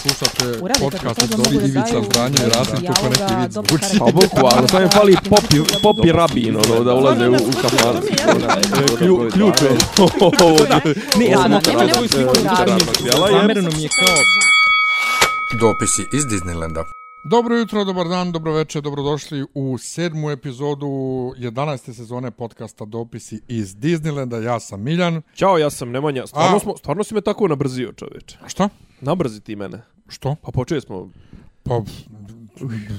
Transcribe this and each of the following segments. Slušate Urade kako e, podcast kažu, od mogu da Dobri Ivica daju Zdanje i Rasim dijaloga, Koko neki vic. dobrih Vuči. karakter- Pa boku, ali sam im fali popi, popi rabin, ono, da ulaze u, u kafanu. Klju, ključ je. Ovo, da. Ne, ja sam Da, da, otkrio nema svoju sliku nikakvog razloga. Instagrama. Zamereno mi je kao... Dopisi iz Disneylanda. Dobro jutro, dobar dan, dobro večer, dobrodošli u sedmu epizodu 11. sezone podcasta Dopisi iz Disneylanda. Ja sam Miljan. Ćao, ja sam Nemanja. A. Stvarno, smo, stvarno si me tako nabrzio, čoveče. A šta? Nabrzi ti mene. Što? Pa počeli smo... Pa,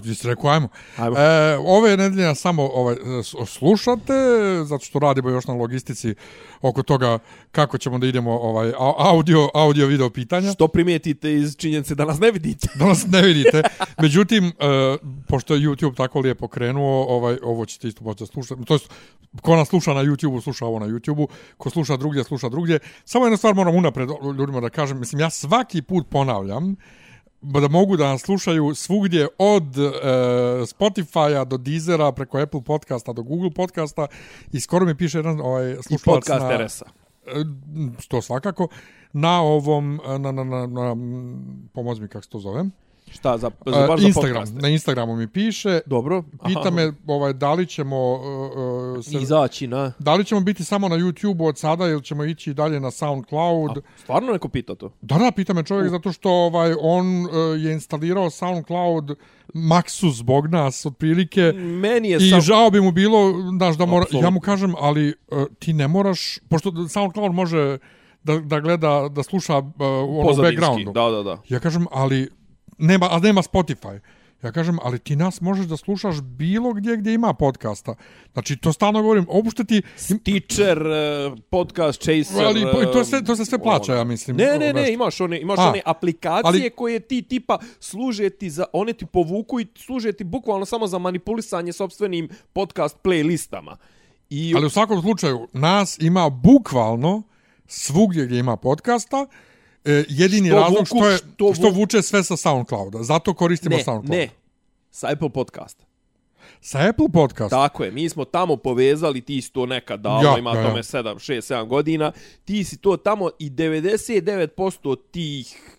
vi ste rekao, ajmo. Ajmo. E, ove nedelje nas samo ovaj, s- slušate, zato što radimo još na logistici oko toga kako ćemo da idemo ovaj, au- audio, audio video pitanja. Što primijetite iz činjenice da nas ne vidite? da nas ne vidite. Međutim, e, pošto je YouTube tako lijepo krenuo, ovaj, ovo ćete isto moći da slušati. To jest, ko nas sluša na YouTube-u, sluša ovo na YouTube-u. Ko sluša drugdje, sluša drugdje. Samo jednu stvar moram unapred ljudima da kažem. Mislim, ja svaki put ponavljam da mogu da nas slušaju svugdje od e, Spotify-a do Deezera preko Apple podcasta do Google podcasta i skoro mi piše jedan ovaj, I slušalac podcast na... RS-a. E, to svakako, na ovom, e, na, na, na, na pomoz mi kako se to zove, Šta, za, za, E, baš za Instagram, podcaste? na Instagramu mi piše, Dobro. pita aha. me ovaj, da li ćemo... Uh, uh, se, Izaći na... Da li ćemo biti samo na YouTube-u od sada ili ćemo ići i dalje na SoundCloud? A, stvarno neko pita to? Da, da, pita me čovjek zato što ovaj on uh, je instalirao SoundCloud Maxu zbog nas otprilike. Meni Mm, je I sam... žao bi mu bilo, znaš, da mora, Apsolutno. ja mu kažem, ali uh, ti ne moraš, pošto SoundCloud može da, da gleda, da sluša uh, ono u backgroundu. Da, da, da. Ja kažem, ali nema, a nema Spotify. Ja kažem, ali ti nas možeš da slušaš bilo gdje gdje ima podcasta. Znači, to stalno govorim, opušte ti... Teacher, eh, podcast, chaser... Ali po- to eh, se, to se sve plaća, ja mislim. Ono, Ne, ne, Best. ne, imaš one, imaš A, one aplikacije ali- koje ti tipa služe ti za, one ti povuku i služe ti bukvalno samo za manipulisanje sobstvenim podcast playlistama. I Ali u svakom slučaju, nas ima bukvalno svugdje gdje ima podcasta. E, jedini Što razlog vuku, što, je, što što, vu- vuče sve sa SoundClouda. Zato koristimo ne, SoundCloud. ne, sa Apple podcast. Sa Apple podcast. Tako je, mi smo tamo povezali, ti si to nekad davno, Ja, ja, ima ja, ja. tome 7, 6, 7 godina, ti si to tamo i 99% tih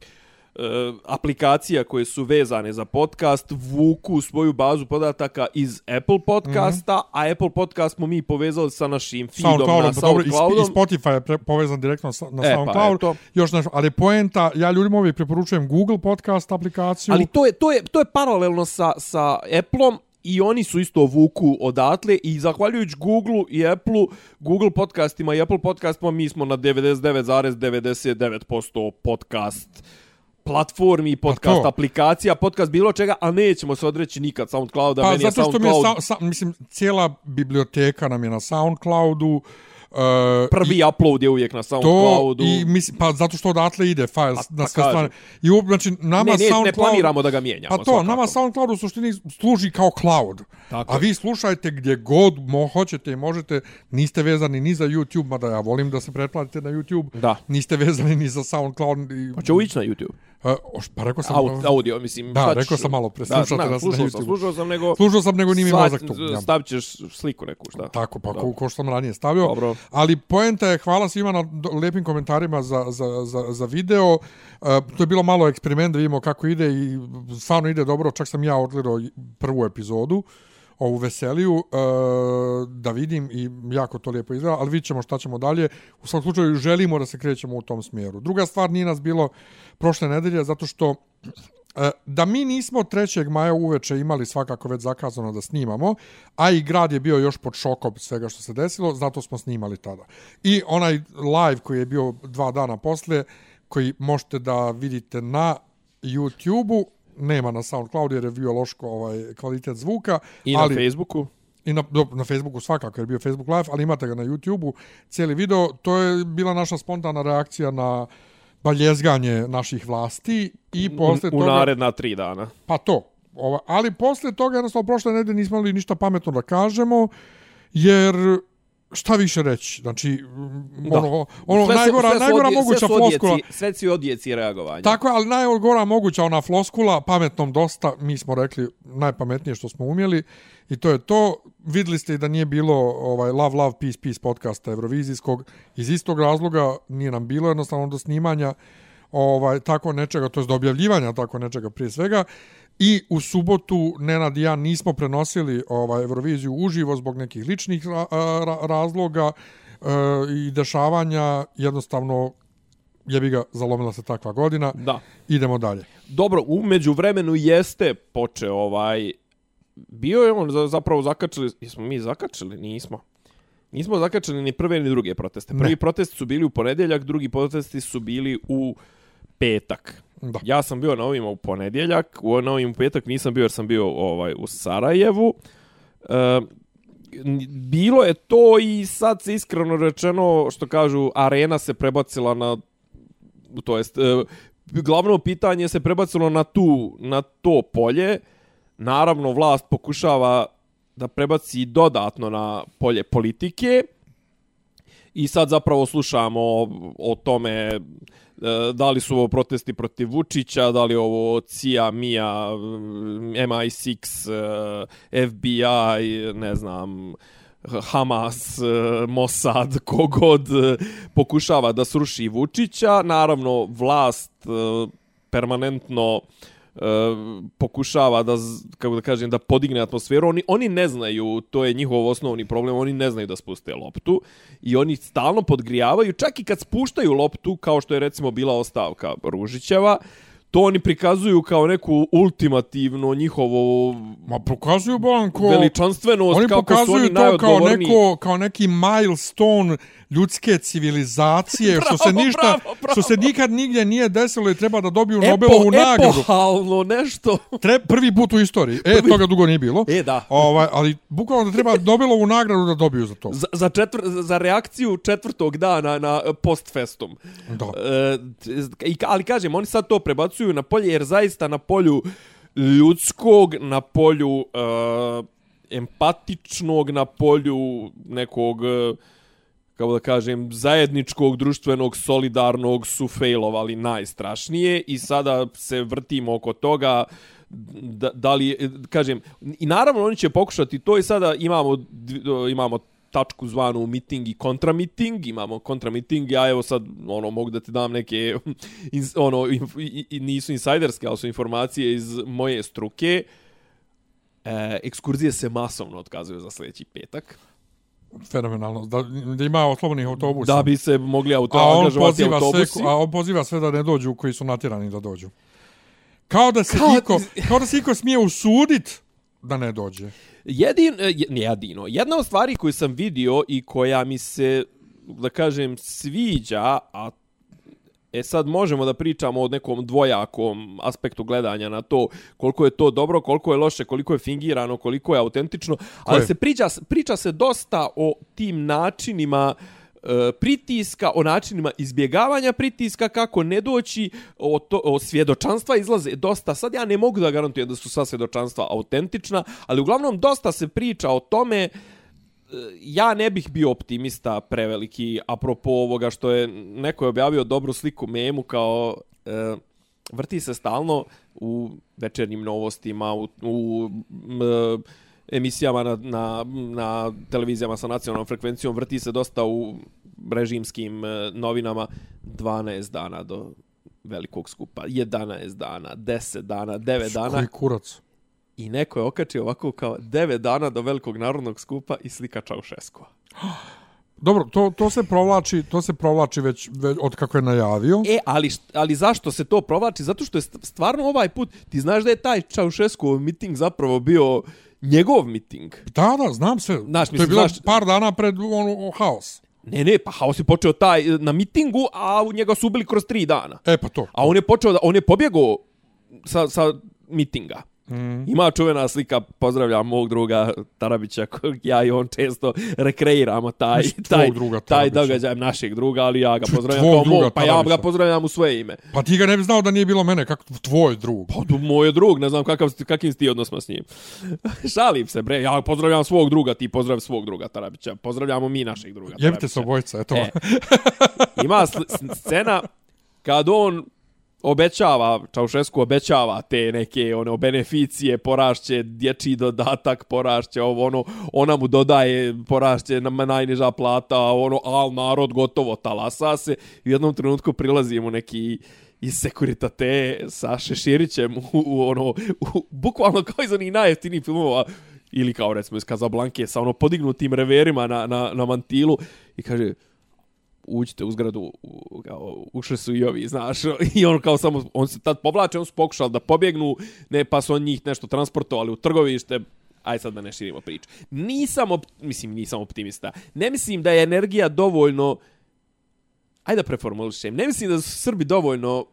e, aplikacija koje su vezane za podcast vuku svoju bazu podataka iz Apple podcasta, mm -hmm. a Apple podcast smo mi povezali sa našim feedom na Mhm. SoundCloudom, pa dobro, i, Sp- i SoundCloudom. Spotify je pre, povezan direktno sa, na E, pa, SoundCloud. eto. Još nešto, ali poenta, ja ljudima uvijek preporučujem Google podcast aplikaciju. Ali to je, to je, to je paralelno sa, sa Apple-om i oni su isto vuku odatle i zahvaljujući Google-u i Apple-u, Google podcastima i Apple podcastima mi smo na 99,99% podcast platformi, podcast Pa to. aplikacija, podcast bilo čega, a nećemo se odreći nikad SoundClouda, Pa meni je zato što mi je, SoundCloud sa, sa, mislim, cijela biblioteka nam je na SoundCloudu. Uh, prvi i upload je uvijek na to, SoundCloudu. i mislim, pa zato što odatle ide file na pa sve kažem. strane. I u, znači, nama ne, ne, SoundCloud... ne planiramo da ga mijenjamo. Pa to, nama SoundCloud u suštini služi kao cloud. Tako a je. vi slušajte gdje god mo hoćete i možete, niste vezani ni za YouTube, mada ja volim da se pretplatite na YouTube, Da. niste vezani ni za SoundCloud. I, Pa će ići na YouTube. E, oš- pa rekao sam... Aut, audio, mislim. Da, šta ćeš- rekao sam malo pre, slušate znam, nas na slušao YouTube. sam, slušao sam, nego... Slušao sam, nego nije mi Sva- mozak tu. Ja. Stavit ćeš sliku neku, šta? Tako, pa ko, Dobro. ko što sam ranije stavio. Dobro. Ali poenta je, hvala svima na do- lijepim komentarima za, za, za, za video. E, to je bilo malo eksperiment da vidimo kako ide i stvarno ide dobro. Čak sam ja odgledao i prvu epizodu ovu veseliju e, da vidim i jako to lijepo izgleda, ali vidit ćemo šta ćemo dalje. U svakom slučaju želimo da se krećemo u tom smjeru. Druga stvar nije nas bilo prošle nedelje zato što E, da mi nismo 3. maja uveče imali svakako već zakazano da snimamo, a i grad je bio još pod šokom svega što se desilo, zato smo snimali tada. I onaj live koji je bio dva dana poslije, koji možete da vidite na YouTube-u, nema na SoundCloud jer je bio loško ovaj, kvalitet zvuka, I na ali Facebooku. i na, do- na Facebooku svakako jer je bio Facebook live, ali imate ga na YouTubeu cijeli video. To je bila naša spontana reakcija na baljezganje naših vlasti i posle u, u toga... naredna tri dana. Pa to. Ova, ali posle toga, jednostavno, prošle nedelje nismo imali ništa pametno da kažemo, jer šta više reći? Znači, Da. ono, ono Sve su- najgora, sve su najgora odje- moguća sve su odjeci- floskula. Sve su odjeci reagovanja. Tako je, ali najgora moguća ona floskula, pametnom dosta, mi smo rekli najpametnije što smo umjeli i to je to. Vidjeli ste i da nije bilo ovaj Love Love Peace Peace podcasta Eurovizijskog, iz istog razloga nije nam bilo jednostavno do snimanja ovaj, tako nečega, to je do objavljivanja tako nečega prije svega. I u subotu Nenad i ja nismo prenosili ovaj, Euroviziju uživo zbog nekih ličnih ra ra razloga e, i dešavanja. Jednostavno, jebi ga, zalomila se takva godina. Da. Idemo dalje. Dobro, umeđu vremenu jeste počeo ovaj... Bio je on za- zapravo zakačili... Jesmo mi zakačili? Nismo. Nismo zakačili ni prve ni druge proteste. Prvi Ne. protesti su bili u ponedjeljak, drugi protesti su bili u petak. Da. Ja sam bio na ovima u ponedjeljak, u na ovim u petak nisam bio jer sam bio ovaj u Sarajevu. E, n- bilo je to i sad se iskreno rečeno, što kažu, arena se prebacila na to jest e, glavno pitanje se prebacilo na tu na to polje. Naravno vlast pokušava da prebaci dodatno na polje politike. I sad zapravo slušamo o tome e, da li su ovo protesti protiv Vučića, da li je ovo CIA, MIA, MI6, e, FBI, ne znam, Hamas, e, Mossad, kogod e, pokušava da sruši Vučića. Naravno, vlast e, permanentno e, pokušava da z- kako da kažem da podigne atmosferu oni oni ne znaju to je njihov osnovni problem oni ne znaju da spuste loptu i oni stalno podgrijavaju čak i kad spuštaju loptu kao što je recimo bila ostavka Ružićeva to oni prikazuju kao neku ultimativno njihovo Ma pokazuju Bolanko... veličanstvenost Oni kako su pokazuju oni to kao najodgovorniji neko kao neki milestone ljudske civilizacije što se Bravo, ništa bravo, bravo. što se nikad nigdje nije desilo i treba da dobiju Nobelovu Epo, nagradu. epohalno nešto. Tre, prvi put u istoriji. E, toga dugo nije bilo. E, da. Ovaj, ali bukvalno da treba Nobelovu nagradu da dobiju za to. Za, za, četvr, za reakciju četvrtog dana na e, postfestum. Da. E, t- i ka- ali kažem, oni sad to prebacuju na polje, jer zaista na polju ljudskog, na polju e, empatičnog, na polju nekog... E, kako da kažem, zajedničkog, društvenog, solidarnog su failovali najstrašnije i sada se vrtimo oko toga da, da li, je- kažem, i naravno oni će pokušati to i sada imamo, dv- imamo tačku zvanu miting i kontramiting, imamo kontramiting, ja evo sad ono mogu da ti dam neke ins- ono inf, i, i, nisu insajderske, ali su informacije iz moje struke. E, ekskurzije se masovno otkazuju za sljedeći petak. Fenomenalno. Da, da ima slobodnih autobusa. Da bi se mogli auto a on angažovati poziva sve, autobusi. a on poziva sve da ne dođu koji su natjerani da dođu. Kao da se Kao- iko, kao da se iko smije usudit da ne dođe. Jedin, e, je- ne jedino, jedna od stvari koju sam vidio i koja mi se, da kažem, sviđa, a E sad možemo da pričamo o nekom dvojakom aspektu gledanja na to koliko je to dobro, koliko je loše, koliko je fingirano, koliko je autentično, ali Koje? se priča, priča se dosta o tim načinima e, pritiska, o načinima izbjegavanja pritiska, kako ne doći, o, to, o svjedočanstva izlaze dosta. Sad ja ne mogu da garantujem da su sva svjedočanstva autentična, ali uglavnom dosta se priča o tome ja ne bih bio optimista preveliki apropo ovoga što je neko je objavio dobru sliku memu kao e, vrti se stalno u večernjim novostima u, u m, e, emisijama na, na, na televizijama sa nacionalnom frekvencijom vrti se dosta u režimskim e, novinama 12 dana do velikog skupa 11 dana 10 dana 9 dana Koji kurac. I neko je okačio ovako kao 9 dana do velikog narodnog skupa i slika Čaušeskova. Dobro, to, to se provlači, to se provlači već, već od kako je najavio. E, ali, št- ali zašto se to provlači? Zato što je st- stvarno ovaj put, ti znaš da je taj Čaušeskov miting zapravo bio njegov miting. Da, da, znam se. Znaš, to je mislim, bilo znaš- par dana pred ono, o, haos. Ne, ne, pa haos je počeo taj e, na mitingu, a u njega su ubili kroz tri dana. E pa to. A on je počeo da, on je pobjegao sa, sa mitinga. Mm. Ima čuvena slika, pozdravljam mog druga Tarabića, kojeg ja i on često rekreiramo taj, Mislim, Znači, tvog taj, druga taj Tarabića. Znači, događaj našeg druga, ali ja ga pozdravljam tvog kao druga mog, pa ja ga Tarabića. pozdravljam u svoje ime. Pa ti ga ne bi znao da nije bilo mene, kako tvoj drug. Pa tu moj je drug, ne znam kakav, kakim si ti odnosno s njim. Šalim se bre, ja pozdravljam svog druga, ti pozdrav svog druga Tarabića, pozdravljamo mi našeg druga Jebite se Tarabića. obojica, eto. E, ima sl- s- scena kad on obećava, Čaušesku obećava te neke ono beneficije, porašće dječji dodatak, porašće ovo ono, ona mu dodaje porašće nam najniža plata, ono, al narod gotovo talasa se i u jednom trenutku prilazi mu neki iz Sekuritate sa Šeširićem u, u ono, u, bukvalno kao iz onih najjeftinijih filmova, ili kao recimo iz Kazablanke sa ono podignutim reverima na, na, na mantilu i kaže, uđite u zgradu, u, kao, ušli su i ovi, znaš, i on kao samo, on se tad povlače, on su pokušali da pobjegnu, ne, pa su on njih nešto transportovali u trgovište, aj sad da ne širimo priču. Nisam, op, mislim, nisam optimista. Ne mislim da je energija dovoljno, ajde da preformulišem, ne mislim da su Srbi dovoljno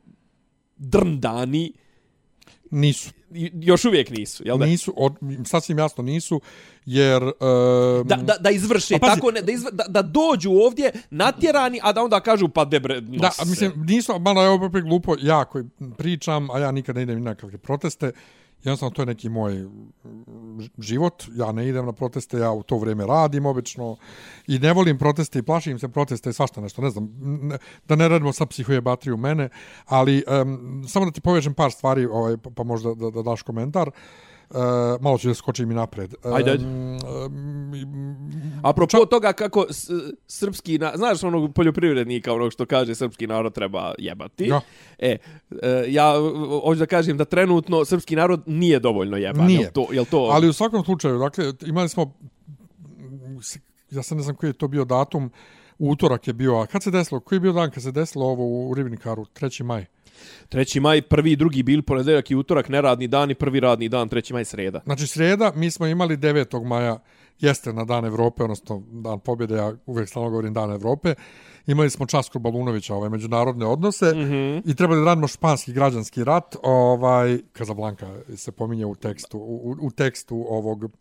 drndani, Nisu. i- još uvijek nisu, jel da? Nisu, od, sasvim jasno nisu, jer... Uh, Da, da, da izvrše A pazi- tako ne da, izv, da, da dođu ovdje natjerani a da onda kažu pa debre nos Da, a mislim, nisu, malo je ovo opet glupo, ja koji pričam, a ja nikad ne idem ni na kakve proteste, jednostavno to je neki moj mm, ž- život, ja ne idem na proteste, ja u to vrijeme radim obično i ne volim proteste i plašim se proteste i svašta nešto, ne znam, ne, da ne radimo sa psihojebatri u mene, ali um, samo da ti povežem par stvari, ovaj, pa pa možda da, da daš komentar, Uh, malo ću da skočim i napred. Ajde, ajde. Em, em, Apropo toga kako s, srpski, na, znaš onog poljoprivrednika, onog što kaže srpski narod treba jebati. Ja. E, e, ja e, hoću da kažem da trenutno srpski narod nije dovoljno jeban. Nije. Jel to, jel to Ali u svakom slučaju, dakle, imali smo, ja sam ne znam koji je to bio datum, u utorak je bio, a kad se desilo, koji je bio dan kad se desilo ovo u Ribnikaru, 3. maj? 3. maj, prvi i drugi bil, ponedeljak i utorak, neradni dan i prvi radni dan, 3. maj sreda. Znači, srijeda, mi smo imali 9. maja, jeste na Dan Evrope, odnosno Dan pobjede, ja uvijek stalno govorim Dan Evrope, imali smo Časko Balunovića, ovaj, međunarodne odnose, mm -hmm. i trebali da radimo španski građanski rat, ovaj, Kazablanka se pominje u tekstu, u, u- u tekstu ovog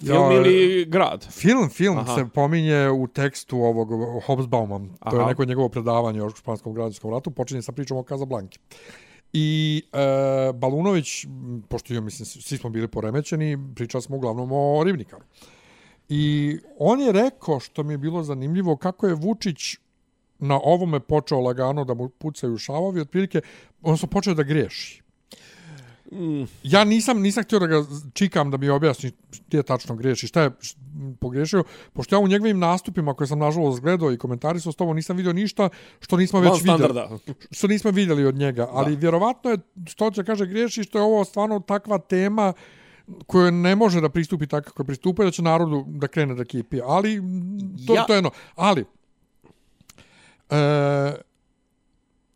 Film Ja, ili grad? Film, film Aha. Aha. se pominje u tekstu ovog Hobsbauma. To je Aha. neko njegovo predavanje o španskom građanskom ratu. Počinje sa pričom o Kazablanki. I e, Balunović, m, pošto ja mislim, svi smo bili poremećeni, pričali smo uglavnom o Rivnikaru. I on je rekao, što mi je bilo zanimljivo, kako je Vučić na ovome počeo lagano da mu pucaju šavovi, otprilike, on sam počeo da griješi. Ja nisam, nisam htio da ga čikam da mi objasni gdje tačno griješi, šta je š- m, pogrešio, pošto ja u njegovim nastupima koje sam nažalost gledao i komentarisao s tobom nisam vidio ništa što nismo Van već vidjeli standarda. što nismo vidjeli od njega, ali vjerovatno je, što će kaže, griješi što je ovo stvarno takva tema koja ne može da pristupi tako kako je pristupa, da će narodu da krene da kipi, ali m, to, Ja- to je jedno. Ali, e,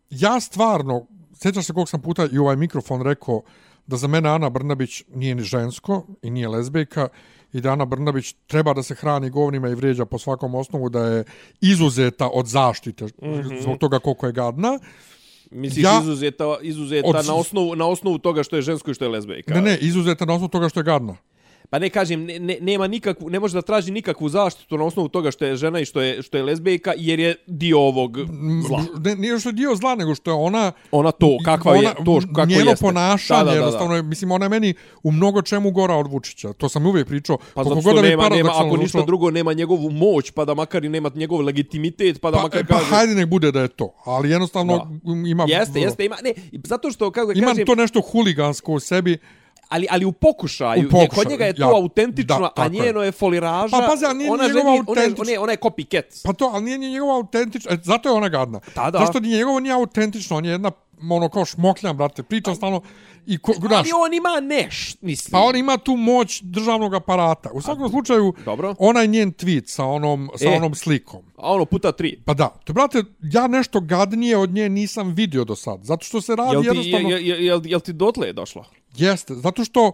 ja stvarno, sjećaš se koliko sam puta i u ovaj mikrofon rekao da za mene Ana Brnabić nije ni žensko i nije lezbejka i da Ana Brnabić treba da se hrani govnima i vrijeđa po svakom osnovu da je izuzeta od zaštite mm -hmm. zbog toga koliko je gadna. Misliš ja, Ja- izuzeta, izuzeta Od- na, osnovu, na osnovu toga što je žensko i što je lezbejka? Ne, ne, izuzeta na osnovu toga što je gadna. Pa ne kažem, ne, ne, nema nikakvu, ne može da traži nikakvu zaštitu na osnovu toga što je žena i što je, što je lezbejka, jer je dio ovog zla. Ne, nije što je dio zla, nego što je ona... Ona to, kakva ona, je, to š- kako njeno jeste. ponašanje, da, da, da, jednostavno, je, mislim, ona je meni u mnogo čemu gora od Vučića. To sam uvijek pričao. Pa koliko zato što god da mi nema, nema, paradoksalno ako ništa zvučalo- drugo, nema njegovu moć, pa da makar i nema njegov legitimitet, pa da Pa, makar pa kaže... hajde nek bude da je to, ali jednostavno ima... Jeste, jeste, ima, ne, zato što, kako da Imam kažem, to nešto huligansko u sebi. ali, ali u pokušaju, U ne, kod pokušaju, njega je to ja. Da, autentično, a tako je. njeno je foliraža, Pa pazi, ali nije ona, njegova želi, ona, je- autentič- ona, je, ona je copycat. Pa to, ali nije ni njegova autentična, e, zato je ona gadna. Pa da. Zašto nije njegovo nije autentično, on je jedna ono kao šmokljan, brate, Pa- priča stalno i ko, ali Pa, znaš, on ima neš, mislim. Pa on ima tu moć državnog aparata. U svakom slučaju, dobro. onaj njen tweet sa onom, sa E. onom slikom. A ono, puta tri. Pa da, to brate, ja nešto gadnije od nje nisam vidio do sad. Zato što se radi Jel ti, jednostavno... jel, jel, jel, jel ti dotle je došlo? Jeste, zato što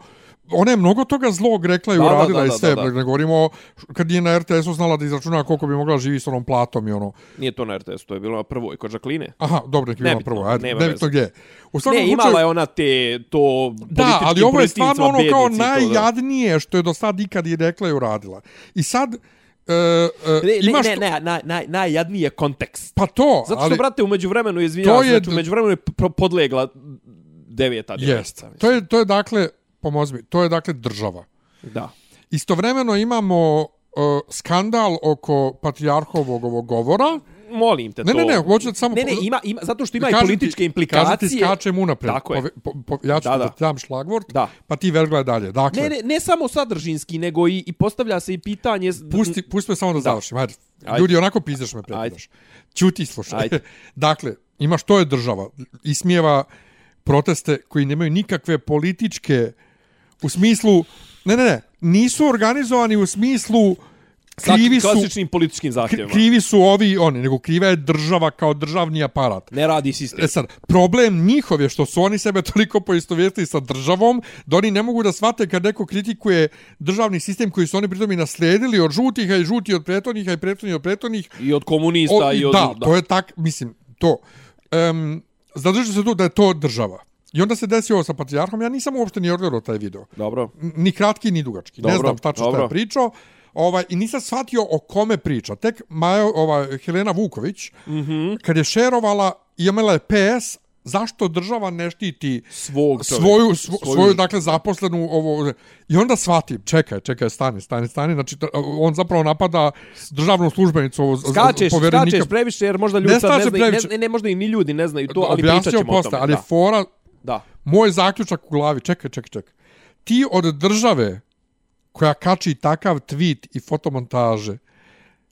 ona je mnogo toga zlog rekla i Da, da, uradila da, i da, sve. da, da. Ne govorimo o- kad je na RTS-u znala da izračuna koliko bi mogla živjeti s onom platom i ono. Nije to na RTS, to je bilo na prvoj, kod Žakline. Aha, dobro, nek je bila Nebitno, prvo. Ajde, nema nebitno gdje. je. U svakom Ne, imala je ona te, to Da, ali ovo je stvarno ono kao najjadnije. najjadnije što je do sad ikad i rekla i uradila. I sad, e, e, Ne, ne, imaš ne, to- ne, naj, naj, najjadniji je kontekst. Pa to, Zato što, ali... ali, brate, umeđu vremenu, izvinjava To se, je znači, d- umeđu vremenu je pro- podlegla deveta Jest. djevojčica. To je, to je dakle, pomozi mi, to je dakle država. Da. Istovremeno imamo uh, skandal oko patrijarhovog ovog govora. Molim te Ne, to. ne, ne, hoću da samo... Ne, ne, ima, ima, zato što ima i Kažem ti- političke implikacije. Kažem ti, skačem unapred. Tako je. Pove- Po, po, ja ću da, Da, da. da. dam šlagvort, Da. pa ti verglaj dalje. Dakle, Ne, ne, ne samo sadržinski, nego i, i postavlja se i pitanje... s- pusti, pusti me samo da, završim. Ajde. Ajde. Ljudi, onako pizdeš me prekidaš. Ćuti i slušaj. Ajde. dakle, imaš to je država, ismijeva proteste koji nemaju nikakve političke, u smislu, ne, ne, ne, nisu organizovani u smislu Sa krivi su, klasičnim političkim kri- zahtjevima. krivi su ovi i oni, nego kriva je država kao državni aparat. Ne radi E sistem. sad, problem njihov je što su oni sebe toliko poistovjetili sa državom da oni ne mogu da shvate kad neko kritikuje državni sistem koji su oni pritom i naslijedili od žutih, a i žuti od prethodnih, a i prethodnih od prethodnih. I od komunista O, i od... da, to je tak, mislim, to. Um, zadržite se tu da je to država. I onda se desi ovo sa Patriarhom, ja nisam uopšte ni odgledao taj video Dobro. ni kratki ni dugački. Dobro, ne Dobro, znam tačno šta dobro. je pričao. Ovaj, I nisam shvatio o kome priča. Tek Maja, ova, Helena Vuković, mm Mhm. -hmm. kad je šerovala i imala je PS, zašto država ne štiti Svog čovjeka. svoju, svo, svoju, svoju, dakle, zaposlenu ovo... I onda shvatim, čekaj, čekaj, stani, stani, stani. Znači, t- on zapravo napada državnu službenicu, ovo, z- z- Skačeš, skačeš previše jer možda ljudi Ne sad ne skačem znaju, ne, previše. ne, ne, možda i ni ljudi ne znaju to, ali Objasnio pričat ćemo o posle, tome. ali je da. fora, da. moj zaključak u glavi, čekaj, čekaj, čekaj. Ti od države koja kači takav tweet i fotomontaže,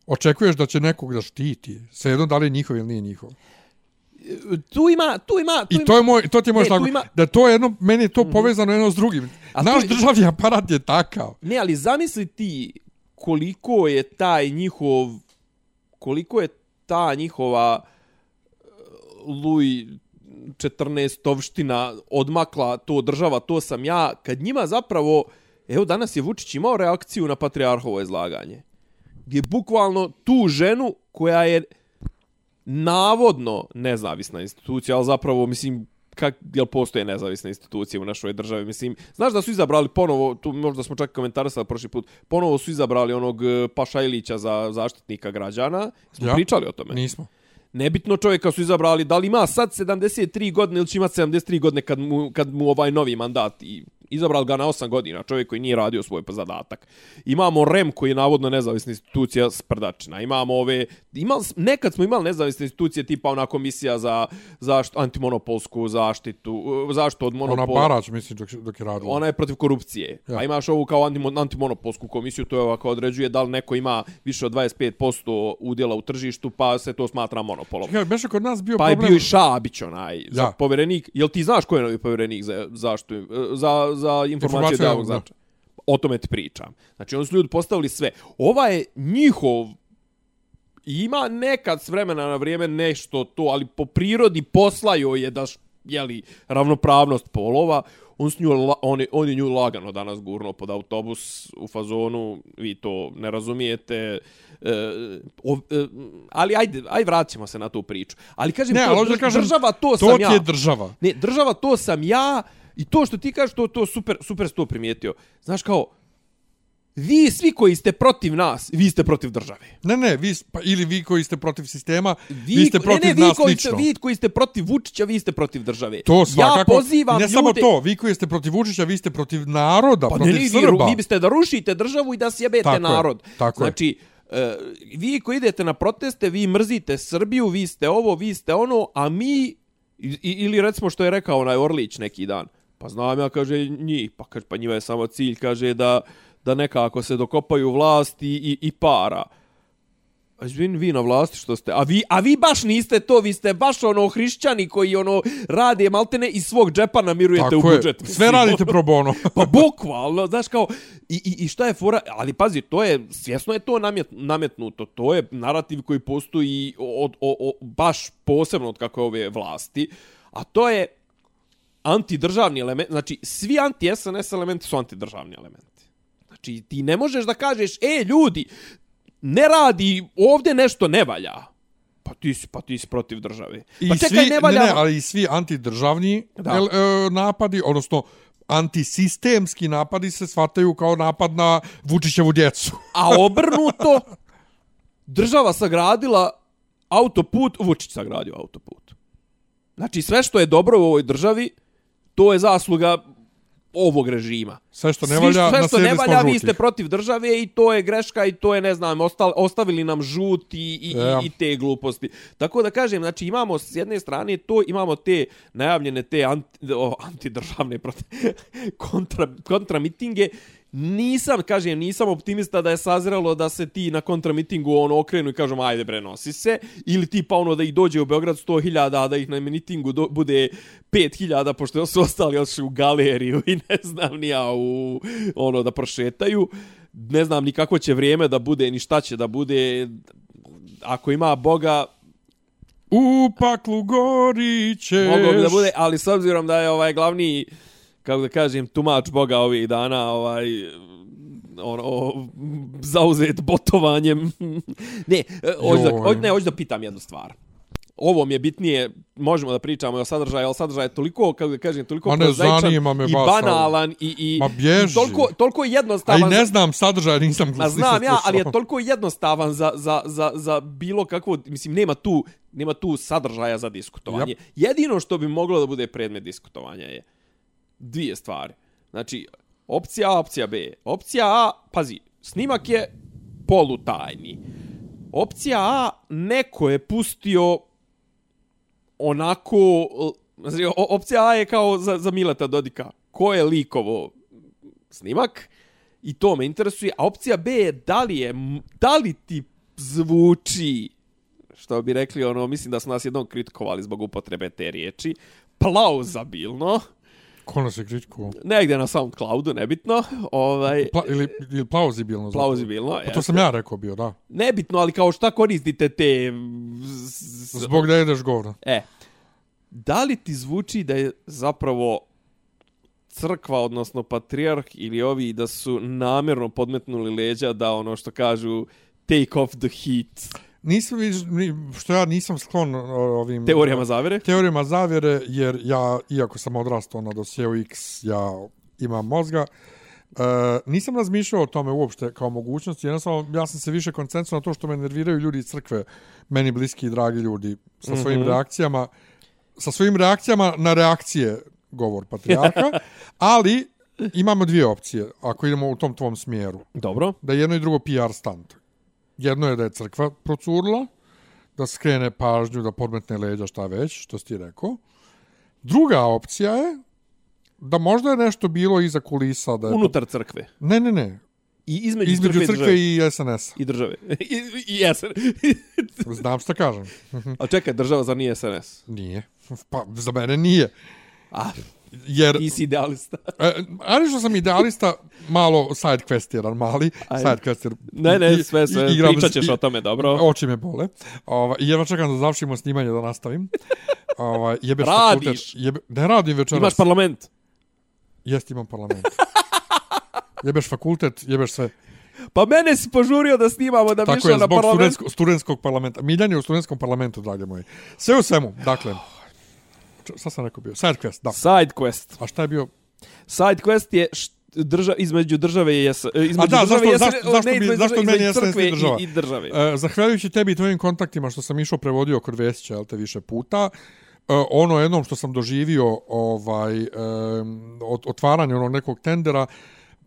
očekuješ da će nekog da štiti, svejedno da li je njihov ili nije njihov. Tu ima, tu ima, tu I ima... to je moj, to ti je moj Ne, tu tako, ima- Mhm. da to je jedno, meni je to povezano jedno s drugim. A Naš tu- državni aparat je takav. Ne, ali zamisli ti koliko je taj njihov koliko je ta njihova e, Luj 14 tovština odmakla to država, to sam ja, kad njima zapravo evo danas je Vučić imao reakciju na patrijarhovo izlaganje. Gdje bukvalno tu ženu koja je navodno nezavisna institucija, ali zapravo, mislim, kak, jel postoje nezavisne institucije u našoj državi? Mislim, znaš da su izabrali ponovo, tu možda smo čak komentarisali prošli put, ponovo su izabrali onog e, Pašajlića za zaštitnika građana. Smo Ja? pričali o tome. Nismo. Nebitno čovjeka su izabrali, da li ima sad 73 godine ili će imati 73 godine kad mu, kad mu ovaj novi mandat i izabrali ga na 8 godina, čovjek koji nije radio svoj pa zadatak. Imamo REM koji je navodno nezavisna institucija sprdačina. Imamo ove imali, s- nekad smo imali nezavisne institucije tipa ona komisija za zašt, antimonopolsku zaštitu, e, zaštitu od Ona monopola. Barać, Ono mislim, dok, dok je radila. Ona je protiv korupcije. Ja. Ja. A imaš ovu kao antimo- antimonopolsku komisiju, to je ova koja određuje da li neko ima više od 25% udjela u tržištu, pa se to smatra monopolom. Čekaj, Beše kod nas bio Pa je problem... bio i Šabić onaj, za Da. povjerenik. Jel ti znaš ko je novi povjerenik za, zaštu, za, za informacije Informacije od javnog javnog, da. značaja? O tome ti pričam. Znači, oni su ljudi postavili sve. Ova je njihov ima nekad s vremena na vrijeme nešto to, ali po prirodi posla joj je da, š- jeli, ravnopravnost polova, on, s nju, la- on, je, on je nju lagano danas gurno pod autobus u fazonu, vi to ne razumijete, e, o, e, ali ajde, aj vraćamo se na tu priču. Ali kažem, Ne, to, ali hoću da drž- kažem, država to, to sam ti ja. je država. Ne, država to sam ja i to što ti kažeš to to super super si to primijetio. Znaš kao vi svi koji ste protiv nas, vi ste protiv države. Ne, ne, vi, s- pa, ili vi koji ste protiv sistema, Vi, vi, ste protiv ne, ne, vi nas koji ste, lično. vi koji ste protiv Vučića, vi ste protiv države. To svakako. Ja pozivam I ne ljude... samo to, vi koji ste protiv Vučića, vi ste protiv naroda, Pa ne, protiv ne, vi, Srba. vi biste da rušite državu i da sjebete Tako je, narod. tako je. znači, e, vi koji idete na proteste, vi mrzite Srbiju, vi ste ovo, vi ste ono, a mi, i, i- ili recimo što je rekao onaj Orlić neki dan, pa znam ja, kaže, njih, pa, kaže, pa njima je samo cilj, kaže, da, da nekako se dokopaju vlasti i, i para. A izvin, vi na vlasti što ste, a vi, a vi baš niste to, vi ste baš ono hrišćani koji ono rade maltene iz svog džepa namirujete Tako u je. budžet. Sve Mislim, radite pro bono. Pa bukvalno, znaš kao, i, i, i šta je fora, ali pazi, to je, svjesno je to namjet, nametnuto, to je narativ koji postoji od, o, o, baš posebno od kako je ove vlasti, a to je antidržavni element, znači svi anti-SNS elementi su antidržavni elementi. Znači ti ne možeš da kažeš, e ljudi, ne radi, ovdje nešto ne valja. Pa ti si, pa ti si protiv države. I pa čekaj, svi, ne valja. Ne, ne, ali i svi antidržavni Da. el, e, napadi, odnosno antisistemski napadi se shvataju kao napad na Vučićevu djecu. A obrnuto, država sagradila autoput, Vučić sagradio autoput. Znači, sve što je dobro u ovoj državi, to je zasluga ovog režima. Sve što ne Svi- valja, sve što ne naslijedili smo valja, vi žutih. ste protiv države i to je greška i to je, ne znam, ostal, ostavili nam žuti i, i, E, Ja. i te gluposti. Tako da kažem, znači imamo s jedne strane to, imamo te najavljene te anti, o, antidržavne protiv, kontra, kontramitinge Nisam, kažem, nisam optimista da je sazrelo da se ti na kontramitingu ono okrenu i kažem ajde bre nosi se ili ti pa ono da ih dođe u Beograd 100.000 a da ih na mitingu do, bude 5.000 pošto su ostali otišli u galeriju i ne znam ni ja u ono da prošetaju. Ne znam ni kako će vrijeme da bude ni šta će da bude. Ako ima Boga, U paklu gorićeš. Mogao bi da bude, ali s obzirom da je ovaj glavni, kako da kažem, tumač Boga ovih dana, ovaj ono, o, zauzet botovanjem. ne, hoću da, Joj. hoću- ne, hoću da pitam jednu stvar. Ovo mi je bitnije, možemo da pričamo i o sadržaju, ali sadržaj je toliko, kako da kažem, toliko Ma ne, prozaičan zanima me i baš, ali- banalan i, i, Ma bježi. i toliko, toliko A i jednostavan. ne znam sadržaj, nisam Ma nisam znam ja, slušao. ali je toliko jednostavan za, za, za, za bilo kakvo, mislim, nema tu, nema tu sadržaja za diskutovanje. Jedino što bi moglo da bude predmet diskutovanja je dvije stvari. Znači, opcija A, opcija B. Opcija A, pazi, snimak je polutajni. Opcija A, neko je pustio onako... l- znači, o- Opcija A je kao za, za Mileta Dodika. Ko je likovo snimak? I to me interesuje. A opcija B je da li, je, m- da li ti zvuči što bi rekli, ono, mislim da smo nas jednom kritikovali zbog upotrebe te riječi, plauzabilno, Ko nas je kritikuo? negdje na SoundCloudu, nebitno, ovaj, Pla, ili, ili plauzibilno. zapravo. plauzibilno, Pa to jeste. sam ja rekao bio, da. nebitno, ali kao šta koristite te... z- z- Zbog da jedeš govna. E, da li ti zvuči da je zapravo crkva, odnosno patrijarh ili ovi da su namjerno podmetnuli leđa da ono što kažu take off the heat Nisam, viš- ni- što ja nisam sklon o, ovim... teorijama zavere? teorijama zavjere, jer ja, iako sam odrastao na dosjeu X, ja imam mozga, e, nisam razmišljao o tome uopšte kao mogućnosti, jednostavno ja sam se više koncentruo na to što me nerviraju ljudi iz crkve, meni bliski i dragi ljudi, sa svojim mm -hmm. reakcijama, sa svojim reakcijama na reakcije govor patrijarha, ali imamo dvije opcije, ako idemo u tom tvom smjeru Dobro. da je jedno i drugo PR stunt. Jedno je da je crkva procurla, da skrene pažnju, da podmetne leđa, šta već, što si ti rekao. Druga opcija je da možda je nešto bilo iza kulisa. Da je Unutar crkve. Ne, ne, ne. I između, Između crkve, crkve i i SNS-a. države. I, države. I, i SNS. Znam šta kažem. A čekaj, država za nije SNS. Nije. Pa, za mene nije. A, Jer, ti si idealista. e, ali što sam idealista, malo side quest jedan mali. Ajde. Side quest jer... Ne, i- ne, sve, sve, i- igram- pričat ćeš i- o tome, dobro. Oči me bole. Ova, i jedva čekam da završimo snimanje da nastavim. Ova, jebeš Radiš. fakultet- Jebe, ne radim večeras. Imaš parlament. Jeste, imam parlament. jebeš fakultet, jebeš sve. Pa mene si požurio da snimamo, da bi Tako išao je, Pa na zbog parlament. studentsko, studentskog parlamenta. Miljan je u studentskom parlamentu, drage moje. Sve u svemu, dakle. Č- Šta sam rekao bio? Sidequest, da. Side quest. A šta je bio? Side quest je št- drža, između države i jesen, između da, države zašto- i jesen, zašto- o, zašto ne, mi- između zašto države- meni između jesen i crkve država? I, i države. E, zahvaljujući tebi i tvojim kontaktima što sam išao prevodio kod Vesića, jel te, više puta, e, ono jednom što sam doživio ovaj, e, ot- otvaranje onog nekog tendera,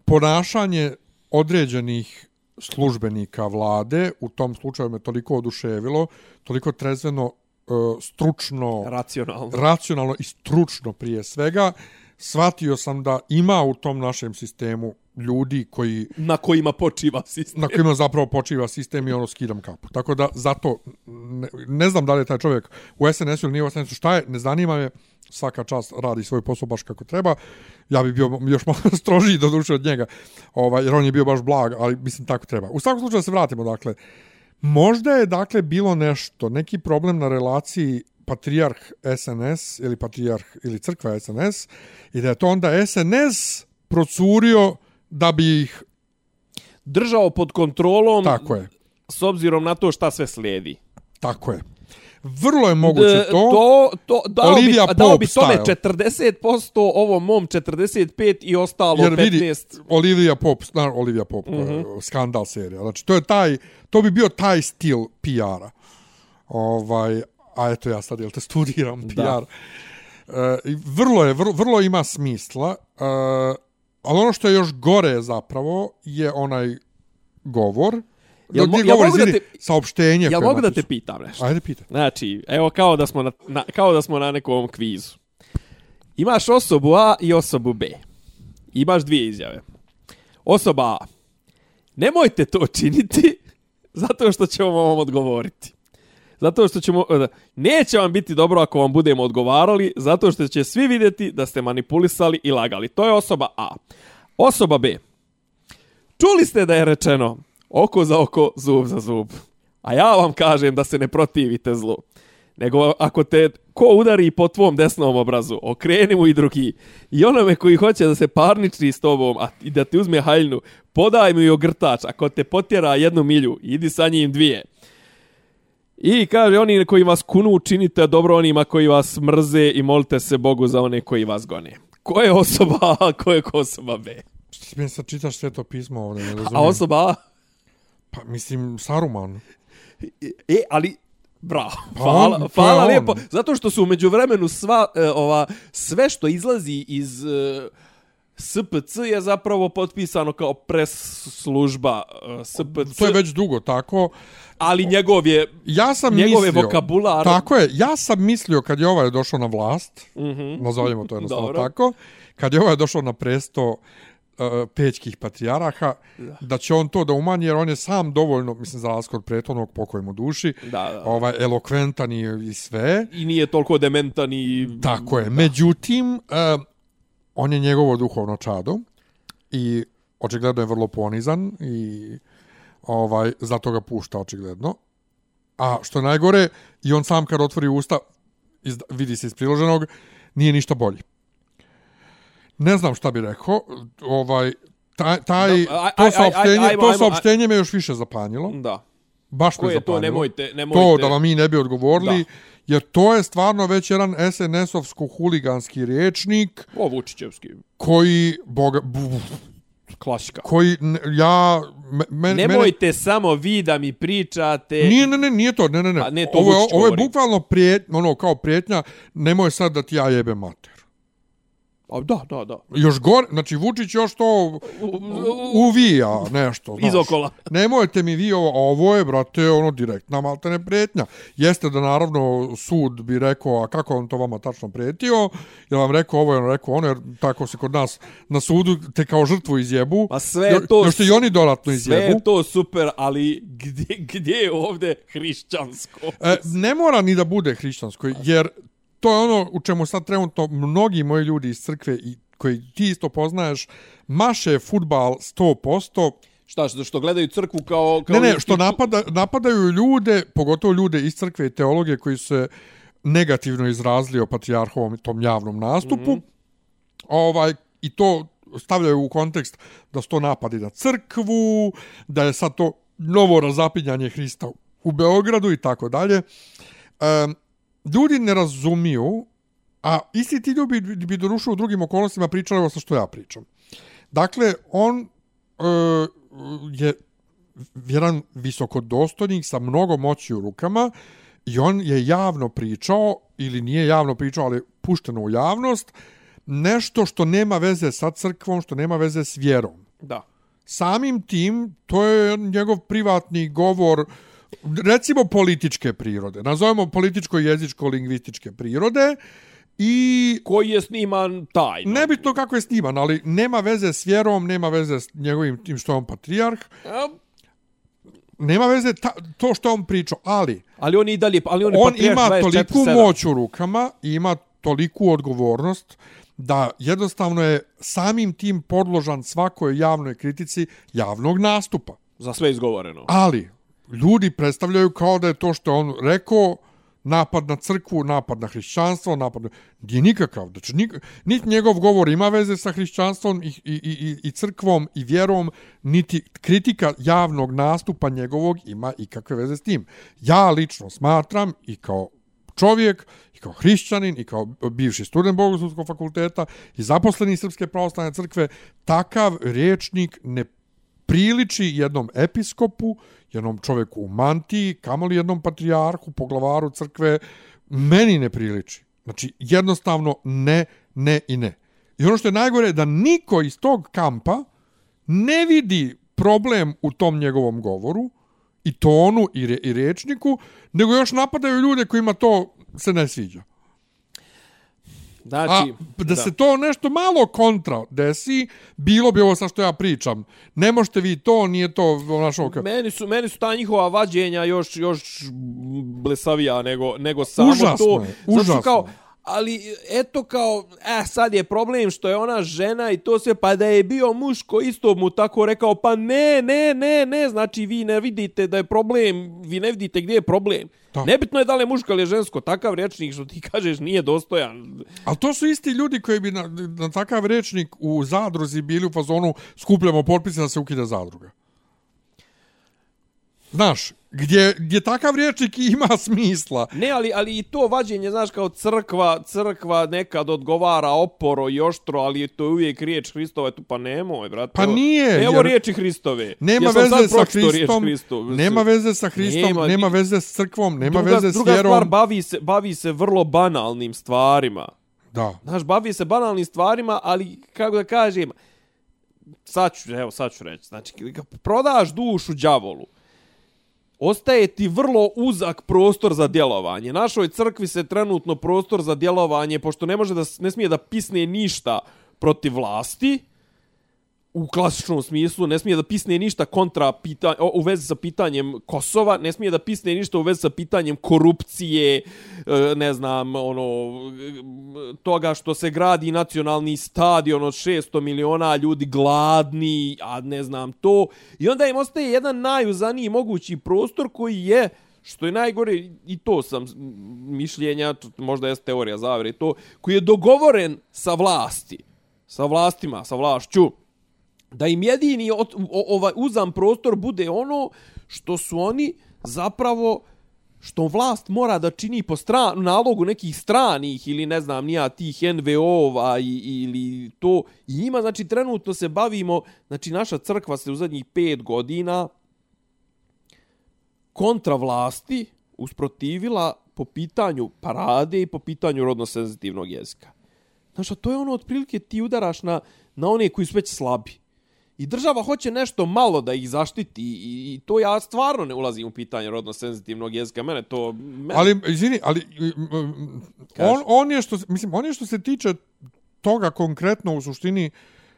ponašanje određenih službenika vlade, u tom slučaju me toliko oduševilo, toliko trezveno, e, stručno, Racionalno. racionalno i stručno prije svega, shvatio sam da ima u tom našem sistemu ljudi koji Na kojima počiva sistem. na kojima zapravo počiva sistem i ono skidam kapu. Tako da zato ne, ne znam da li je taj čovjek u SNS-u ili nije u SNS-u, šta je, ne zanima me, svaka čast radi svoj posao baš kako treba. Ja bi bio još malo strožiji do duše od njega, ovaj, jer on je bio baš blag, ali mislim tako treba. U svakom slučaju da se vratimo, dakle, možda je dakle bilo nešto, neki problem na relaciji patrijarh SNS ili patrijarh ili crkva SNS i da je to onda SNS procurio da bi ih, Držao pod kontrolom tako je, s obzirom na to šta sve slijedi. Tako je. Vrlo je moguće E, to. to, to dao Olivia bi, dao bi Pope tome style. 40%, ovom mom 45 i ostalo Jer vidi, 15. Olivia Pope, na, Olivia Pope, mm Mhm. -hmm. skandal serija. Znači, to je taj, to bi bio taj stil PR-a. Ovaj, a eto ja sad, jel te studiram PR. Da. E, i vrlo je, vrlo, vrlo ima smisla. E, ali ono što je još gore zapravo je onaj govor. Jel Nije mo- jel govor, mogu da izvini, te- saopštenje. Ja koje je mogu da te napisao. pitam nešto? Ajde, pitaj. Znači, evo kao da smo na, na, kao da smo na nekom kvizu. Imaš osobu A i osobu B. Imaš dvije izjave. Osoba A. Nemojte to činiti zato što ćemo vam odgovoriti. Zato što ćemo... e, da, Neće vam biti dobro ako vam budemo odgovarali, zato što će svi vidjeti da ste manipulisali i lagali. To je osoba A. Osoba B. Čuli ste da je rečeno oko za oko, zub za zub. A ja vam kažem da se ne protivite zlu. Nego ako te ko udari po tvom desnom obrazu, okreni mu i drugi. I onome koji hoće da se parniči s tobom a, i da ti uzme haljnu, podaj mu i ogrtač. Ako te potjera jednu milju, idi sa njim dvije. I kaže, oni koji vas kunu, činite dobro onima koji vas mrze i molite se Bogu za one koji vas gone. Ko je osoba A, a ko je osoba B? Ti meni sad čitaš sve to pismo ovdje, ne razumijem. A osoba A? Pa mislim, Saruman. E, ali bravo. Pa Hvala, on, to je hvala on. lijepo. Zato što su u međuvremenu sva e, ova sve što izlazi iz e, SPC je zapravo potpisano kao pres služba e, SPC, To je već dugo tako. ali njegov je Ja sam Njegove mislio... vokabular- Tako je. Ja sam mislio kad je ovaj došao na vlast, nazovimo to jednostavno Mhm. Dobro. tako, kad je ovaj došao na presto uh, pećkih patrijaraha, da. će on to da umanji, jer on je sam dovoljno, mislim, za razliku od prethodnog pokojmu duši, Da, da. ovaj, elokventan i, i sve. i nije toliko dementan i Tako je. Međutim, uh, on je njegovo duhovno čado i očigledno je vrlo ponizan i ovaj zato ga pušta očigledno. A što je najgore, i on sam kad otvori usta, iz, vidi se iz priloženog, nije ništa bolji. Ne znam šta bi rekao, ovaj, taj, taj, Da, aj- aj- to aj- saopštenje, ajmo, to ajmo, saopštenje me još više zapanjilo. da. Baš Ko me je zapanjilo to nemojte, nemojte. to da vam mi ne bi odgovorili, jer to je stvarno već jedan SNS-ovsko huliganski riječnik O, Vučićevski, koji, boga, bu, bu- klasika. koji n- ja, me, me, Nemojte samo vi da mi pričate. mene, nije, ne, ne, nije to, ne, ne, ne, A Pa ne, to ovo, je, Vučić ovo je govori. bukvalno prijet, ono, kao prijetnja, nemoj sad da ti ja jebem mater. A, da, da, da. Još gore, znači Vučić još to uvija nešto, znaš. Iz okola. Nemojte mi vi ovo, a ovo je, brate, ono, direktna maltene prijetnja. Jeste da, naravno, sud bi rekao, a kako on to vama tačno prijetio, je vam rekao ovo, je on rekao ono, jer tako se kod nas na sudu te kao žrtvu izjebu. Pa sve je to Još te i oni dodatno Sve izjebu. je to super, ali gdje, gdje je ovdje hrišćansko? E, ne mora ni da bude hrišćansko, jer to je ono u čemu sad trenutno mnogi moji ljudi iz crkve i koji ti isto poznaješ, maše futbal 100%, Šta, što, što gledaju crkvu kao... kao Ne, ne, institu- što napada, napadaju ljude, pogotovo ljude iz crkve i teologe koji su se negativno izrazili o patrijarhovom tom javnom nastupu. Mm -hmm. ovaj, I to stavljaju u kontekst da su to napadi na crkvu, da je sad to novo razapinjanje Hrista u Beogradu i tako dalje. Em, Ljudi ne razumiju, a isti ti ljudi bi, bi dorušio u drugim okolnostima pričali ovo sa što ja pričam. Dakle, on e, je jedan visokodostojnik sa mnogo moći u rukama i on je javno pričao ili nije javno pričao, ali pušteno u javnost, nešto što nema veze sa crkvom, što nema veze s vjerom. Da. Samim tim, to je njegov privatni govor, recimo političke prirode, nazovemo političko-jezičko-lingvističke prirode, i Koji je sniman tajno. nebitno kako je sniman, ali nema veze s vjerom, nema veze s njegovim tim što je on patrijarh, A, nema veze ta, to što on pričao, ali Ali on i dalje... Ali on, je on patrijarh ima 24/7. toliku moć u rukama i ima toliku odgovornost da jednostavno je samim tim podložan svakoj javnoj kritici javnog nastupa. Za sve izgovoreno. Ali, ljudi predstavljaju kao da je to što je on rekao napad na crkvu, napad na hrišćanstvo, napad na... Nije nikakav. Znači, nik, niti njegov govor ima veze sa hrišćanstvom i, i, i, i crkvom i vjerom, niti kritika javnog nastupa njegovog ima ikakve veze s tim. Ja lično smatram i kao čovjek, i kao hrišćanin, i kao bivši student Bogoslovskog fakulteta, i zaposleni Srpske pravoslavne crkve, takav rječnik ne priliči jednom episkopu, jednom čovjeku u mantiji, kamoli jednom patrijarhu, poglavaru crkve, meni ne priliči. Znači, jednostavno ne, ne i ne. I ono što je najgore je da niko iz tog kampa ne vidi problem u tom njegovom govoru, i tonu i, re, i rečniku, nego još napadaju ljude kojima to se ne sviđa. Znači, A, da, da se to nešto malo kontra desi, bilo bi ovo sa što ja pričam. Ne možete vi to, nije to ono, naš ovo... Meni su, meni su ta njihova vađenja još, još blesavija nego, nego samo Užasno to. je, Zato što užasno Kao, je. ali eto kao, eh, sad je problem što je ona žena i to sve, pa da je bio muško isto mu tako rekao, pa ne, ne, ne, ne, znači vi ne vidite da je problem, vi ne vidite gdje je problem. Da. Nebitno je da li je muško ili je žensko, takav rječnik što ti kažeš nije dostojan. Ali to su isti ljudi koji bi na, na takav rečnik u zadruzi bili u fazonu skupljamo potpise da se ukida zadruga. Znaš, gdje, gdje takav rečnik ima smisla. Ne, ali, ali i to vađenje, znaš, kao crkva, crkva nekad odgovara oporo i oštro, ali to je uvijek riječ Hristova, tu pa nemoj, brate. Pa Evo- nije, Evo jer- riječi Hristove. Nema Jesam veze sad sa pročitao riječ Hristom, Hristov? nema veze sa Hristom, Nema nema, ni- veze s crkvom, nema druga, veze s druga vjerom. stvar, bavi se, bavi se vrlo banalnim stvarima. Da. Znaš, bavi se banalnim stvarima, ali, kako da kažem, sad ću, evo, sad ću reći, znači, kad prodaš dušu đavolu, ostaje ti vrlo uzak prostor za djelovanje. Našoj crkvi se trenutno prostor za djelovanje, pošto ne može da, s- ne smije da pisne ništa protiv vlasti, u klasičnom smislu, ne smije da pisne ništa kontra pita, o, u vezi sa pitanjem Kosova, ne smije da pisne ništa u vezi sa pitanjem korupcije, e, ne znam, ono, e, toga što se gradi nacionalni stadion od 600 miliona ljudi gladni, a ne znam to. I onda im ostaje jedan najuzaniji mogući prostor koji je, što je najgore, i to sam s- m, mišljenja, t- možda je teorija zavere i to, koji je dogovoren sa vlasti, sa vlastima, sa vlašću, da im jedini ot, o, ovaj uzam prostor bude ono što su oni zapravo što vlast mora da čini po stra, nalogu nekih stranih ili ne znam nija tih NVO-ova i, ili to i ima znači trenutno se bavimo znači naša crkva se u zadnjih pet godina kontra vlasti usprotivila po pitanju parade i po pitanju rodno senzitivnog jezika. Znaš, a to je ono, otprilike ti udaraš na, na one koji su već slabi. I država hoće nešto malo da ih zaštiti i, i to ja stvarno ne ulazim u pitanje rodno senzitivnog jezika. Mene to... Mene... Ali, izvini, ali mm, mm, on, on, je što, se- mislim, on je što se tiče toga konkretno u suštini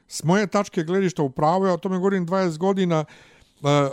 s moje tačke gledišta u pravu, ja o tome govorim 20 godina, e, e,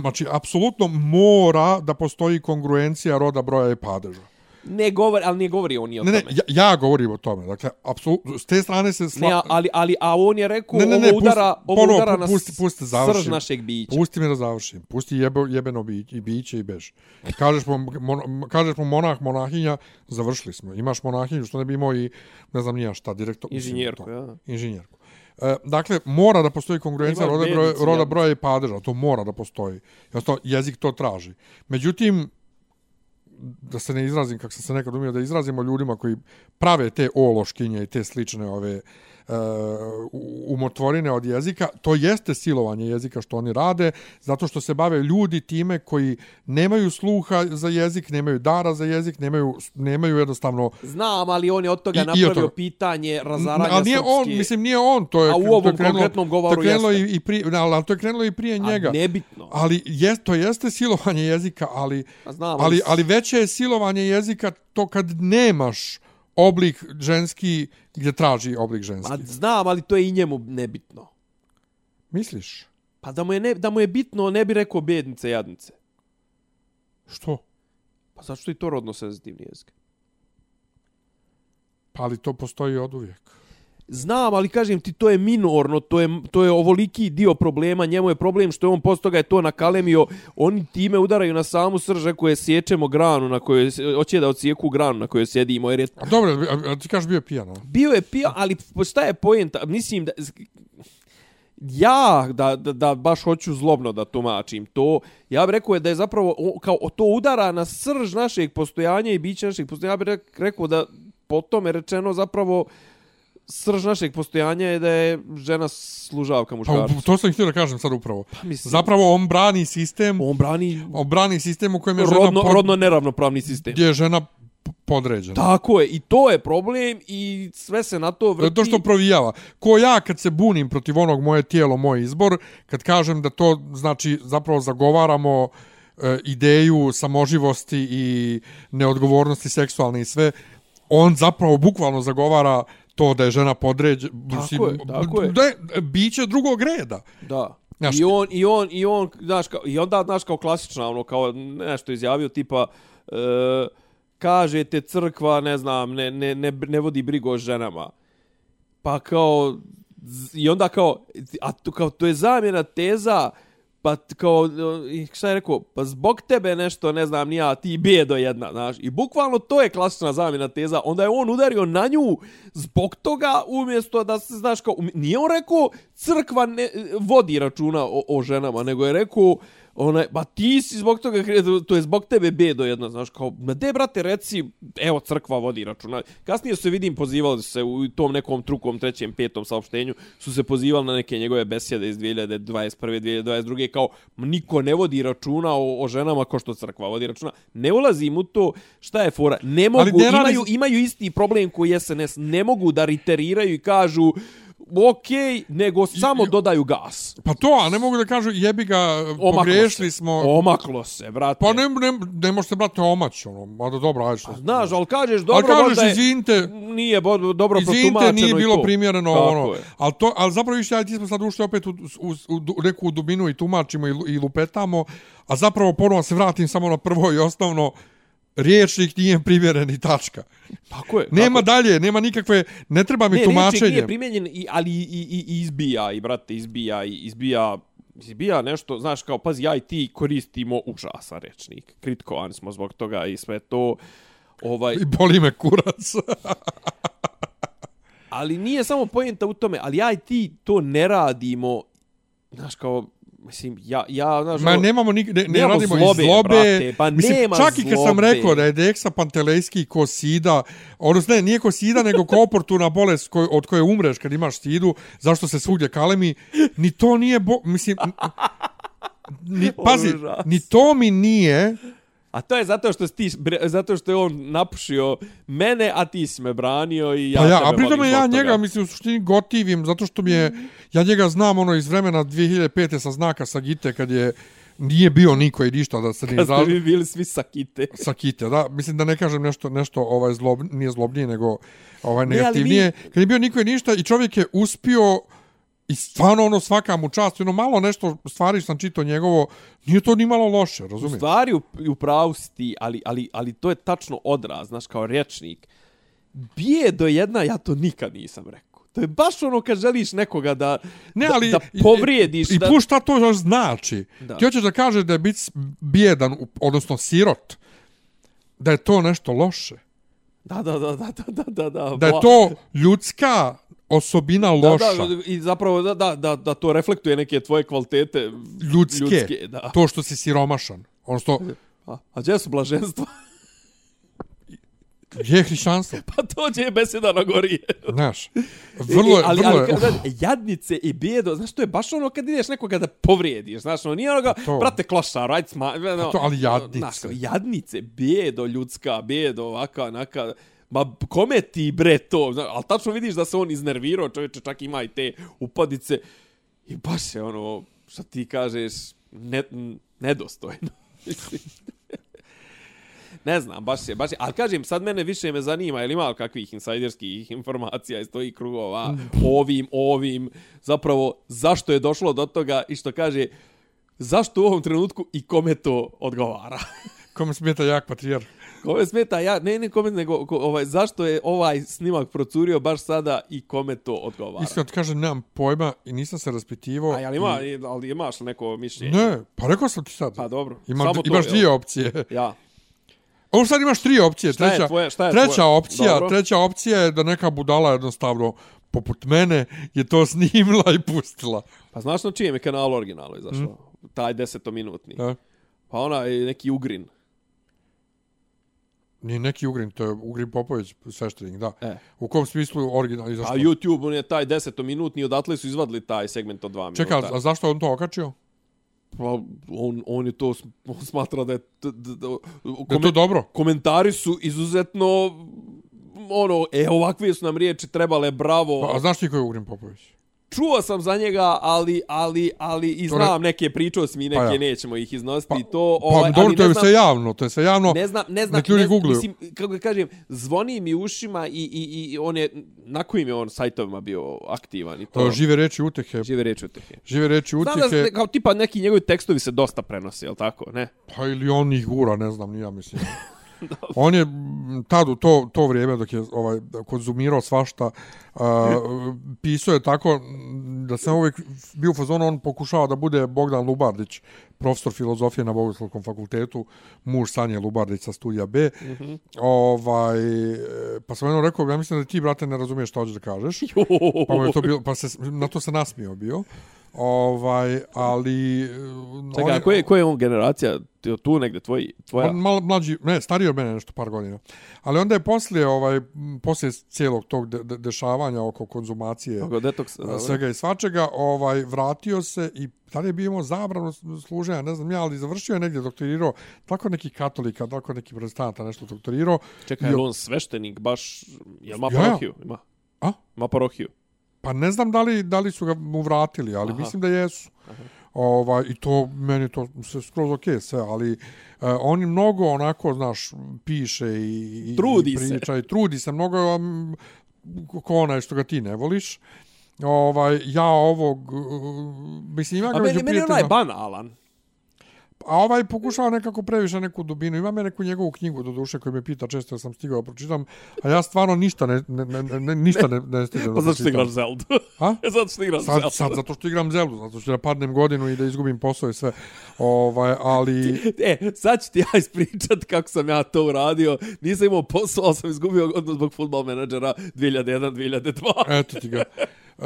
znači, apsolutno mora da postoji kongruencija roda, broja i padeža. Ne govori, ali ne govori on i o Ne, ne, tome. ja, ja govorim o tome. Dakle, apsolutno, s te strane se sla... Ne, a- ali, ali, a on je rekao, Ne, ne, ne, ovo udara, pusti- ovo ponovo, udara na pusti- pusti, završim. srž našeg bića. Pusti me da završim. Pusti jebe, jebeno bi, i biće i bež. Kažeš mu, mon, kažeš mu monah, monahinja, završili smo. Imaš monahinju, što ne bi imao i ne znam nija šta, direktor... Inženjerku, to. ja. Inženjerku. E, dakle, mora da postoji kongruencija Imaš roda, broja, bednicu, roda jadnicu. broja i padeža. To mora da postoji. Jasno, jezik to traži. Međutim, da se ne izrazim kako sam se nekad umio da izrazimo ljudima koji prave te ološkinje i te slične ove uh, umotvorine od jezika, to jeste silovanje jezika što oni rade, zato što se bave ljudi time koji nemaju sluha za jezik, nemaju dara za jezik, nemaju, nemaju jednostavno... Znam, ali on je od toga I- i od I, napravio toga. pitanje razaranja A nije srpske... on, mislim, nije on, to je, A u to je ovom krenulo- konkretnom govoru to je krenulo jeste. i, i prije, ali, ali to je krenulo i prije njega. A nebitno. Ali jest, to jeste silovanje jezika, ali, A znam, ali, ali- ali veće je silovanje jezika to kad nemaš oblik ženski gdje traži oblik ženski. Pa znam, ali to je i njemu nebitno. Misliš? Pa da mu je, ne, da mu je bitno, ne bi rekao bednice, jadnice. Što? Pa zašto je to rodno senzitivni jezik? Pa ali to postoji od uvijek. Znam, ali kažem ti, to je minorno, to je, to je ovoliki dio problema, njemu je problem što je on posto toga je to nakalemio, oni time udaraju na samu srže koje sjećemo granu na kojoj, se- hoće da odsijeku granu na kojoj sjedimo, jer je A dobro, a, a ti kažeš bio je pijan, a? bio je pijan, ali šta je pojenta? Mislim da ja da, da, da baš hoću zlobno da tumačim to, ja bih rekao da je zapravo o- kao to udara na srž našeg postojanja i bića našeg postojanja, ja bih rek- rekao da po tome rečeno zapravo srž našeg postojanja je da je žena služavka Pa, u- muškarcu. to sam htio da kažem sad upravo. mislim- Zapravo on brani sistem, On brani on brani sistem u kojem je žena, rodno, pod, rodno neravnopravni sistem. gdje je žena p- podređena. Tako je, i to je problem i sve se na to vrti. To što provijava. Ko ja kad se bunim protiv onog moje tijelo, moj izbor, kad kažem da to znači zapravo zagovaramo e, ideju samoživosti i neodgovornosti seksualne i sve, on zapravo bukvalno zagovara to da je žena podređena. Tako je, tako je. Da je biće drugog reda. Da. Znaš- I on, i on, i on, znaš, kao, i onda, znaš, kao klasična, ono, kao nešto izjavio, tipa, e, kažete crkva, ne znam, ne, ne, ne, ne vodi brigu o ženama. Pa kao, z- i onda kao, a to, kao, to je zamjena teza, pa t- kao, i šta je rekao, pa zbog tebe nešto, ne znam, nija, ti bjedo jedna, znaš, i bukvalno to je klasična zamjena teza, onda je on udario na nju zbog toga, umjesto da se, znaš, kao, um- nije on rekao, crkva ne, vodi računa o, o ženama, nego je rekao, onaj, ba ti si zbog toga, kre- to je zbog tebe bedo jedna, znaš, kao, ma de, brate, reci, evo, crkva vodi računa. Kasnije su se, vidim, pozivali su se u tom nekom trukom, trećem, petom saopštenju, su se pozivali na neke njegove besjede iz 2021. 2022. kao, "M, niko ne vodi računa o, o ženama ko što crkva vodi računa. Ne ulazim u to, šta je fora, ne mogu, Ali ne radi- imaju, imaju isti problem koji SNS, ne mogu da riteriraju i kažu, okej, nego samo dodaju gas. Pa to, a ne mogu da kažu jebi ga, Omaklo pogriješili se. smo. Omaklo se, brate. Pa ne, ne, ne možete, brate, omać, ono, mada dobro, ajde što. Znaš, ali kažeš ali dobro, kažeš, možda je... izvinite, Nije bo, dobro izvinite, protumačeno nije i bilo to. primjereno, Tako ono. je. Ali, to, ali zapravo više, ajde, ti smo sad ušli opet u, u, u du- neku dubinu i tumačimo i, lu- i lupetamo, a zapravo ponovo se vratim samo na prvo i osnovno, riječnik nije primjeren i tačka. Tako je. Nema tako dalje, nema nikakve, ne treba mi je. ne, riječnik tumačenje. nije primjenjen, i, ali i, i, i izbija, i brate, izbija, i izbija izbija nešto, znaš, kao, pazi, ja i ti koristimo užasan rečnik. Kritkovani smo zbog toga i sve to. Ovaj, I boli me kurac. Ali nije samo pojenta u tome, ali ja i ti to ne radimo, znaš kao, mislim, ja, ja znaš, Ma ono- nemamo nik, ne, ne Nemamo radimo zlobe, zlobe, iz zlobe. brate, pa Mislim, nema čak i kad sam zlobe. rekao da je Deksa Pantelejski ko sida, odnosno ne, nije ko sida, nego ko oportuna bolest koj, od koje umreš kad imaš sidu, zašto se svugdje kalemi, ni to nije, bo, mislim, n- ni, pazi, Užas. ni to mi nije, A to je zato što si ti, bre- zato što je on napušio mene, a ti si me branio i ja pa ja, tebe a pritom volim ja zbog toga. njega, mislim, u suštini gotivim, zato što mi je, ja njega znam ono iz vremena 2005. sa znaka Sagite, kad je, nije bio niko i ništa da se ne Kad ste izražava. vi bili svi sakite. sa Kite, da, mislim da ne kažem nešto nešto ovaj zlob nije zlobnije nego ovaj Ne, ali negativnije. mi... Kad je bio niko je ništa i čovjek je uspio i stvarno ono svaka mu čast, ono malo nešto stvari sam čitao njegovo, nije to ni malo loše, U razumiješ? stvari, u, u pravu si ti, ali, ali, ali to je tačno odraz, znaš, kao rječnik. Bijedo jedna, ja to nikad nisam rekao. To je baš ono kad želiš nekoga da, Ne, da- ali da, i- povrijediš. I da... plus šta to još znači? Da. Ti hoćeš da kažeš da je biti s- bijedan, u- odnosno sirot, da je to nešto loše. Da, da, da, da, da, da, da. Da je bla- to ljudska osobina loša. Pa- Da, da, i zapravo da, da, da, da to reflektuje neke tvoje kvalitete ljudske, ljudske da. To što si siromašan. Ono što A, a gdje su blaženstva? je hrišćanstvo. pa to gdje je beseda na gorije. Znaš, vrlo je, ali, vrlo ali, je, kad- znaš, jadnice i bijedo, znaš, to je baš ono kad ideš nekoga da povrijediš, znaš, ono nije onoga, to. brate, klošar, ajde sma... No, Pa to, ali jadnice. Znaš, kao, jadnice, bijedo, ljudska, bijedo, ovaka, onaka, Ma kome ti bre to? Znaš, ali tačno vidiš da se on iznervirao, čovječe, čak ima i te upadice. I baš je ono, što ti kažeš, ne, n- nedostojno. Mislim. ne znam, baš je, baš je. Ali kažem, sad mene više me zanima, je li ima kakvih insajderskih informacija iz tih Mm. krugova, o ovim, o ovim, zapravo, zašto je došlo do toga i što kaže, zašto u ovom trenutku i kome to odgovara? kome smeta jak patrijar. Kome smeta ja, ne, ne kome, nego ko, ovaj, zašto je ovaj snimak procurio baš sada i kome to odgovara? Iskreno ti kažem, nemam pojma i nisam se raspitivao. Pa- A jel ima, ali imaš li neko mišljenje? Ne, pa rekao sam ti sad. Pa dobro. Ima, Samo to, imaš jel? dvije opcije. Ja. Ovo sad imaš tri opcije. je treća, tvoje- šta je treća tvoje? opcija, Dobro. treća opcija je da neka budala jednostavno poput mene je to snimila i pustila. Pa znaš na čijem je kanalu originalno izašao? Mm. Taj desetominutni. Da. Pa ona je neki ugrin. Nije neki Ugrin, to je Ugrin Popović, sveštenik, da. E. U kom smislu original A izašao? YouTube, on je taj desetominutni, odatle su izvadili taj segment od dva Čekaj, minuta. a zašto je on to okačio? Pa, on, on je to, sm- on smatra da je... Da, da, da, Da je to dobro? komentari su izuzetno ono, e, ovakve su nam riječi trebale, bravo. Pa, a znaš ti ko je Ugrin Popović? čuo sam za njega, ali, ali, ali i To ne- znam neke pričao sam i neke Pa ja. nećemo ih iznositi i Pa- to. Pa ovaj, dobro, ali to ne je znam, sve javno, to je sve javno. Ne znam, ne znam, nek ljudi ne, znam, googlaju. mislim, kako da kažem, zvoni mi ušima i, i, i on je, na kojim je on sajtovima bio aktivan i to. E, Žive reči utehe. Žive reči od tih. Žive reči Znam da utehe, se, kao tipa neki njegovi tekstovi se dosta prenose, jel tako, ne? pa ili on ih gura, ne znam, ni ja mislim. on je m, tad u to, to vrijeme dok je ovaj, konzumirao svašta, a, pisao je tako m, da sam uvijek bio u fazonu, on pokušava da bude Bogdan Lubardić, profesor filozofije na Bogoslovskom fakultetu, muž Sanje Lubardić sa studija B. Mhm. ovaj, e, pa sam jednom rekao, ja mislim da ti, brate, ne razumiješ šta hoćeš da kažeš. pa, mu je to bilo, pa se, na to se nasmio bio. Ovaj, ali... e, on Pa, Čekaj, a koje, koje je on generacija? Tu- Tu negde, tvoj, tvoja? On malo mlađi, ne, stariji od mene nešto par godina. Ali onda je poslije, ovaj, m, poslije cijelog tog de, de, dešavanja oko konzumacije Oko detoks, a, svega i svačega, ovaj, vratio se i tada je bio imao zabranu s- služenja, ne znam ja, ali završio je negdje doktorirao, tako neki katolika, tako neki protestanta nešto doktorirao. Čekaj, je li on sveštenik baš, jel ma Ja, ja. parohiju? Ima. A? Ma parohiju. Pa ne znam da li, da li su ga mu vratili, ali Aha. Aha. mislim da jesu. Ovaj, I to, meni je to sve skroz okej sve, ali e, on je mnogo onako, znaš, piše i, i Trudi i se. priča i trudi se mnogo um, ko onaj što ga ti ne voliš. Ovaj, ja ovog, uh, mislim, ima A ga među meni, meni je prijateljima, onaj banalan. a ovaj pokušava nekako previše neku dubinu. Imam ja neku njegovu knjigu, do duše, koju me pita često jer sam stigao da pročitam, a ja stvarno ništa ne, ne, ne, ne, ništa ne, ne stigam da Pa zato što pročitam. igraš Zeldu. E, A? zato što igraš Sad, Zeldu. sad zato što igram Zeldu, zato što da padnem godinu i da izgubim posao i sve. Ovaj, ali E, sad ću ti ja ispričat kako sam ja to uradio. Nisam imao posao, ali sam izgubio godinu zbog futbol menadžera 2001-2002. eto ti ga. Uh,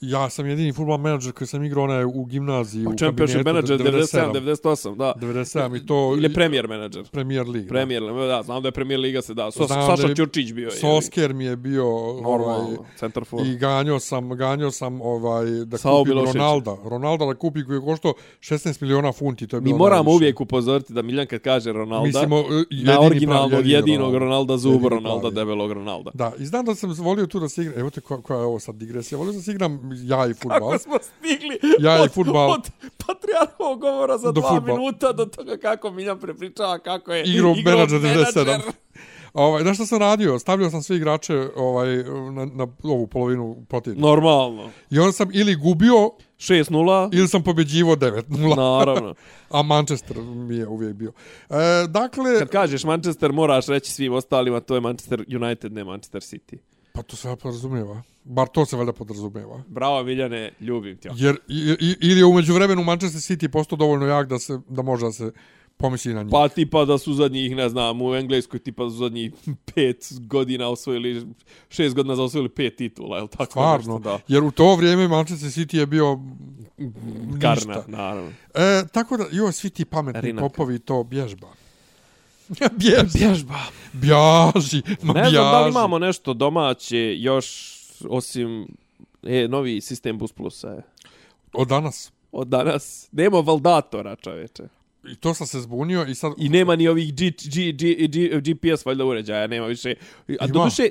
ja sam jedini futbol menadžer koji sam igrao onaj u gimnaziji u Championship kabinetu, menadžer 97-98, da. 97 i to Ili premier menadžer. Premier League. Premier, da, znam da je Premier Liga se da. Sos, Znam da Saša je- Ćurčić bio je. Sosker mi je bio ovaj, Normalno, centar for. i ganjao sam, ganjao sam ovaj, da Sao kupim Miloševića. Ronalda. Ronalda da kupi koji je koštao 16 miliona funti. To je Mi bilo moramo najviše. uvijek upozoriti da Miljan kad kaže Ronalda, Mislimo, eh, jedini na pravi, originalnog jedini jedinog Ronaldo. Ronalda zub Jedini Ronalda, pravi. debelog Ronalda. Da, i znam da sam volio tu da se igram, evo te koja, koja je ovo sad digresija, volio sam da se igram ja i futbal. Kako smo stigli Ja i od, fudbal. od patrijarhovog govora za Do dva fudbala. minuta do toga kako Miljan prepričava kako je igrao menadžer menadžer. 97. Ovaj, znaš šta sam radio? Stavljao sam sve igrače ovaj, na, na ovu polovinu protivnika. Normalno. I onda sam ili gubio, 6-0, ili sam pobeđivo 9-0. naravno. A Manchester mi je uvijek bio. E, dakle, Kad kažeš Manchester, moraš reći svim ostalima, to je Manchester United, ne Manchester City. pa to se valjda podrazumijeva. Bar to se valjda podrazumijeva. Bravo Miljane, ljubim te. Jer i, i, ili je umeđu vremenu Manchester City postao dovoljno jak da, se, da može da se pomisli na njih. Pa tipa da su zadnjih, ne znam, u Engleskoj tipa da su zadnjih pet godina osvojili, šest godina za osvojili pet titula, je li tako? Stvarno, Nešto, da. jer u to vrijeme Manchester City je bio Karna, ništa. naravno. E, tako da, joj, svi ti pametni Rinak. popovi i to bježba. bježba. Bježba. Bjaži, ma Ne znam da li pa bjaži. imamo nešto domaće još osim e, novi sistem Bus Plusa je. Od danas. Od danas. Nema valdatora, čoveče. I to sam se zbunio i sad... I nema ni ovih G, G, G, G, GPS valjda uređaja, nema više. A Ima. doduše,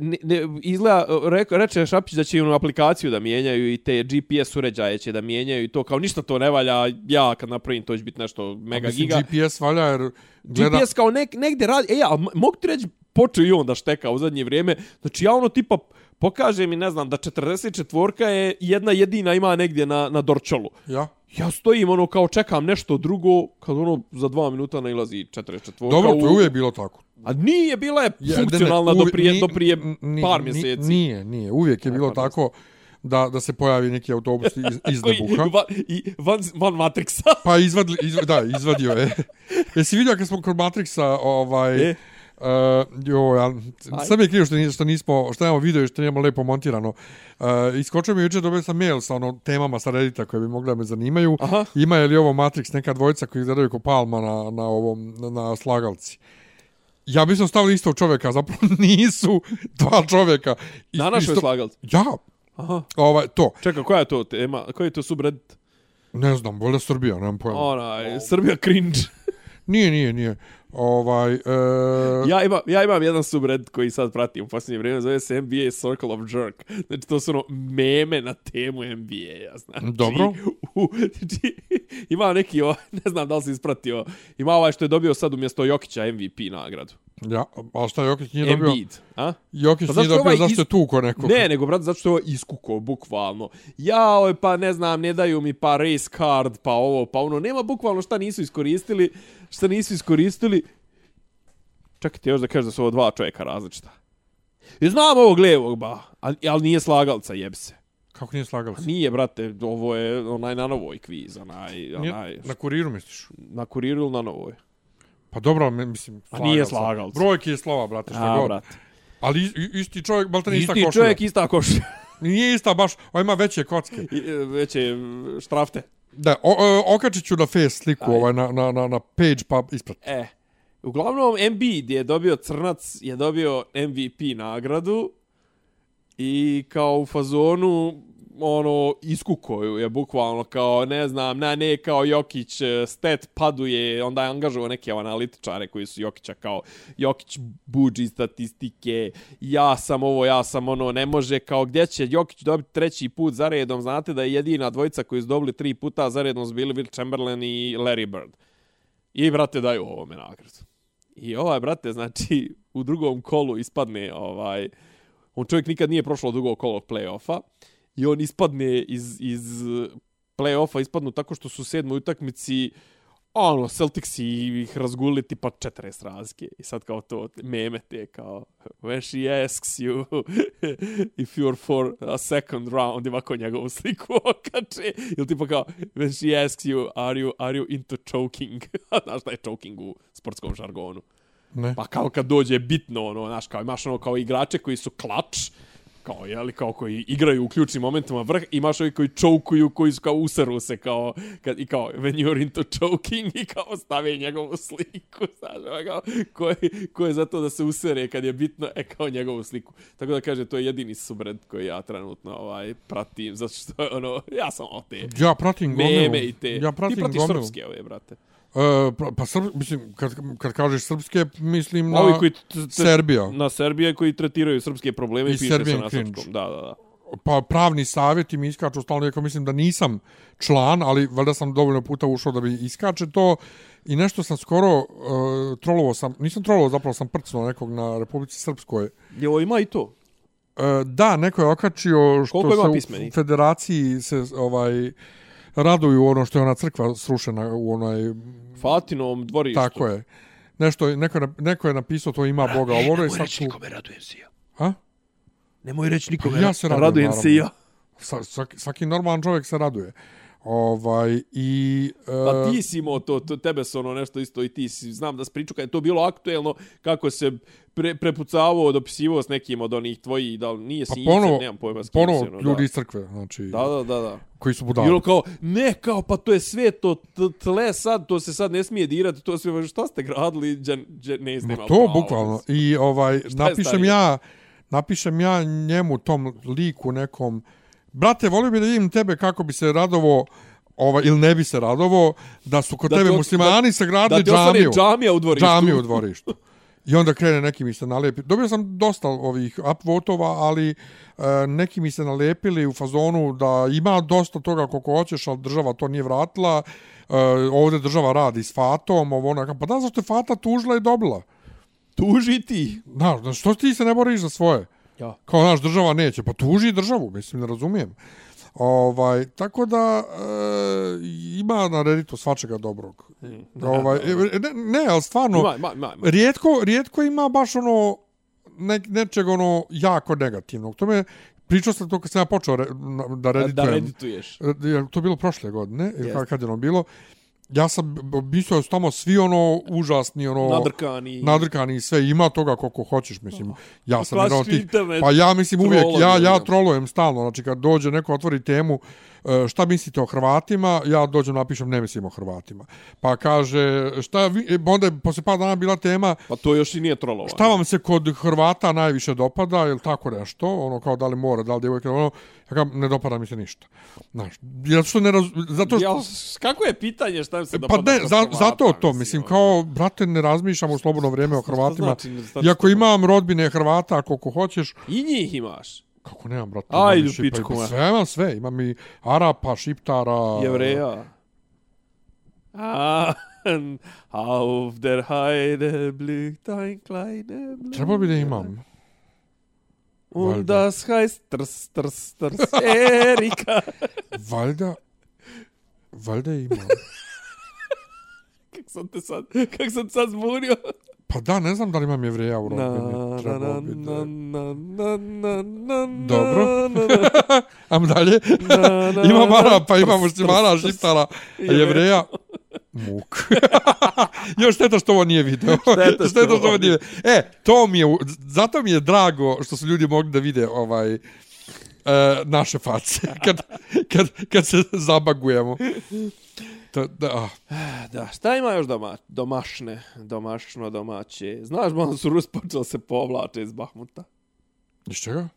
ne, ne, izgleda, reko, reče Šapić da će im aplikaciju da mijenjaju i te GPS uređaje će da mijenjaju i to kao ništa to ne valja, ja kad napravim to će biti nešto Pa mega mislim, giga. GPS valja jer... Gleda, GPS kao nek, negde radi, e ja, m- mogu ti reći, počeo i on da šteka u zadnje vrijeme, znači ja ono tipa pokaže mi, ne znam, da 44 je jedna jedina ima negdje na, na Dorčolu. Ja. Ja stojim ono kao čekam nešto drugo, kad ono za dva minuta nailazi 44 Dobro, u- to je uvijek bilo tako. A nije, bila je Ja, funkcionalna ne, ne, do prije, ni- do prije ni- par ni- mjeseci. E, pa, Nije, nije. Uvijek je bilo par tako da, da se pojavi neki autobus iz, iz Koji, nebuha. va, i van, van Matrixa. Pa izvadli, izv, da, izvadio je. Jesi vidio kad smo kod Matrixa, ovaj... E? E? Uh, jo, ja, sad mi je krivo što, nis- što nismo, što nemamo video i što nemamo lepo montirano. Uh, iskočio mi je jučer, dobio sam mail sa ono temama sa Reddita koje bi mogla da me zanimaju. Aha. Ima je li ovo Matrix neka dvojica koji izgledaju kao Palma na, na, ovom, na, na slagalci? Ja bi sam stavili istog čovjeka, zapravo nisu dva čovjeka. I- Na našoj isto- slagalci. Ja, Aha. ovaj, to, Čekaj, koja je to tema? Koji je to subreddit? ne znam, bolje Srbija, nemam pojma. Onaj, Srbija cringe. Nije, nije, nije. Ovaj, e, Ja imam, ja imam jedan subred koji sad pratim u posljednje vrijeme, zove se NBA Circle of Jerk. Znači, to su ono meme na temu NBA-a, znači. Dobro. U, znači, ima neki, o, ne znam da li si ispratio, ima ovaj što je dobio sad umjesto Jokića MVP nagradu. ja, ali šta, Jokić nije dobio... Embiid, a? Jokić E, Pa nije zašto dobio, ovaj iz- zašto je tuko nekog? Ne, nego, brate, zato što je ovo iskuko, bukvalno. Jao, pa ne znam, ne daju mi pa race card, pa ovo, pa ono. Nema bukvalno šta nisu iskoristili, šta nisu iskoristili. Čekajte još da kažeš da su ovo dva čovjeka različita. I znam ovog levog, ba, ali, ali nije slagalca, jeb se. Kako nije slagao se? Nije, brate, ovo je onaj na novoj kviz, onaj, Nije- onaj, Na kuriru misliš? na kuriru ili na novoj? Pa dobro, ali mislim, A nije se. slagao se. Brojke je slava, brate, što A, god. brate. Ali is- isti čovjek, balta ista Isti košulja. čovjek, ista košulja. Nije ista baš, on ima veće kocke. I, e, Već je e, štrafte. Da, o, o, okačit ću na face sliku, ovaj, na, na, na, na page, pa ispred. E, uglavnom Embiid je dobio crnac, je dobio MVP nagradu i kao u fazonu ono iskukoju je bukvalno kao ne znam na ne kao Jokić eh, stat paduje onda je angažovao neke analitičare koji su Jokića kao Jokić buđi statistike ja sam ovo ja sam ono ne može kao gdje će Jokić dobiti treći put za redom znate da je jedina dvojica koji su dobili tri puta za redom su bili Will Chamberlain i Larry Bird I, brate, daju ovome nagradu. I ovaj, brate, znači, u drugom kolu ispadne, ovaj, on čovjek nikad nije prošlo drugo kolo play-offa i on ispadne iz, iz eh, play-offa, ispadnu tako što su u sedmoj utakmici ono, Celticsi ih razgulili tipa 40 razlike. I sad kao to meme te kao when she asks you if you're for a second round ima ko njegovu sliku okače. Ili tipa kao when she asks you are you, are you into choking? A Znaš šta je choking u sportskom žargonu? Ne. Pa kao kad dođe bitno, ono, znaš, kao imaš ono kao igrače koji su klač, kao, jeli, kao koji igraju u ključnim momentima vrh, imaš ovi koji čokuju, koji su kao useru se, kao, kad, i kao, when you're into choking, i kao stave njegovu sliku, znaš, ono, kao, ko je, ko je za to da se usere kad je bitno, e, kao njegovu sliku. Tako da kaže, to je jedini subred koji ja trenutno, ovaj, pratim, zato što, ono, ja sam o te Ja pratim gomilu. meme i te, Ja pratim ti pratiš gomilu. srpske ove, brate. E, pra- pa srp, mislim, kad, kad kažeš srpske, mislim na Ovi koji t- t- Serbija. na Srbije koji tretiraju srpske probleme I i piše se Serbian na cringe. srpskom. Da, da, da. Pa pravni savjeti mi iskaču stalno, iako mislim da nisam član, ali valjda sam dovoljno puta ušao da bi iskače to. I nešto sam skoro uh, trolovao sam, nisam trolovao, zapravo sam prcnuo nekog na Republici Srpskoj. Jo, ima i to. E, da, neko je okačio što Koliko ima se u pismenih? federaciji se ovaj raduju ono što je ona crkva srušena u onaj Fatinom dvorištu. tako je. Nešto je- neko je, nap- neko je napisao to ima Boga ovoga i sad tu radujem se ja. a Nemoj reći nikome. ja se radujem, radujem se ja. Sa- svaki, svaki normalan čovjek se raduje. Ovaj i e, Pa ti si imao to, to, tebe su ono nešto isto i ti si, znam da si pričao kad je to bilo aktuelno, kako se pre, prepucavao, dopisivao s nekim od onih tvojih, da li nije pa ponovo- nemam pojma s kim ponovo se, ono, ljudi iz crkve, znači Da, da, da, da. da. koji su Da. budali. Bilo ono kao, ne, kao, pa to je sve, to t- tle sad, to se sad ne smije dirati, to sve, pa šta ste gradili, džen, džen, ne znam. To bukvalno. I ovaj je napišem starije? ja napišem ja njemu tom liku nekom brate volio bi da vidim tebe kako bi se radovo ovaj ili ne bi se radovo da su kod Da da tebe ti- muslimani da, sagradili Da ti ostane džamiju. džamija u dvorištu. džamiju u dvorištu. I onda krene neki mi se nalepi. Dobio sam dosta ovih upvotova, ali e, neki mi se nalepili u fazonu da ima dosta toga koliko hoćeš, ali država to nije vratila. E, ovdje država radi s Fatom, ovo ono. Pa da, zašto je Fata tužila i dobila? Tuži ti. Znaš, znaš, što ti se ne boriš za svoje? Ja. Kao, znaš, država neće. Pa tuži državu, mislim, ne razumijem. Ovaj, tako da e, ima na Redditu svačega dobrog. Ovaj, e, ne, ne, ali stvarno... Ima, ima, ima. ima. rijetko, rijetko ima baš ono ne, nečeg ono jako negativnog. To me pričao sam to kad sam ja počeo re, na- da Da, reditujem. da redituješ. E, jel to bilo prošle godine, ili Jeste. kad, kad je ono bilo. Ja sam b- mislio da su tamo svi ono užasni, ono Nadrkani. nadrkani i sve, ima toga koliko hoćeš, mislim. Ja sam jedan od klasični tih, internet pa ja mislim uvijek, ja, trolovi, ja ono. trolujem stalno, znači kad dođe neko otvori temu e, šta mislite o Hrvatima, ja dođem napišem ne mislim o Hrvatima. Pa kaže, šta, vi, e, onda je posle par dana bila tema, Pa to još i nije trolovano. Šta vam se kod Hrvata najviše dopada ili tako nešto, ono kao da li mora, da li djevojka, ono, ja kao, ne dopada mi se ništa. Znaš, zato što ne raz... zato što, Ja, s- kako je pitanje šta stavim se da Pa padam ne, za za, Hrvata, zato to, mislim, ono. kao, brate, ne razmišljam u slobodno vrijeme o Hrvatima. znači ne- sad- Iako imam rodbine Hrvata, koliko hoćeš, I njih imaš. kako nemam, brate, Ajde, imam pa i u Šipa, pičku, i- ma. sve imam, sve, imam i Arapa, Šiptara, Jevreja. Ah, auf der Heide blickt ein kleine Blende. Trebao bi da imam. Und valjda. das heißt trs, trs, trs, Erika. Valjda, valjda imam. kak sam te sad, kak sam te sad zbunio. Pa da, ne znam da li imam jevreja u Na, rodbini. na, na, Trebao bi da... na, na, na, na, na, na, Dobro. na, na, Am dalje? na, na, Ima na, Mara, pa ima muslimana, šiptara, a jevreja. Muk. Još šteta što ovo nije video. Šteta što šteta što ovo ovo nije. E, to mi je, u- zato mi je drago što su ljudi mogli da vide ovaj e, naše face kad, kad, kad se zabagujemo. To, da, ah, Da, šta ima još doma, domašne, domašno, domaće? Znaš, malo su Rus počeli se povlače iz Bahmuta. iz čega?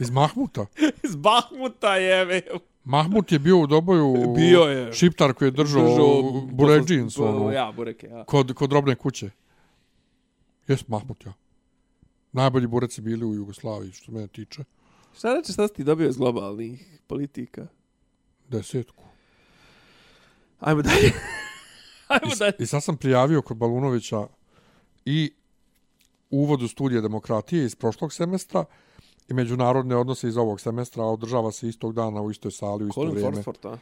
Iz Mahmuta. iz Bahmuta jeve. Mahmut je bio u doboju Bio je. šiptar koji je držao, držao Buređins. ono. Ja, Buređins, ja. kod, kod robne kuće. Jes Mahmut ja. Najbolji boreci bili u Jugoslaviji, što mene tiče. Šta reče, šta si ti dobio iz globalnih politika? Desetku. Ajmo dalje. I, Ajmo dalje. I sad sam prijavio kod Balunovića i uvod u studije demokratije iz prošlog semestra i međunarodne odnose iz ovog semestra, a održava se istog dana u istoj sali u isto Colin vrijeme. Forsford, a?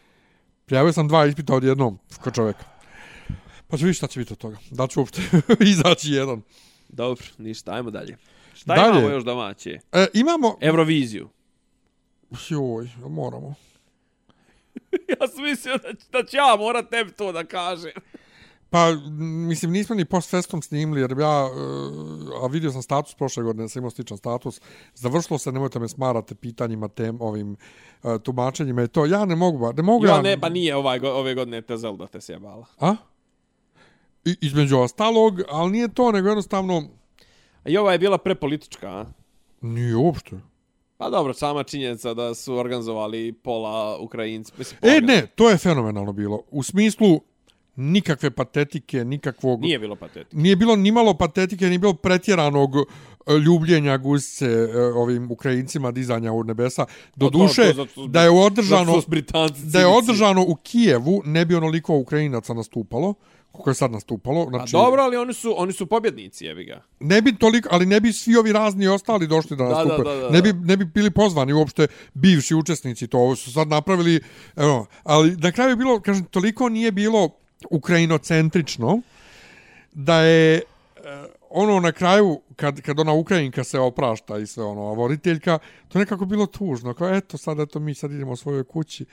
Prijavio sam dva ispita odjednom, kod čoveka. Pa ću vidjeti šta će biti od toga. Da ću uopšte izaći jedan. Dobro, ništa, ajmo dalje. Šta Dalje. imamo još domaće? E, imamo... Euroviziju. Joj, moramo. ja sam mislio da, ću- da ću ja morat tebi to da kažem. Pa, m, mislim, nismo ni post festom snimili, jer ja, e, a vidio sam status prošle godine, sam imao sličan status, završilo se, nemojte me smarate pitanjima, tem, ovim e, tumačenjima i to, ja ne mogu, ba- ne mogu ja... Ja, ne, pa nije ovaj, go- ove godine te Zelda te sjebala. A? I, između ostalog, ali nije to, nego jednostavno, A I ova je bila prepolitička, a? nije uopšte. E, Pa dobro, sama činjenica da su organizovali pola Ukrajinci. Mislim, pola E, ne, to je fenomenalno bilo. U smislu, nikakve patetike, nikakvog... Nije bilo patetika. nije bilo ni malo patetike, ni bilo pretjeranog e, ljubljenja gusce e, ovim Ukrajincima dizanja u nebesa. Do Pa to- duše, to zato što- da je Zato održano su Britanci da je civici. održano u Kijevu, ne bi onoliko Ukrajinaca nastupalo, koliko je sad nastupalo. A Znači, Pa dobro, ali oni su, oni su pobjednici, jebi ga. Ne bi toliko, ali ne bi svi ovi razni ostali došli da nastupe. da, da, da. Ne, bi, ne bi bili pozvani uopšte bivši učesnici. To ovo su sad napravili. Evo, ali na kraju je bilo, kažem, toliko nije bilo ukrajinocentrično da je e, ono na kraju kad, kad ona Ukrajinka se oprašta i sve ono, a voditeljka, to je nekako bilo tužno. Kao, eto, sad, eto, mi sad idemo svojoj kući.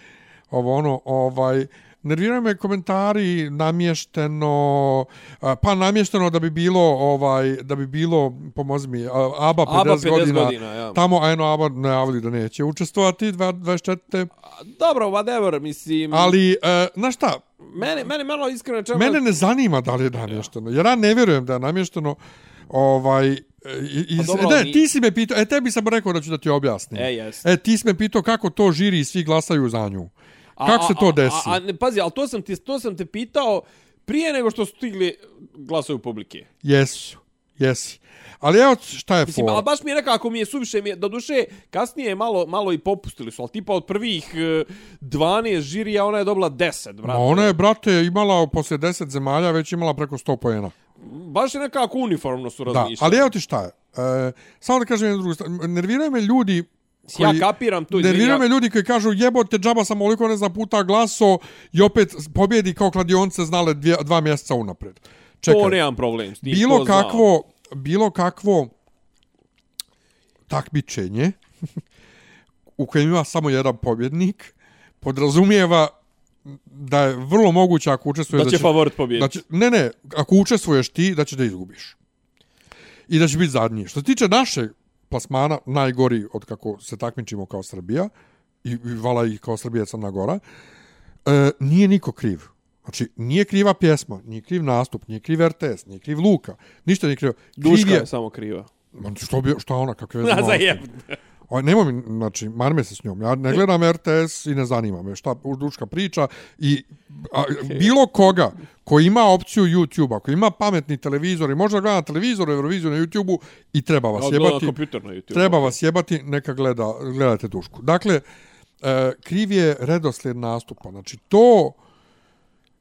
Ovo, ono, ovaj, nerviraju me komentari namješteno, a, pa namješteno da bi bilo, ovaj, da bi bilo, pomozi mi, a, ABA 50, ABBA 50 godina, godina, ja. tamo, a eno, ABBA najavili da neće učestvovati, dva- 24. A, Dobro, whatever, mislim. Ali, e, znaš šta, Mene, mene malo iskreno čemu... Mene ne zanima da li je namješteno, jer ja ne vjerujem da je namješteno. Ovaj, i- i, Pa dobro, ne, ali- ti si me pitao, e, tebi sam rekao da ću da ti objasnim. E, jest. E, ti si me pitao kako to žiri i svi glasaju za nju. Kako se to desi? A, a, a, ne, pazi, ali to sam, ti, to sam te pitao prije nego što su stigli glasovi publike. Jesu, jesi. Ali evo šta je Mislim, fora. ali baš mi je nekako mi je suviše, mi je, do duše, kasnije je malo, malo i popustili su, ali tipa od prvih e, 12 žirija ona je dobila 10, brate. Ma ona je, brate, imala poslije 10 zemalja, već imala preko 100 pojena. Baš je nekako uniformno su Da, razmišljali. ali evo ti šta je. E, samo da kažem jednu drugu stvar. Nerviraju me ljudi koji... Ja kapiram to, izvini, Nerviraju ja- me ljudi koji kažu jebote džaba sam oliko ne znam puta glaso i opet pobjedi kao kladionce znale dvije, dva mjeseca unapred. Čekaj, To nemam problem s tim, bilo to znam. kakvo, bilo kakvo takmičenje u kojem ima samo jedan pobjednik podrazumijeva da je vrlo moguće ako učestvuje Da će favorit pobjediti. Da će, Znači, ne, ne, ako učestvuješ ti, da će da izgubiš. I da će biti zadnji. Što se tiče naše plasmana, najgori od kako se takmičimo kao Srbija, i, i vala i kao Srbija i Crna Gora, e, nije niko kriv. Znači, nije kriva pjesma, nije kriv nastup, nije kriv RTS, nije kriv Luka, ništa nije krivo. Kriv Duška je... je samo kriva. Ma, Što, bi, što ona, kakve veze Na ima ona? zajem. O, nemoj mi, znači, marme se s njom. Ja ne gledam RTS i ne zanima me šta duška priča. I a, bilo koga ko ima opciju YouTube-a, ko ima pametni televizor i možda gleda na televizoru, Euroviziju na YouTube-u i treba vas Ja gledam na jebati. kompjuter na YouTube. Pa Treba vas jebati, neka gleda, gledate dušku. Dakle, e, kriv je redoslijed nastupa. Znači, to...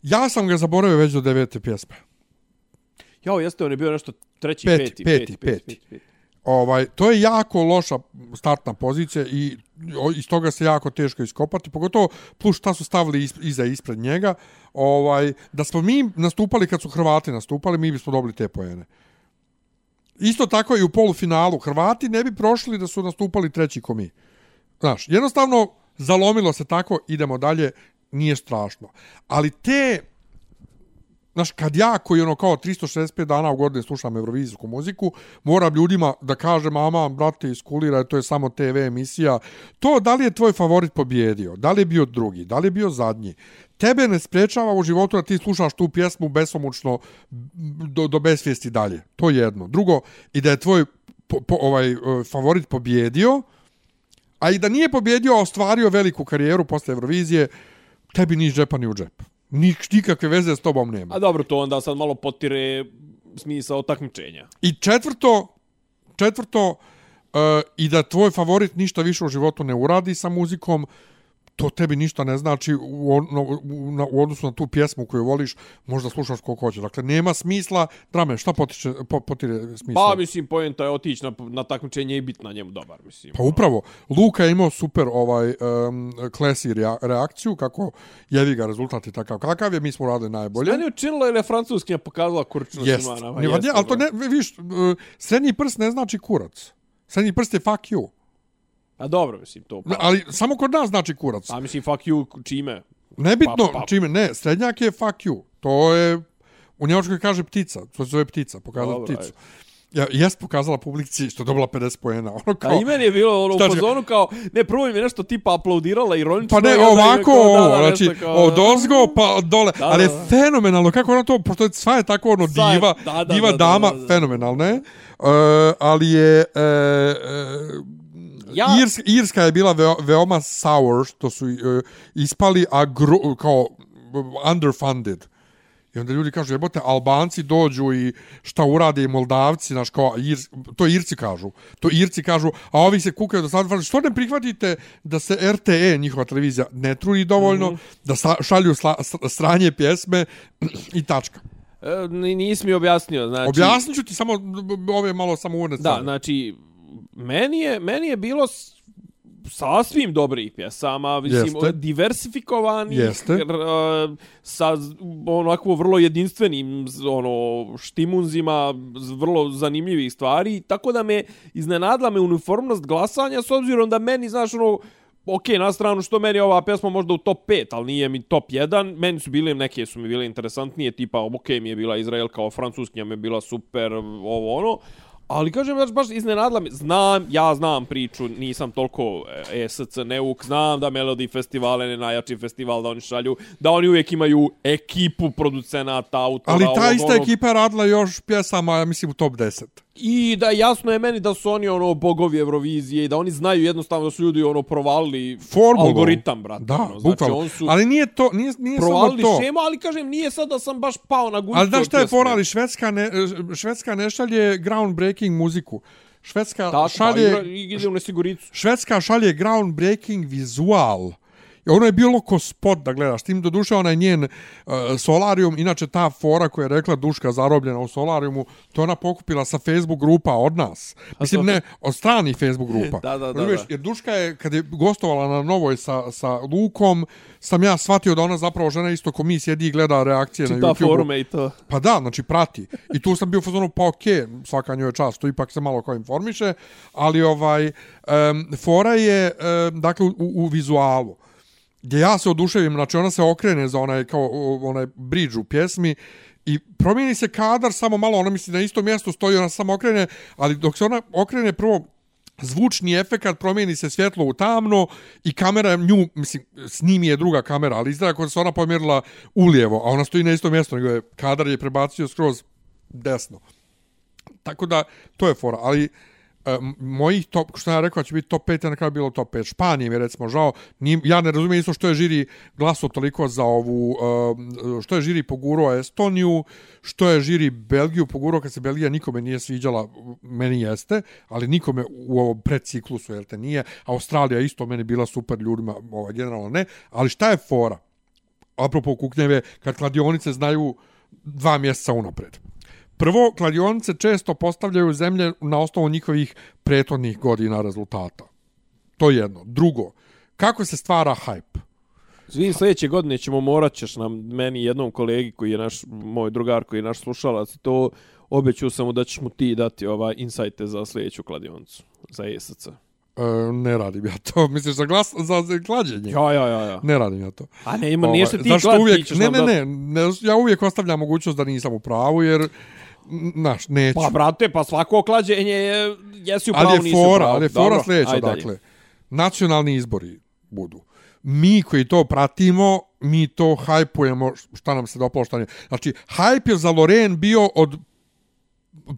Ja sam ga zaboravio već do devete pjesme. Jao, jeste, on je bio nešto treći, Peti, peti, peti, peti. Ovaj, to je jako loša startna pozicija i o- iz toga se jako teško iskopati, pogotovo plus šta su stavili is- iza i ispred njega. Ovaj, da smo mi nastupali kad su Hrvati nastupali, mi bismo dobili te pojene. Isto tako i u polufinalu. Hrvati ne bi prošli da su nastupali treći ko mi. Znaš, jednostavno zalomilo se tako, idemo dalje, nije strašno. Ali te Znaš, kad ja koji ono kao 365 dana u godini slušam eurovizijsku muziku, moram ljudima da kažem, ama, brate, iskuliraj, to je samo TV emisija. To da li je tvoj favorit pobjedio, da li je bio drugi, da li je bio zadnji, tebe ne sprečava u životu da ti slušaš tu pjesmu besomučno do, do besvijesti dalje. To je jedno. Drugo, i da je tvoj po, po, ovaj, e, favorit pobjedio, a i da nije pobjedio, a ostvario veliku karijeru posle Eurovizije, tebi ni iz džepa ni u džep. Nik, nikakve veze s tobom nema. A dobro, to onda sad malo potire smisao takmičenja. I četvrto, četvrto, uh, i da tvoj favorit ništa više u životu ne uradi sa muzikom, to tebi ništa ne znači u, on, u, na, u odnosu na tu pjesmu koju voliš, možda slušaš koliko hoće. Dakle, nema smisla, drame, šta potiče, po, potire smisla? Pa, mislim, pojenta je otići na, na takmičenje i bit na njemu dobar, mislim. Pa upravo, Luka je imao super ovaj um, klasi rea- reakciju, kako jevi ga rezultat je takav kakav je, mi smo radili najbolje. Meni je učinilo ili je francuskinja pokazala kurčinu Jest. Simana. Ne, jest, ali to ne, viš, e, srednji prst ne znači kurac. Srednji prst je fuck you. A dobro, mislim, to... Ne, Ali samo kod nas znači kurac. A mislim, fuck you, čime? Nebitno pa, pa. čime, ne, srednjak je fuck you. To je, u Njemačkoj kaže ptica, to se zove ptica, pokazala Dobro, pticu. Ja, jes pokazala publici što je dobila 50 poena. Ono kao, A i meni je bilo ono, u Šta će- fazonu kao, ne, prvo im je nešto tipa aplaudirala pa ironično. i ne, onda im je ovako, kao ovo, dala nešto znači, kao- odozgo pa dole, Da, ali je da, da. fenomenalno, kako ona to, pošto je sva je tako ono Sva je- diva, da, da, diva da, da, dama, da, da. fenomenalna je, uh, ali je, uh, uh, Ja, Irska, Irska je bila veo, veoma sour što su uh, ispali a gro, kao uh, underfunded. I onda ljudi kažu, jebote, Albanci dođu i šta urade i Moldavci, znaš, kao, Ir, to Irci kažu. To Irci kažu, a ovi se kukaju do sad, što ne prihvatite da se RTE, njihova televizija, ne trudi dovoljno, Mhm. mm -hmm. da sa, šalju sla, s- sranje pjesme i tačka. e, ni- nisi mi objasnio, znači... Objasnit ću ti samo b- b- ove malo samo uvodne Da, strane. znači, meni je, meni je bilo s- sasvim dobrih pjesama, mislim, Jeste. diversifikovanih, Jeste. r- e, sa z- onako vrlo jedinstvenim z- ono, štimunzima, z- vrlo zanimljivih stvari, tako da me iznenadila me uniformnost glasanja, s obzirom da meni, znaš, ono, Ok, na stranu što meni je ova pjesma možda u top 5, ali nije mi top 1. Meni su bile, neke su mi bile interesantnije, tipa, ok, mi je bila Izrael kao francuskinja, mi je bila super, ovo ono. Ali kažem, baš, baš iznenadila me. Znam, ja znam priču, nisam toliko e, ESC neuk, znam da Melody Festival je najjači festival da oni šalju, da oni uvijek imaju ekipu producenata, autora, Ali ta ovog, ista onog. ekipa je radila još pjesama, ja mislim, u top 10. I da jasno je meni da su oni ono bogovi Eurovizije i da oni znaju jednostavno da su ljudi ono provalili formulu. algoritam, brate. Da, ono, znači, bukvalno. on su Ali nije to, nije, nije samo provalili to. šemu, ali kažem, nije sad da sam baš pao na guzicu. Ali znaš od šta je pjesme. fora, ali Švedska ne, Švedska ne šalje groundbreaking muziku. Švedska Tako, šalje... šalje, Pa, igra- ide u nesiguricu. Švedska šalje groundbreaking vizual. I ono je bilo ko spot da gledaš. Tim do duše onaj njen uh, solarium, inače ta fora koja je rekla Duška zarobljena u solariumu, to je ona pokupila sa Facebook grupa od nas. Mislim, to- ne, od stranih Facebook grupa. Da, da, da, Razumiješ? da. Jer Duška je, kad je gostovala na Novoj sa, sa Lukom, sam ja shvatio da ona zapravo žena isto ko mi sjedi i gleda reakcije na Čita YouTube. forume i to. Pa da, znači prati. I tu sam bio u fazonu, pa okej, okay, svaka njoj je čast, to ipak se malo kao informiše, ali ovaj, um, fora je, um, dakle, u, u vizualu gdje ja se oduševim, znači ona se okrene za onaj, kao, o, onaj bridge u pjesmi i promijeni se kadar samo malo, ona misli na istom mjestu stoji, ona se samo okrene, ali dok se ona okrene prvo zvučni efekat, promijeni se svjetlo u tamno i kamera nju, mislim, snimi je druga kamera, ali izgleda kao da se ona pomjerila ulijevo, a ona stoji na istom mjestu, nego je kadar je prebacio skroz desno. Tako da, to je fora, ali e, m- mojih top, što sam ja rekao da će biti top 5, a na kraju je bilo top 5. Španije mi je recimo žao, Nim, ja ne razumijem isto što je žiri glaso toliko za ovu, um, što je žiri pogurao Estoniju, što je žiri Belgiju pogurao, kad se Belgija nikome nije sviđala, meni jeste, ali nikome u ovom preciklusu, jel te nije, Australija isto meni bila super ljudima, ovaj, generalno ne, ali šta je fora? Apropo kuknjeve, kad kladionice znaju dva mjeseca unapred. Prvo, kladionice često postavljaju zemlje na osnovu njihovih prethodnih godina rezultata. To je jedno. Drugo, kako se stvara hype? Zvin, sljedeće godine ćemo morat ćeš nam, meni i jednom kolegi koji je naš, moj drugar koji je naš slušalac, i to obećao sam mu da ćeš mu ti dati ovaj insajte za sljedeću kladionicu, za ESC. E, ne radim ja to. Misliš za, glas, za, za klađenje? Ja, ja, ja, ja. Ne radim ja to. A ne, ima, nije Ovaj, se ti znaš što glad, ti uvijek, ćeš ne, nam ne, dati. ne, ne, ja uvijek ostavljam mogućnost da nisam u pravu, jer, znaš, neću. Pa, brate, pa svako klađenje je, jesi u pravu, ali je nisi u fora, pravu. ali je fora Dobro, sljedeća, ajde dalje. dakle. Nacionalni izbori budu. Mi koji to pratimo, mi to hajpujemo šta nam se dopalo, šta nije. Znači, hajp je za Loren bio od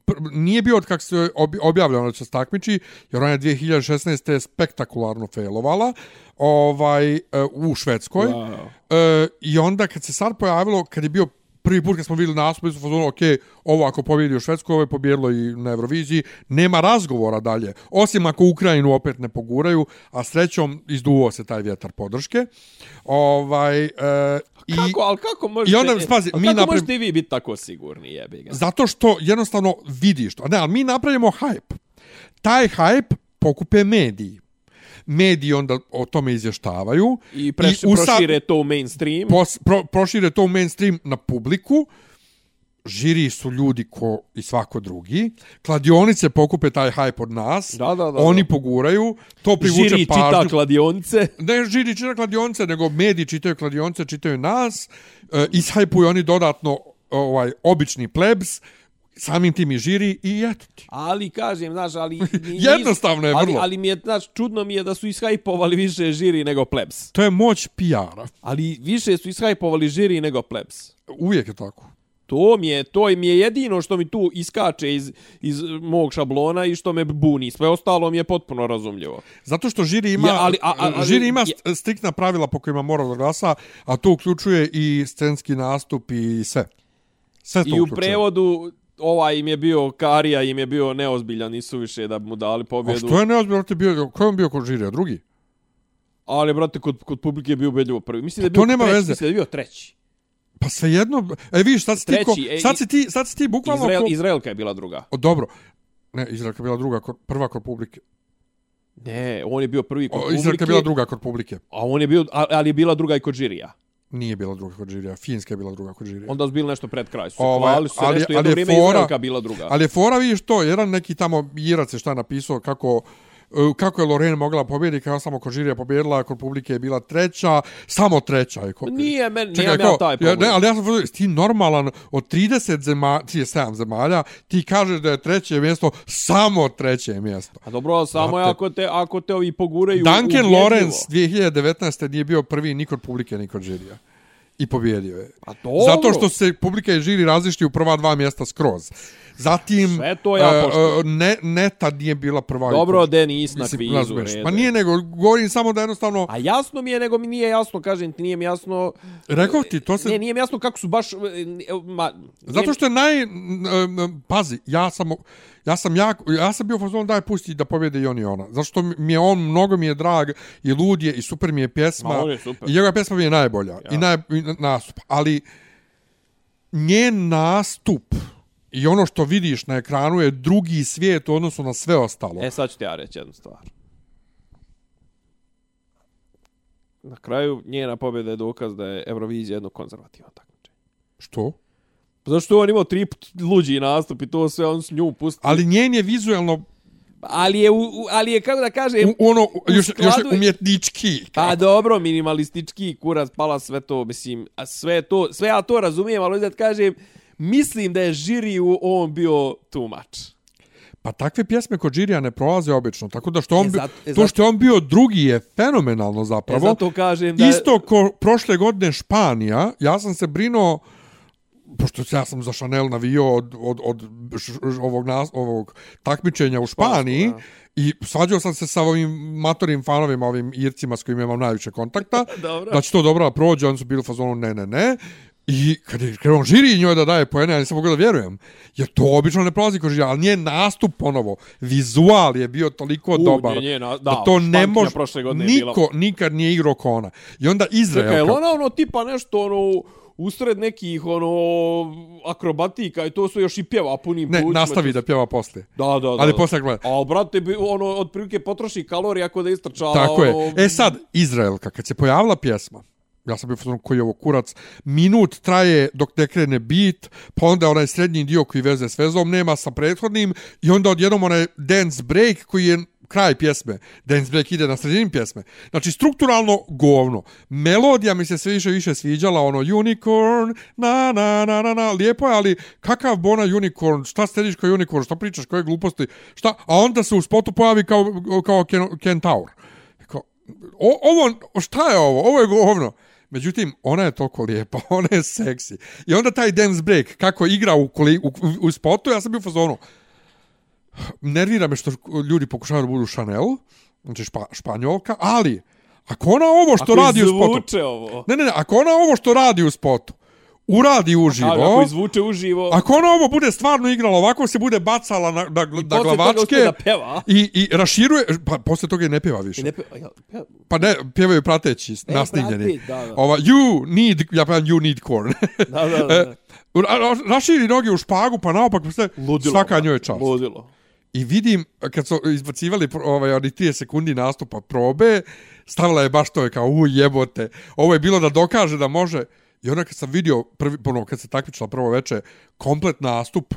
pr- nije bio od kak se obi- objavljeno da će se takmiči, jer ona je 2016. spektakularno failovala ovaj, e, u Švedskoj. Wow. E, I onda kad se sad pojavilo, kad je bio prvi put kad smo vidjeli nastup, mi smo fazonu, ok, ovo ako pobjedi u Švedskoj, ovo je pobjedilo i na Euroviziji, nema razgovora dalje, osim ako Ukrajinu opet ne poguraju, a srećom izduvao se taj vjetar podrške. Ovaj, e, i, Kako, ali kako možete... i onda, spazi, ali mi kako napravi- možete i vi biti tako sigurni, jebi ga? Zato što jednostavno vidiš to. Ne, ali mi napravimo hype. Taj hype pokupe mediji. Mediji onda o tome izvještavaju. I, preš, usa- prošire to u mainstream. pos, pro, prošire to u mainstream na publiku. Žiri su ljudi ko i svako drugi. Kladionice pokupe taj hype od nas. Da, da, da, da. Oni poguraju. To privuče Žiri pažnju čita kladionice. ne žiri čita kladionice, nego mediji čitaju kladionice, čitaju nas, e, ishajpuju oni dodatno ovaj obični plebs, samim tim i žiri i eto ti. Ali kažem, znaš, ali... ni- Jednostavno je ali, vrlo. Ali mi je, znaš, čudno mi je da su ishajpovali više žiri nego plebs. To je moć PR-a. Ali više su ishajpovali žiri nego plebs. Uvijek je tako. To mi je, to mi je jedino što mi tu iskače iz, iz mog šablona i što me buni. Sve ostalo mi je potpuno razumljivo. Zato što žiri ima, Je, ali- a- a- ali- žiri ima je- st- striktna pravila po kojima mora da glasa, a to uključuje i scenski nastup i sve. Sve to I u uključuje. prevodu ovaj im je bio Karija, im je bio neozbiljan i suviše da bi mu dali A pobjedu. što je neozbiljno ti bio, ko je on bio kod žirija? Drugi? Ali, brate, kod, kod publike je bio ubedljivo prvi. Mislim da je Pa to bio nema treći, veze. Mislim da je bio treći. Pa svejedno, e vidiš, sad si ti, ko, Treći, e, sad i- si ti, sad si ti bukvalno Izrael, ko- Izraelka je bila druga. O, dobro. Ne, Izraelka je bila druga, kod, prva kod publike. Ne, on je bio prvi kod O, publike. Izraelka je bila druga kod publike. A on je bio, a- ali je bila druga i kod žirija. Nije bila druga kod žirija. Finska je bila druga kod žirija. Onda su bili nešto pred kraj. Su se Ovaj, hvalili su se ali- nešto ali jedno je vrijeme fora- Izraelka bila druga. Ali je fora, vidiš to, jedan neki tamo Irac je šta napisao kako e, kako je Lorena mogla pobjediti, kako samo kod žirija pobjedila, kod publike je bila treća, samo treća je. Kod... Nije meni, nije ja taj ja, problem. ne, ali ja sam fazon, jesi ti normalan, od 30 zemalja, 37 zemalja, ti kažeš da je treće mjesto, samo treće mjesto. A Pa dobro, samo je Znate. ako te, ako te ovi poguraju Duncan ubjedljivo. Lawrence 2019. nije bio prvi ni kod publike, ni kod žirija. I pobjedio je. A Pa dobro. Zato što se publika i žiri različiti u prva dva mjesta skroz. Zatim, Sve to ja e, poštujem. e, ne, neta nije bila prva. Dobro, i de nisi na Mislim, kvizu. razumeš. rede. Pa nije nego, govorim samo da jednostavno, A jasno mi je, nego mi nije jasno, kažem ti, nije mi jasno... rekao ti, to se... Ne, nije mi jasno kako su baš... e, e, Ma, nije Zato mi- što je naj... n- n- n- Pazi, ja sam, ja sam, jak, ja sam bio fazon daj pusti da pobjede i on i ona. Zato što mi je on, mnogo mi je drag i lud je i super mi je pjesma. Ma, on je super. I njegova pjesma mi je najbolja. Ja. I, naj, i nastup. Ali njen nastup i ono što vidiš na ekranu je drugi svijet u odnosu na sve ostalo. E, sad ću ti ja reći jednu stvar. Na kraju, njena pobjeda je dokaz da je Eurovizija jedno konzervativno takmičenje. Što? Pa Zašto je on imao tri put luđi nastup i to sve, on s nju pusti. Ali njen je vizuelno Ali je, u, u- ali je kako da kažem, u, ono, još, još skladu je- je umjetnički. Pa dobro, minimalistički kurac, pala sve to, mislim, a sve to, sve ja to razumijem, ali da kažem, mislim da je žiriju on bio E, tumač. Pa takve pjesme kod Džirija ne prolaze obično, tako da što on, E, e, zato- e, zato- to što je on bio drugi je fenomenalno E, zapravo. zato kažem da... Isto ko prošle godine Španija, ja sam se brinuo pošto ja sam za Chanel navio od, od, od š, ovog, nas, ovog takmičenja u Španiji Špansko, i svađao sam se sa ovim matorim fanovima, ovim Ircima s kojima imam najviše kontakta, Dobro. da će to dobro da prođe, oni su bili u fazonu ne, ne, ne. I kad je krenuo žiri njoj da daje poene, ja nisam mogao da vjerujem. Jer to obično ne prolazi kod žiri, ali njen nastup ponovo, vizual je bio toliko U, dobar. nje- nje, na- da, da, to ne Špankinja može, prošle godine je bila- niko nikad nije igrao ko ona. I onda Izrael, Čekaj, jel kao- ona ono tipa nešto ono usred nekih ono akrobatika i to su još i pjeva punim ne, plućima. nastavi da pjeva poslije. Da, da, da. Ali da. poslije gleda. A brate, bi- ono, otprilike potroši kalorije ako da istrčava. Tako je. ono, E sad, Izraelka, kad se pojavila pjesma, ja sam bio fazon koji je ovo kurac, minut traje dok ne krene bit, pa onda onaj srednji dio koji veze s vezom nema sa prethodnim i onda odjednom onaj dance break koji je kraj pjesme. Dance break ide na sredini pjesme. Znači, strukturalno govno. Melodija mi se sve više i više sviđala, ono unicorn, na, na, na, na, na, lijepo je, ali kakav bona unicorn, šta sediš kao unicorn, šta pričaš, koje gluposti, šta, a onda se u spotu pojavi kao, kao ken- kentaur. Kao, o, ovo, šta je ovo? Ovo je govno. Međutim, ona je toliko lijepa, ona je seksi. I onda taj dance break, kako igra u, koli, u, u spotu, ja sam bio u fazonu. Nervira me što ljudi pokušavaju da budu Chanel, znači špa, španjolka, ali ako ona ovo što ako radi u spotu... izvuče ovo. Ne, ne, ne, ako ona ovo što radi u spotu, uradi uživo... Ali ako izvuče uživo. Ako ona ovo bude stvarno igrala ovako, se bude bacala na, na, na poslije toga glavačke uspe da peva. i, i raširuje, pa posle toga i ne peva više. I Ne, pe- ja, ja, Pa ne, pjevaju prateći, e, nasnimljeni. prate, da, da. Ova, you need, ja pevam you need corn. da, da, E, da. Ra- ra- Raširi noge u špagu, pa naopak, pa sve, Ludilo. svaka njoj je čast. Ludilo. I vidim, kad su izbacivali pro- ovaj, oni 30 sekundi nastupa probe, stavila je baš to je kao, u jebote, ovo je bilo da dokaže da može. I onda kad sam vidio, prvi, ono, kad se takmičila prvo veče, komplet nastup,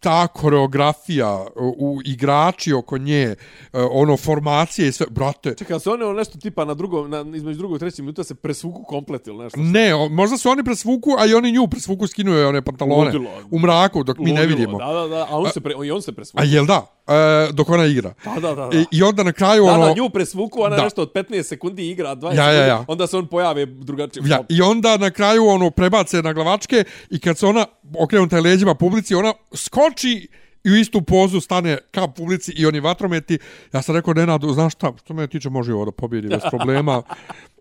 ta koreografija, u, u igrači oko nje, e, ono, formacije i sve, brate, Čekaj, se ono nešto tipa na drugom, na, između drugog i trećeg minuta se presvuku komplet ili nešto. Ne, o, možda su oni presvuku, a i oni nju presvuku skinuje one pantalone. Ludilo. U mraku, dok mi ne Ludilo, vidimo. Da, da, da, a on se pre, i on se presvuku. A jel da? E, dok ona igra. Da, da, Pa, da. da. I, I onda na kraju Da, ono... da, nju presvuku, ona Da. nešto od 15 sekundi igra, 20 Ja, ja, ja. sekundi, onda se on pojave drugačije. Ja, I onda na kraju ono prebace na glavačke i kad se ona okrenuta je leđima publici, ona skoči i u istu pozu stane ka publici i oni vatrometi. Ja sam rekao, Nenadu, znaš šta, što me tiče može i ovo da pobjedi bez problema.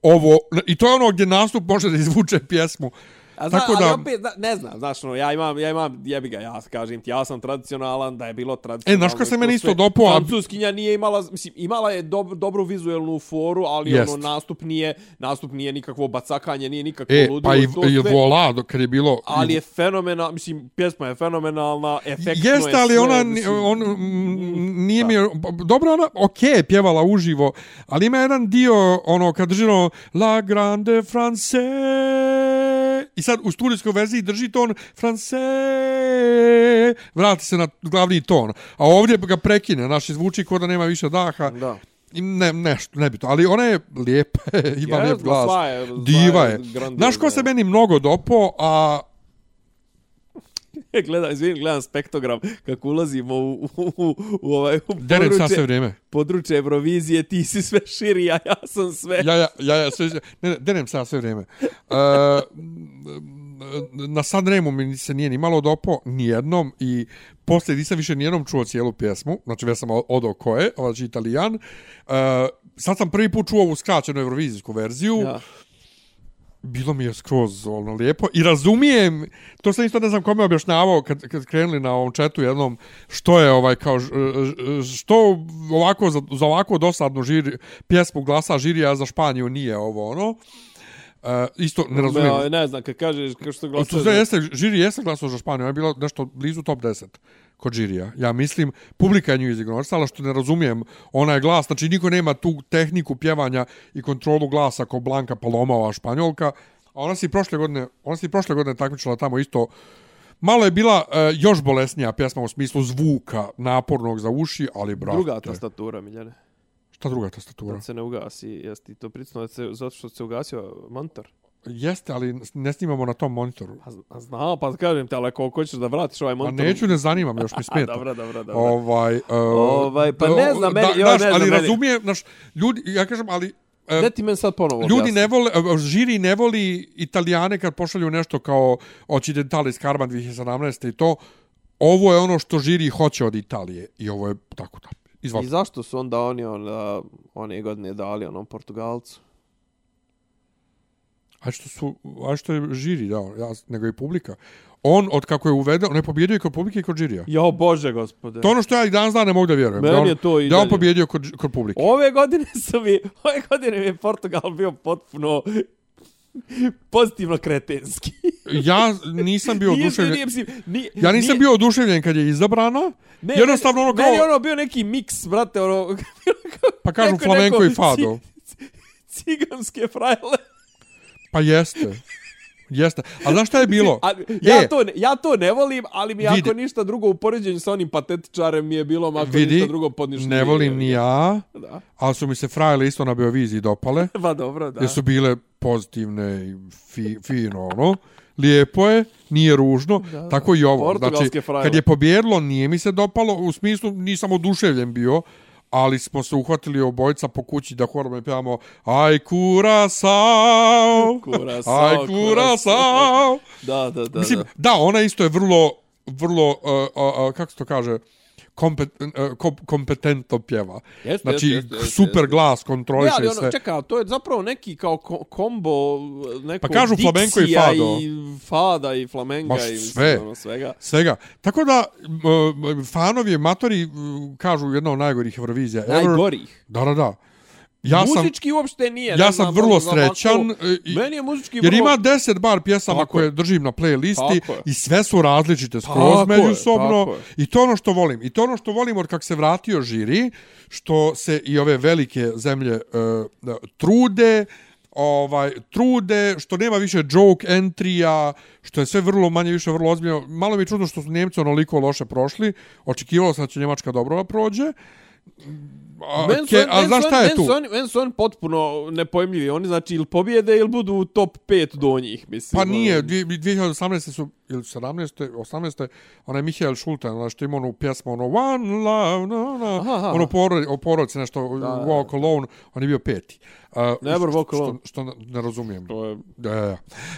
Ovo, I to je ono gdje nastup može da izvuče pjesmu. A zna, Tako ali da- opet, da, ne znam, znaš, ono, ja imam, ja imam, jebi ga, ja kažem ti, ja sam tradicionalan, da je bilo tradicionalno. E, znaš ko se i to meni isto sve. dopao, a- Francuskinja nije imala, mislim, imala je dob, dobru vizuelnu foru, ali Jest. ono, nastup nije, nastup nije nikakvo bacakanje, nije nikakvo E, ludilo. pa i, to i sve, vola, dok- kad je bilo... Ali je fenomenal, mislim, pjesma je fenomenalna, efektno je Jeste, ali sve, ona, ni- mislim, on, mm, nije mi, dobro, ona, okej, je pjevala uživo, ali ima jedan dio, ono, kad drži ono, La Grande France, i sad u studijskoj verziji drži ton France, vrati se na glavni ton, a ovdje ga prekine, naš zvuči k'o da nema više daha, Da. I Ne, nešto, nebitno, ali ona je lijepa, ima Jeste, lijep glas, zla je, zla diva je, je. grandiozna Znaš ko se je. meni mnogo dopo, a gledam, izvinim, gledam spektogram kako ulazimo u, u, u, u ovaj, u derem sad sve područje, vrijeme. područje Eurovizije, ti si sve širi, a ja sam sve ja, ja, ja, ja, sve, ne, ne, denem se ja sve vrijeme. E, na Sanremu mi se nije ni malo dopo, nijednom, i poslije nisam više nijednom čuo cijelu pjesmu, znači već sam odo ko je, znači italijan. E, sad sam prvi put čuo ovu skraćenu evrovizijsku verziju, Ja. bilo mi je skroz ono lijepo i razumijem, to sam isto ne znam kome objašnjavao kad, kad krenuli na ovom četu jednom, što je ovaj kao, ž- ž- što ovako, za, za ovako dosadnu žiri, pjesmu glasa žirija za Španiju nije ovo ono, e, isto ne razumijem. Ne, ne znam, kad kažeš kao što I glasuje... E, to sve jeste, žiri jeste glasao za Španiju, ona je bila nešto blizu top 10 kod žirija. Ja mislim, publika je nju izignorisala, što ne razumijem, ona je glas, znači niko nema tu tehniku pjevanja i kontrolu glasa kao Blanka Paloma, ova španjolka, a ona si prošle godine, ona si prošle godine takmičila tamo isto Malo je bila e, još bolesnija pjesma u smislu zvuka napornog za uši, ali brate. Druga tastatura, Miljane. Šta druga tastatura? Kad se ne ugasi, jesi ti to pricnuo da se, zato što se ugasio montor. Jeste, ali ne snimamo na tom monitoru. A, z- a znam, pa kažem te, ali ako hoćeš da vratiš ovaj A montor... neću, ne zanima me, još mi A, smeta. dobro, dobro, dobro. Ovaj, uh, Ovaj, pa ne znam, meni- joj, da, ne znaš, znam ali meni. razumijem, znaš, ljudi, ja kažem, ali e, Gde ti men sad ponovo Ljudi objasni? ne vole, e, žiri ne voli italijane kad pošalju nešto kao Occidentalis Karma 2017. i to. Ovo je ono što žiri hoće od Italije. I ovo je tako da. I Izvolite. zašto su onda oni onda, one godine dali onom Portugalcu? A što, su, a što je žiri dao, ja, nego i publika. On, od kako je uveden, on je pobjedio i kod publike i kod žirija. Jo, bože, gospode. To je ono što ja i danas dan ne mogu da vjerujem. Meni da on, je to i da je on dalje. pobjedio kod, kod publike. Ove godine su mi, ove godine mi je Portugal bio potpuno pozitivno kretenski. Ja nisam bio Nije- oduševljen. nije- mislim, nije- Ja nisam nije- bio oduševljen kad je izabrana. Ne, Jednostavno ono meni- Meni je kao- ono bio neki miks, brate, ono... Pa kažu neko- flamenko neko i fado. ci- Ciganske frajle. Pa jeste. Jeste. A znaš šta je bilo? A, ja, E, to ne, ja to ne volim, ali mi Vidi. ako ništa drugo u poređenju sa onim patetičarem mi je bilo ako vidi, ništa drugo podnišnije. ne volim ni ja, Da. ali su mi se frajle isto na Beoviziji dopale, Pa dobro, da. jer su bile pozitivne i fi, fino, ono. Lijepo je, nije ružno, da, tako i ovo. Znači, Portugalske frajle. kad je pobjedilo, nije mi se dopalo, u smislu nisam oduševljen bio, ali smo se uhvatili obojica po kući da horom je pjevamo Aj kurasao, Curacao, aj kurasao. Da, da, da. Mislim, da. da. ona isto je vrlo, vrlo, uh, uh, uh, kako se to kaže, kompet, uh, kom, kompetentno pjeva. Jeste, znači, jeste, jeste, super jeste. glas, Ne, kontroliše ali ono, sve. čekaj, to je zapravo neki kao ko kombo neko Pa kažu flamenko i diksija fado. I fada i flamenga Baš i sve. Mislim, ono, svega. Svega. Tako da, uh, fanovi, matori, uh, kažu jedna od najgorih Eurovizija. ever. Najgorih. Da, da, da. Ja sam, muzički uopšte nije. ja ne sam znam, vrlo možda ovako- srećan. e, I, Meni je muzički Jer vrlo... ima 10 bar pjesama Tako koje je. držim na playlisti Tako je. i sve su različite skroz Tako je, međusobno tako je. i to je ono što volim. I to je ono što volim od kak se vratio žiri, što se i ove velike zemlje uh, da, trude, ovaj trude, što nema više joke entrija, što je sve vrlo manje više vrlo ozbiljno. Malo mi je čudno što su Njemci onoliko loše prošli. Očekivalo sam da će Njemačka dobro da prođe. A, Men su, ke, a men znaš su- šta je men tu? su oni- men su oni potpuno nepojmljivi. Oni znači ili pobjede ili budu u top 5 donjih, mislim. Pa ono. nije, dvi- 2018. su, ili 17. 18. onaj Mihael Schulte, onaj što ima onu pjesmu, ono One Love, no, no, Aha, aha. ono porod, o porodici, nešto, Walk Alone, on je bio peti. Uh, Never što- Walk Alone. Što, što ne razumijem. To je... Da, da,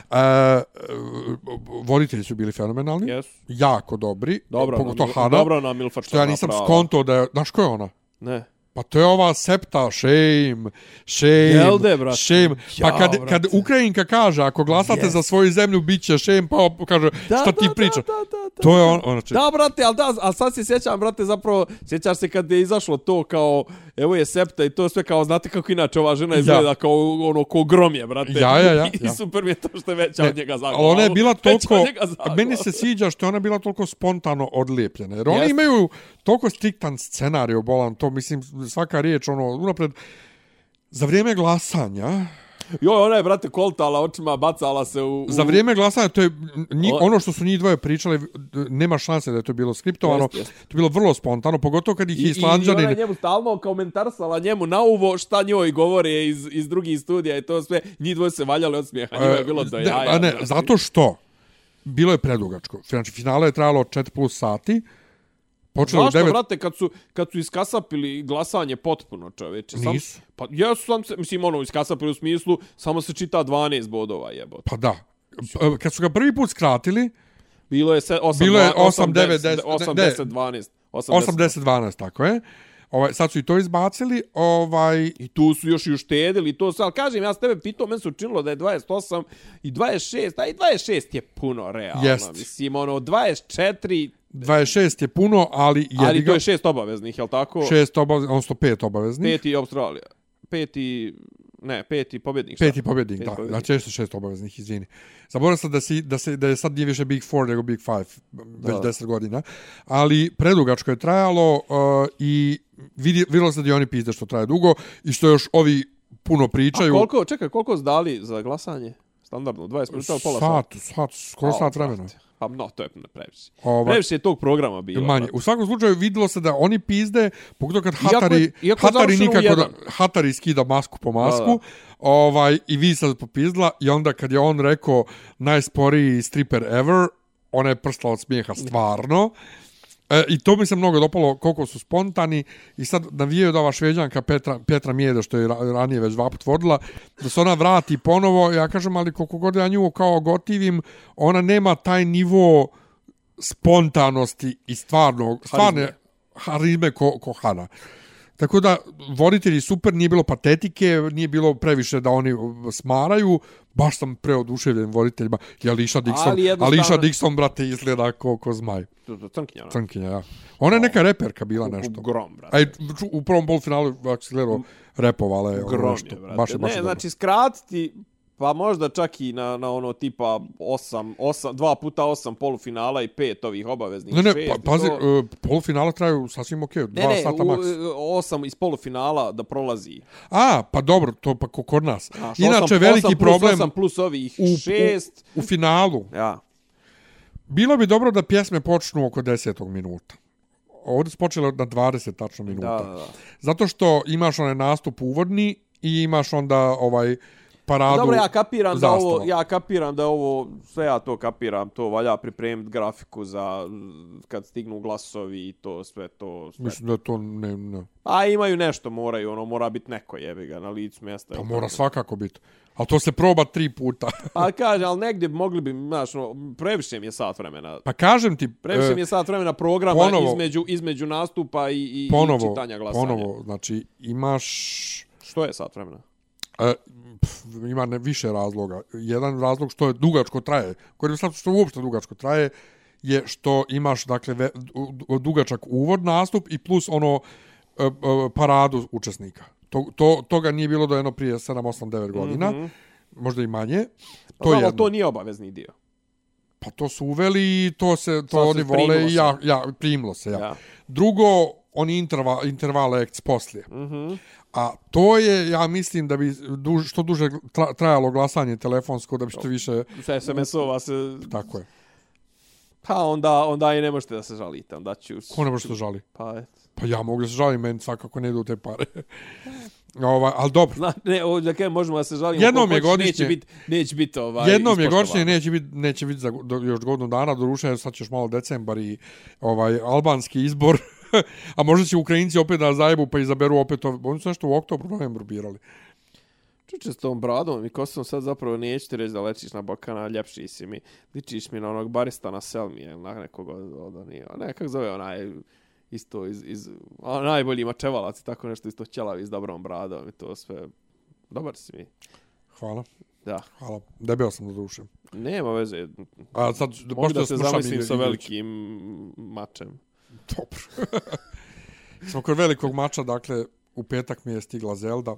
da. Uh, voditelji su bili fenomenalni, Yes. jako dobri, Dobro, pogotovo nam, Hana, dobro nam Ilfarča što ja nisam skonto da je, znaš ko je ona? Ne. Pa to je ova septa, shame, shame, Jel de, brate? shame. Pa Jao, kad, brate. kad Ukrajinka kaže, ako glasate Yes. za svoju zemlju, bit će shame, pa op- kaže, Da, šta ti da, priča? Da, da, da, da. To je on, ono če... Da, brate, ali da, ali sad se sjećam, brate, zapravo, sjećaš se kad je izašlo to kao, evo je septa i to sve kao, znate kako inače ova žena izgleda ja. kao, ono, ko gromje, brate. Ja, ja, ja, I, ja. i super mi je to što je veća od njega zaglavu. Ali ona je bila toliko, meni Meni se... se sviđa što je ona bila toliko spontano odlijepljena. Jer oni Jeste. imaju toliko striktan scenarij obolan, to mislim, svaka riječ, ono, unapred, za vrijeme glasanja, Joj, ona je, brate, koltala očima, bacala se u... u... za vrijeme glasanja, to je nji, O- ono što su njih dvoje pričali, nema šanse da je to bilo skriptovano, Jeste, jeste. to je bilo vrlo spontano, pogotovo kad ih I, i ona Islanđanin je njemu stalno komentarsala njemu na uvo šta njoj govore iz, iz drugih studija i to sve. Njih dvoje se valjali od smijeha, njima je bilo do Ne, jaja. E, a ne, brate. zato što bilo je predugačko. Znači, finale je trajalo 4 plus sati, počelo u Zašto, 9... brate, kad su, kad su iskasapili glasanje potpuno, čoveče? Sam, Nisu. Pa jesu sam se, mislim, ono, iskasapili u smislu, samo se čita 12 bodova, jebote. Pa da. P- Kad su ga prvi put skratili, Bilo je se, 8, Bilo je 8, 8, 9, 10, ne, 8, ne. 10, 12. 8, 10. 80-12, tako je. Ovaj, sad su i to izbacili, ovaj... I tu su još i uštedili i to sve, ali kažem, ja s tebe pitao, meni se učinilo da je 28 i 26, a i 26 je puno, realno. Jest. Mislim, ono, 24, 26 je puno, ali jebi ali ga, to je šest obaveznih, jel tako? 6 obaveznih, odnosno 5 obaveznih. Peti Australija. Peti, ne, peti pobjednik. šta? Peti pobjednik, Peti da. pobjednik. Znači, jeste šest obaveznih, izvini. Zaboravio sam da, si, da, se, da je sad nije više Big Four nego Big Five, već Da. deset godina. Ali predugačko je trajalo uh, i vidi, vidjelo se da i oni pizde što traje dugo i što još ovi puno A pričaju. koliko, čekaj, koliko su dali za glasanje? Standardno, 20 minuta, pola sata. Sat, sat, skoro Au, sat vremena. brate. Pa no, to je previše. Ovaj- Previše je tog programa bilo. Manje. brate. U svakom slučaju vidjelo se da oni pizde, pogotovo kad Iako je- Hatari, iako je Hatari završeno u nikako da, jedan. Hatari skida masku po masku, Da, da. ovaj i vi sad popizdla i onda kad je on rekao najsporiji stripper ever, ona je prstala od smijeha stvarno. E, I to mi se mnogo dopalo koliko su spontani i sad navijaju da ova šveđanka Petra, Petra Mijeda, što je ra- ranije već dva put vodila, da se ona vrati ponovo, ja kažem, ali koliko god ja nju kao gotivim, ona nema taj nivo spontanosti i stvarno, stvarne harizme ko, ko Hana. Tako da, voditelji super, nije bilo patetike, nije bilo previše da oni uh, smaraju, baš sam preoduševljen voditeljima. I Ališa Dixon, Ali jednostavno- Ališa Dixon, brate, izgleda ko, ko zmaj. Crnkinja. ona. Crnkinja, ja. Ona je neka reperka bila nešto. Grom, brate. Aj, ču- u prvom bol finalu, ako si gledao, repovala je ono Grom nešto. je, brate. Baš je, baš ne, je dobro. znači, skratiti, pa možda čak i na, na ono tipa 8, 8, dva puta osam polufinala i pet ovih obaveznih. Ne, ne, šest i pa, pazi, to. uh, polufinala traju sasvim okej, Ne, dva ne, sata u, e, maks. osam iz polufinala da prolazi. A, pa dobro, to pa ko- kod nas. Znaš, Inače, osam- veliki osam plus problem osam plus ovih u, šest. u, u finalu. Ja. Bilo bi dobro da pjesme počnu oko 10. minuta. Ovdje su počele na 20 tačno minuta. Da, da, da. Zato što imaš onaj nastup uvodni i imaš onda ovaj paradu Pa Dobro, ja kapiram da ovo, zastava. ja kapiram da ovo, sve ja to kapiram, to valja pripremiti grafiku za mm, kad stignu glasovi i to, sve to. Sve. Mislim da to ne, ne. A imaju nešto, moraju, ono, mora biti neko jebi ga na licu mjesta. Pa mora svakako biti. Ali to se proba tri puta. Pa kaže, ali negdje bi mogli bi, znaš, ono, previše mi je sat vremena. pa kažem ti, Previše e, mi je sat vremena programa ponovo. između, između nastupa i, i, i ponovo, čitanja glasanja. ponovo, znači imaš... Što je sat vremena? E, pf, ima ne, više razloga. Jedan razlog što je dugačko traje, koji je sad što uopšte dugačko traje, je što imaš dakle ve, du- dugačak uvod nastup i plus ono e, e, paradu učesnika. To, to, toga nije bilo do jedno prije 7, 8, 9 godina, mm -hmm. možda i manje. Pa, To Mhm. znam, je ali jedno. to nije obavezni dio. Pa to su uveli i to se to Sad se oni vole primilo i se. ja, ja primilo se ja. Da. ja. Drugo oni interval interval acts poslije. Mhm. A to je ja mislim da bi duž, što duže tra, trajalo glasanje telefonsko da bi što više Sa SMS-ova se... tako je. Pa onda, onda i ne možete da se žalite, onda ću... Ko ne može se žali? Pa, eto. Pa ja mogu da se žalim, meni svakako ne idu te pare. Ova, ali dobro, Zna, ne, ovdje, da kažem, možemo da se žalimo. Jednom koliko je hoćeš, godišnje. Neće biti, neće biti ovaj... Jednom je ispoštovano. godišnje, neće biti neće biti za go- do, još godinu dana, doruše sad ćeš malo decembar i ovaj albanski izbor. A možda će Ukrajinci opet da zajebu pa izaberu opet ove. Oni su nešto u oktobru, novembru birali. Čuče s tom bradom i kosom sad zapravo neću ti reći da lečiš na Balkana, ljepši si mi. Ličiš mi na onog barista na Selmi ili na nekog od, od onih, ne, kako zove onaj, isto iz, iz a, najbolji mačevalac i tako nešto, isto ćelavi s dobrom bradom i to sve. Dobar si mi. Hvala. Da, Hvala. Debeo sam do duše. nema veze. A sad, Mogu pošto da se slušam zamislim Igor- sa Igorića. velikim mačem. Dobro. Smo kod velikog mača, dakle, u petak mi je stigla Zelda.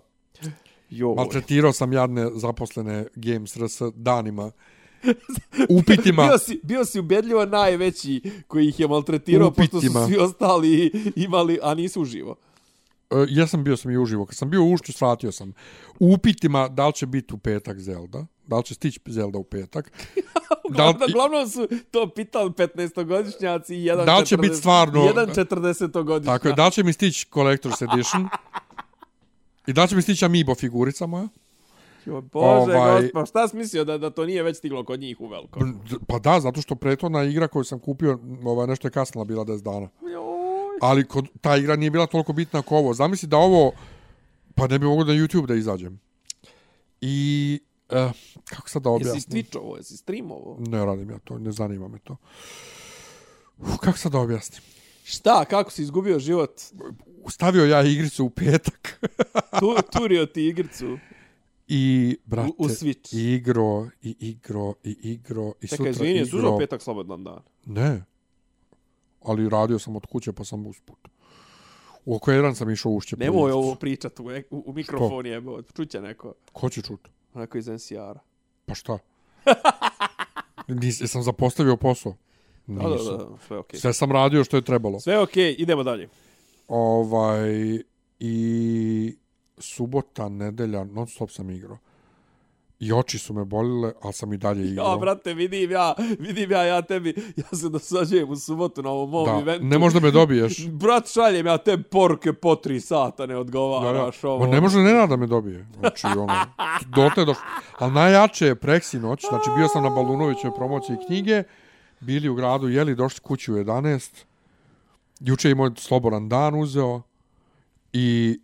Joj. Maltretirao sam jadne zaposlene Games RS danima. Upitima. Bio si, bio si ubedljivo najveći koji ih je maltretirao, pošto su Upitima. svi ostali imali, a nisu uživo. E, ja sam bio sam i uživo. Kad sam bio u Ušću, svratio sam. U upitima da li će biti u petak Zelda, da li će stići Zelda u petak, da li, Uglavnom, uglavnom su to pitali 15-godišnjaci i jedan Da li će biti stvarno- Jedan 40-godišnjak. tako je, da li će mi stići Collector's Edition i da li će mi stići Amiibo figurica moja. Joj, Bože, Ovaj- ovaj... gospa, šta si mislio da, da to nije već stiglo kod njih u veliko? Pa da, zato što prethodna igra koju sam kupio, ova, nešto je kasnila bila 10 dana. Joj. Ali kod, ta igra nije bila toliko bitna kao ovo. Zamisli da ovo, pa ne bi mogo na YouTube da izađem. I, eh, kako sad da objasnim? Jesi Twitch-ovo, jesi stream-ovo? Ne radim ja to, ne zanima me to. Uf, kako sad da objasnim? Šta, kako si izgubio život? Stavio ja igricu u petak Tu, turio ti igricu. i, brate, U- u Switch. i igro, i igro, i igro, i Čekaj, sutra izvini, jesi igro. užao petak slobodan dan? Ne, ali radio sam od kuće pa sam usput. U oko jedan sam išao ušće. po Nemoj igricu. ovo pričat u, ek- u, u mikrofon je, čuće neko. Ko će čut? Onako iz NCR-a. Pa šta? Nis, jesam zapostavio posao? Da, Nisam. da, da, da, sve okej. Okay. Sve sam radio što je trebalo. Sve okej, okay, idemo dalje. Ovaj, I subota, nedelja, non stop sam igrao. I oči su me bolile, ali sam i dalje igrao. Ja, brate, vidim ja, vidim ja, ja tebi, ja se dosađujem u subotu na ovom mom da, eventu. ne možda me dobiješ. Brat, šaljem ja te poruke po tri sata, ne odgovaraš ono. Ma ovo. ne može Nenad da me dobije. Znači, ono, dotle došlo. Ali najjače je preksi noć, znači bio sam na Balunovićoj promociji knjige, bili u gradu, jeli, došli kući u 11, Juče je imao slobodan dan uzeo i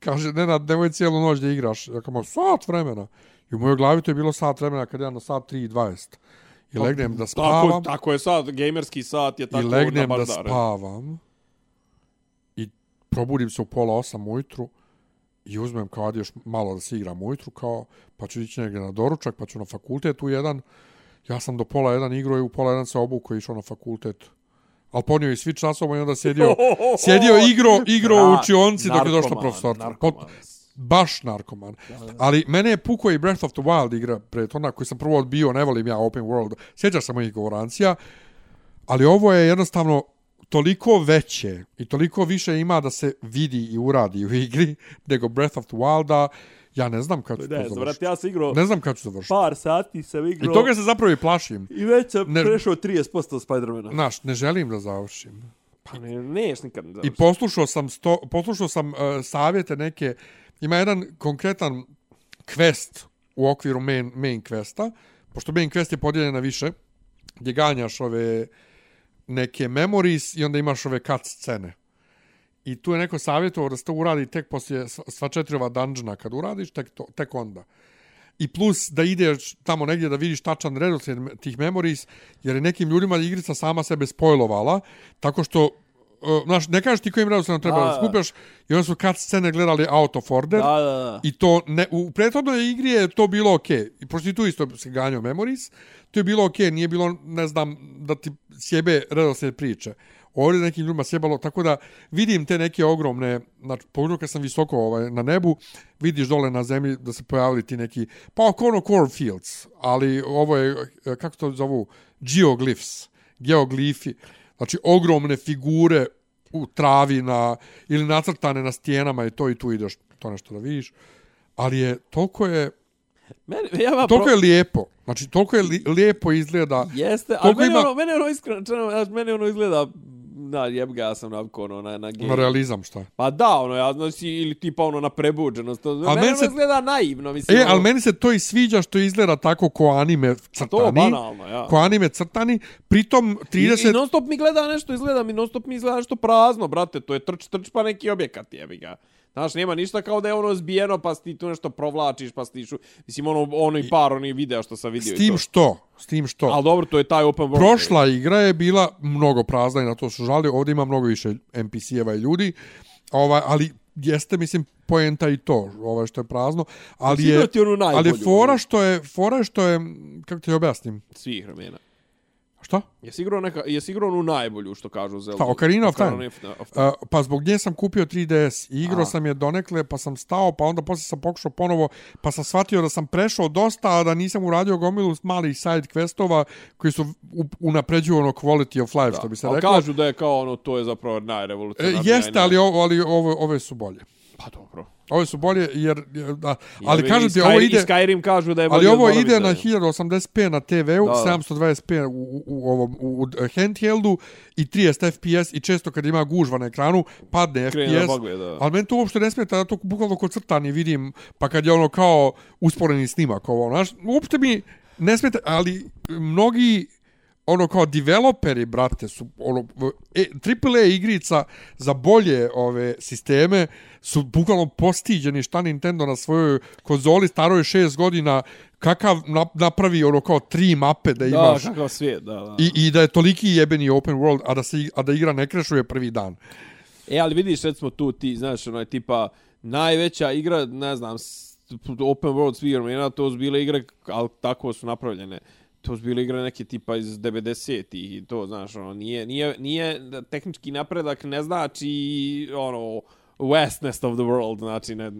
kaže, Nenad, nemoj cijelu noć da igraš. Ja kao, "Ma, sat vremena. I u mojoj glavi to je bilo sat vremena kad ja na sat 3 i 20. I legnem da spavam. Pa, Tako, tako je sad, gamerski sat je tako I na legnem da bardare. spavam i probudim se u pola osam ujutru i uzmem kao ajde još malo da se igram ujutru kao pa ću ići negdje na doručak pa ću na fakultet u jedan ja sam do pola jedan igrao i u pola jedan se obuko i išao na fakultet ali ponio i svi časova i onda sjedio sjedio igro igro u učionci dok je došla Narkoman, profesorka narkoman. Pot- baš narkoman. Ali mene je puko i Breath of the Wild igra prethodna koju sam prvo odbio, ne volim ja open world. Sjećaš se mojih govorancija, ali ovo je jednostavno toliko veće i toliko više ima da se vidi i uradi u igri nego Breath of the Wilda. Ja ne znam kad ću Ne, Pa, to zvrat, završiti. ja sam igrao Ne znam kad ću završiti. par sati, sam I igrao i, toga se zapravo i plašim. već sam Ne- prešao 30% Spider-mana. Znaš, ne želim da završim. Pa ne, neš nikad ne I završi. poslušao sam sto, poslušao sam uh, savjete neke ima jedan konkretan quest u okviru main main questa, pošto main quest je podijeljen na više gdje ganjaš ove neke memories i onda imaš ove cut scene. I tu je neko savjetovao da se to uradi tek poslije sva- sva četiri ova dungeona kad uradiš, tek, to, tek onda. I plus da ideš tamo negdje da vidiš tačan redoslijed me- tih memories, jer je nekim ljudima igrica sama sebe spojlovala, tako što uh, znaš, ne kažeš ti kojim redoslijedom treba Da. da skupljaš, i onda su cut scene gledali out of order, Da, da, da. I to ne, u prethodnoj igri je to bilo okej. I pošto i tu isto se ganjao Memories, to je bilo okej, nije bilo, ne znam, da ti sjebe redoslijed priče. Ovdje je nekim ljudima sjebalo, tako da vidim te neke ogromne, znači, pogledaj kad sam visoko ovaj, na nebu, vidiš dole na zemlji da se pojavili ti neki, pa oko ono cornfields, ali ovo je, eh, kako to zovu, geoglyphs, geoglifi, znači ogromne figure u travi na, ili nacrtane na stijenama i to i tu ideš to nešto da vidiš ali je toliko je Mene, ja vam toliko je lijepo znači toliko je li, lijepo izgleda Jeste, ali Koliko mene, ima- ono, mene ono iskreno, čeno, znaš, mene ono izgleda, na jeb ga, ja sam navko ono, na, na game. na realizam šta Pa da, ono, ja znači, ili tipa ono na prebuđenost, to, mene, meni ono se- izgleda naivno, mislim. E, ono, ali meni se to i sviđa što izgleda tako ko anime crtani. To banalno, ja. Ko anime crtani, pritom I, 30... I non stop mi gleda nešto, izgleda mi non stop mi izgleda nešto prazno, brate, to je trč, trč pa neki objekat, jebi ga. Znaš, nema ništa kao da je ono zbijeno, pa ti tu nešto provlačiš, pa stišu. Mislim, ono, ono i par, oni videa što sam vidio. s i tim to. što, s tim što. Ali dobro, to je taj open world. Prošla igra je bila mnogo prazna i na to su žali. Ovdje ima mnogo više NPC-eva i ljudi. Ovaj, ali jeste, mislim, poenta i to, ovaj što je prazno. Ali Sigurno je, ti onu najbolju, ali je ono. fora što je, fora je što je, kako ti objasnim? Svih vremena. Šta? Jesi igrao, neka, jesi igrao onu najbolju što kažu Zelda? Šta, Ocarina of Time? of Time. Uh, pa zbog nje sam kupio 3DS i igrao Aha. sam je donekle, pa sam stao, pa onda poslije sam pokušao ponovo, pa sam shvatio da sam prešao dosta, a da nisam uradio gomilu malih side questova koji su u- unapređuju ono quality of life, što bi se Ali reklo. kažu da je kao ono, to je zapravo E, najrevolucionarnija. jeste, i naj- ali, ovo, ali ovo, ove su bolje. Pa dobro. Ove su bolje, jer... jer- Da, ali Jebi ga, kažem i ti, Sky- ovo i ide... Skyrim kažu da je Ali bolji od ovo Morrowinda, ide na je. 1080p na TV-u, Da, da. 720p u, u, u, ovom, u, u handheldu i 30 FPS i često kad ima gužva na ekranu padne Krene da FPS. bagluje, da. Ali meni to uopšte ne smeta, ja to bukvalno kod crtani vidim, pa kad je ono kao usporeni snimak, ovo, znaš, uopšte mi ne smeta, ali mnogi ono kao developeri, brate, su ono, e, AAA igrica za bolje ove sisteme su bukvalno postiđeni šta Nintendo na svojoj konzoli staroj 6 godina kakav nap- napravi ono kao tri mape da Da, imaš kakav svijet, da, da. i, i da je toliki jebeni open world, a da, se, ig- a da igra ne krešuje prvi dan. E, ali vidiš, recimo tu ti, znaš, onaj tipa, najveća igra, ne znam, s- open world Spider-mana, to su bile igre, ali tako su napravljene. To su bile igre neke tipa iz 90-ih i to, znaš, ono, nije, nije, nije, tehnički napredak ne znači, ono, westness of the world, znači, ne,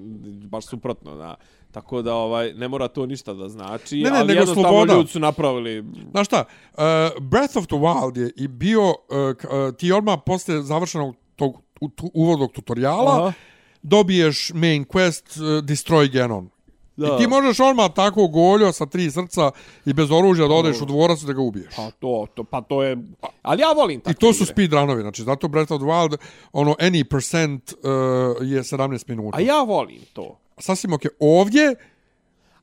baš suprotno, da. Tako da, ovaj, ne mora to ništa da znači, Ne, ne, ali nego jednostavno sloboda. ljudi su napravili, Znaš šta, uh, Breath of the Wild je i bio, uh, k- uh, ti odmah posle završenog tog u- tu- uvodnog tutoriala, Aha. dobiješ main quest uh, Destroy Ganon. Da. I ti možeš odmah tako goljo sa tri srca i bez oružja da odeš u dvorac i da ga ubiješ. pa to, to, pa to je, ali ja volim takve I to su igre. speedrunovi, znači zato Breath of the Wild, ono, any percent uh, je 17 minuta. A ja volim to. Sasvim okej. Ovdje,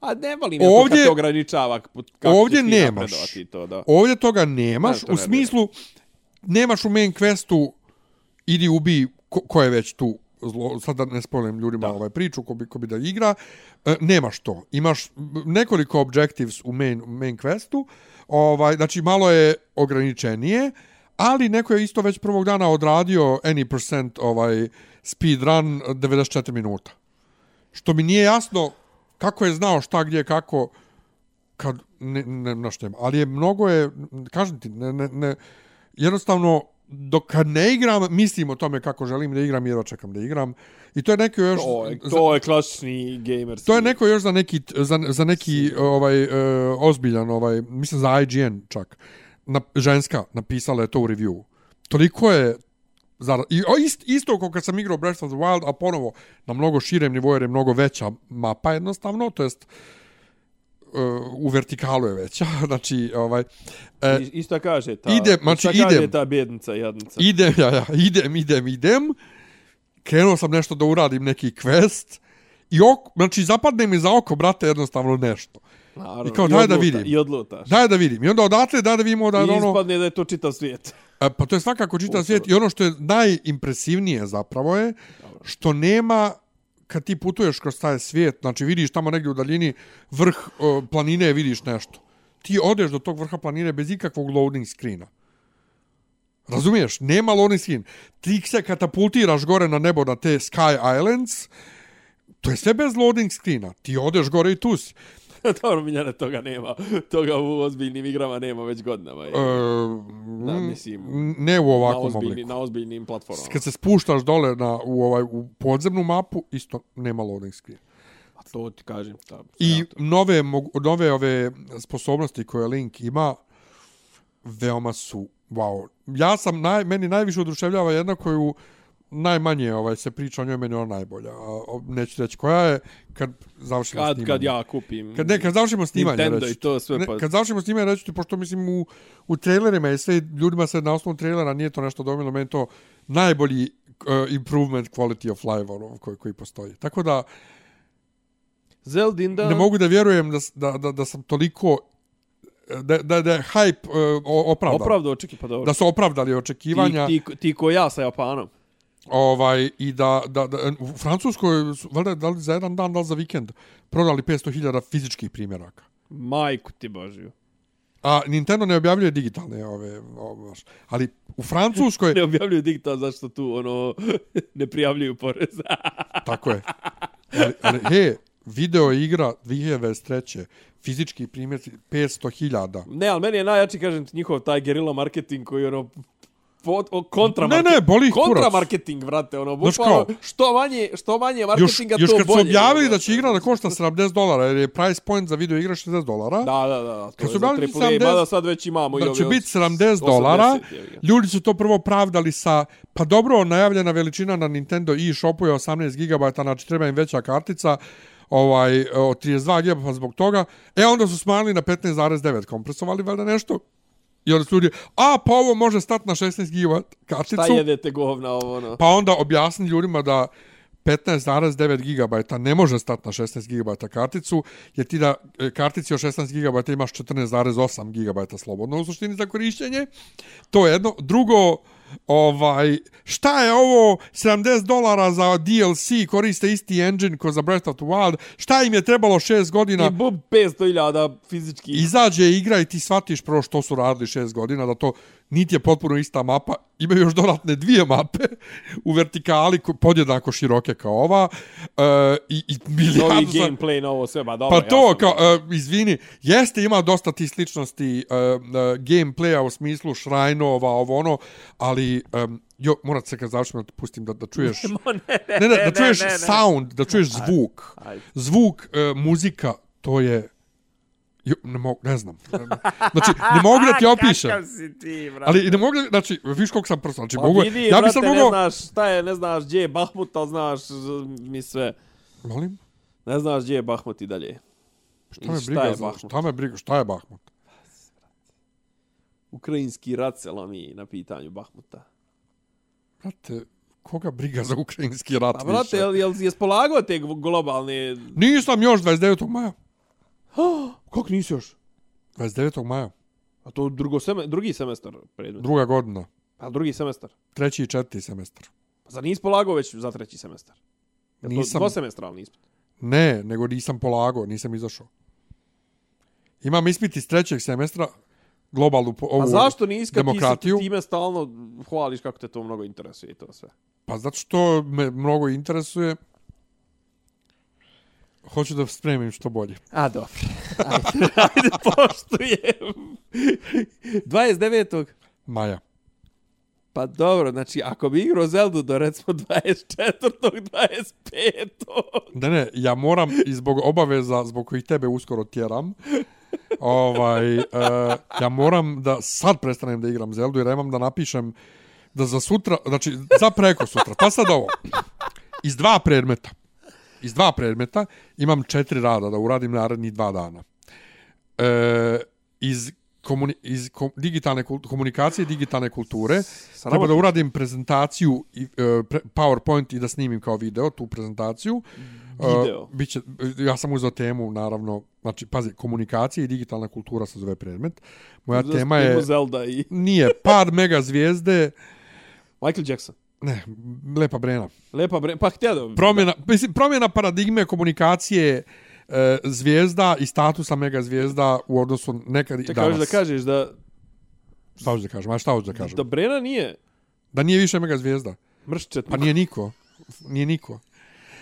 A ne volim ovdje, ja to kad Ovdje- te ograničava k- kako ovdje ćeš ti nemaš. napredovati i To, da. Ovdje toga nemaš, Ne, to u ne vjerujem. smislu nemaš u main questu idi ubi ko, ko je već tu zlo, sad da ne spojem ljudima da. ovaj priču ko bi, ko bi da igra, e, nemaš to. Imaš nekoliko objectives u main, main questu, ovaj, znači malo je ograničenije, ali neko je isto već prvog dana odradio any percent ovaj speed run 94 minuta. Što mi nije jasno kako je znao šta gdje kako kad ne ne znaš nema. ali je mnogo je kažem ti ne ne, ne jednostavno dok kad ne igram mislim o tome kako želim da igram jer čekam da igram i to je neko još To je, to je klasični gamer. To je neko još za neki za, za neki ovaj uh, ozbiljan ovaj mislim za IGN čak. Na, ženska napisala je to u review. Toliko je zar i o, ist, isto kao kad sam igrao Breath of the Wild, a ponovo na mnogo širem nivou jer je mnogo veća mapa jednostavno, to jest uh, u vertikalu je veća, znači ovaj e, I, I šta kaže ta? Idem, i znači, šta kaže idem. ta bjednica jadnica? idem ja, ja, idem, idem, idem. Krenuo sam nešto da uradim neki quest i ok, znači zapadne mi za oko brate jednostavno nešto. Naravno, i kao, daj da odluta- vidim. I odlutaš. Daj da vidim. I onda odatle daj da vidimo da I je ono... ispadne da je to čitav svijet. E, Pa to je svakako čitav svijet. I ono što je najimpresivnije zapravo je što nema kad ti putuješ kroz taj svijet, znači vidiš tamo negdje u daljini vrh e, planine, vidiš nešto. Ti odeš do tog vrha planine bez ikakvog loading screena. Razumiješ? Nema loading screen. Ti se katapultiraš gore na nebo na te Sky Islands, to je sve bez loading screena. Ti odeš gore i tu si. Dobro, Miljane, toga nema. Toga u ozbiljnim igrama nema već godinama. je. E, Da, mislim, ne u na, ovakvom obliku. ozbiljni, na ozbiljnim platformama. kad se spuštaš dole na u ovaj u podzemnu mapu isto nema loading screen. A to ti kažem. Ta, I nove mogu- nove ove sposobnosti koje Link ima veoma su wow. Ja sam naj meni najviše oduševljava jedna koju najmanje ovaj se priča o njoj meni je ona najbolja. A, o- neću reći koja je kad završimo kad, snimanje. kad ja kupim... Kad, ne, kad završimo snimanje, Nintendo reći i to sve, Ne, pa- Kad završimo snimanje, reći ti, pošto mislim u, u trailerima je sve, ljudima se na osnovu trailera nije to nešto domilo, meni to najbolji uh, improvement quality of life ono, koji, koji postoji. Tako da, Zeldinda... ne mogu da vjerujem da, s- da, da, da sam toliko, eh, da, da, da je hype uh, o- opravdan. Opravdo, očeki, pa dobro. Da su opravdali očekivanja Ti, ti, ti ko ja sa Japanom. ovaj i da, da, da u Francuskoj su valjda da li za jedan dan da li za vikend prodali 500.000 fizičkih primjeraka. Majku ti božiju. A Nintendo ne objavljuje digitalne ove, ove baš. ali u Francuskoj Ne objavljuju digital zašto tu ono ne prijavljuju porez. Tako je. Ali, ali he, video igra 2023. Fizički primjerci 500.000. ne, ali meni je najjači, kažem ti, njihov taj gerila marketing koji ono pod, o, kontra Ne, ne, boli ih kurac. kontra marketing, vrate, ono, Znaš bukvalno, kao? što manje, što manje Još, marketinga, još to kad su bolje. objavili ono, da će igra da košta 70 dolara, jer je price point za video igra 60 dolara, Da, da, da, to Kad kad su je za objavili AAA, 70 mada sad već imamo i da ove će od biti 80, 70 dolara, jebi ga. ljudi su to prvo pravdali sa, pa dobro, najavljena veličina na Nintendo e-shopu je 18 GB, znači treba im veća kartica, ovaj, od 32 GB, pa zbog toga, e onda su smanjili na 15,9, kompresovali valjda nešto, i onda su ljudi, a pa ovo može stati na 16 GB karticu, Šta jedete govna ovo, ono. Pa onda objasni ljudima da 15,9 GB ne može stati na 16 GB karticu, jer ti da e, kartici od 16 GB imaš 14,8 GB slobodno u suštini za korišćenje. To je jedno. Drugo, ovaj, šta je ovo 70 dolara za DLC koriste isti engine ko za Breath of the Wild, šta im je trebalo 6 I godina bub 500.000 fizički. izađe igra i ti shvatiš prvo što su radili šest godina, da to niti je potpuno ista mapa, imaju još dodatne dvije mape u vertikali ko- podjednako široke kao ova e, i, i Novi milijardu... sa- gameplay, novo sve, ba dobro. Pa to, jasno. kao, e, izvini, jeste ima dosta ti sličnosti e, e, gameplaya u smislu šrajnova, ovo ono, ali, e, jo, morat se kad završim da te pustim da, da čuješ... Ma ne, Ne, ne, da ne, čuješ ne, ne. sound, da čuješ zvuk. Ajde. Zvuk, e, muzika, to je... Jo, ne, mogu, ne znam. Znači, ne mogu da ti opišem. Kakav si ti, brate. Ali ne mogu, da- znači, viš koliko sam prosto. Znači, Pa mogu, vidi, ja bi sad brate, ne mogao... znaš šta je, ne znaš gdje je Bahmut, ali znaš z- mi sve. Molim? Ne znaš gdje je Bahmut i dalje. Šta me Šta briga je za... Bahmut? Šta me briga? Šta je Bahmut? Ukrajinski rat se lomi na pitanju Bahmuta. Brate, koga briga za ukrajinski rat Pa brate, više? jel, jel je spolagao te globalne... Nisam još 29. maja. Kako nisi još? 29. maja, A to drugo seme, drugi semestar predmet. druga godina. Pa drugi semestar. Treći i četvrti semestar. Pa zar nisi polagao već za treći semestar? Je Nisam. To dvosemestralni ispit. Ne, nego nisam polagao, nisam izašao. Imam ispit iz trećeg semestra, globalnu po- ovu Pa zašto nisi kad ti demokratiju. se time stalno hvališ kako te to mnogo interesuje i to sve? Pa zato što me mnogo interesuje. Hoću da spremim što bolje. A, dobro. Ajde, ajde poštujem. 29. Maja. Pa dobro, znači, ako bi igrao Zeldu do recimo 24. 25. Ne, ne, ja moram i zbog obaveza zbog kojih tebe uskoro tjeram, ovaj, e, ja moram da sad prestanem da igram Zeldu jer ja imam da napišem da za sutra, znači za preko sutra, pa sad ovo, iz dva predmeta, iz dva predmeta imam četiri rada da uradim narednih dva dana. E, iz komuni, iz kom, digitalne kul- komunikacije i digitalne kulture treba da uradim prezentaciju i, e, pre, PowerPoint i da snimim kao video tu prezentaciju. Video. Uh, biće, ja sam uzeo temu, naravno, znači, pazi, komunikacija i digitalna kultura se zove predmet. Moja tema je, Zelda i nije, pad mega zvijezde, Michael Jackson. ne, lepa brena. Lepa bre... Pa htio da... Promjena, mislim, promjena paradigme komunikacije e, zvijezda i statusa mega zvijezda u odnosu nekad i Čekaj, danas. hoćeš da kažeš da, Šta hoću da kažem? A šta hoću da kažem? da Brena nije Da nije više mega zvijezda. mrščet. Pa nije niko. Nije niko.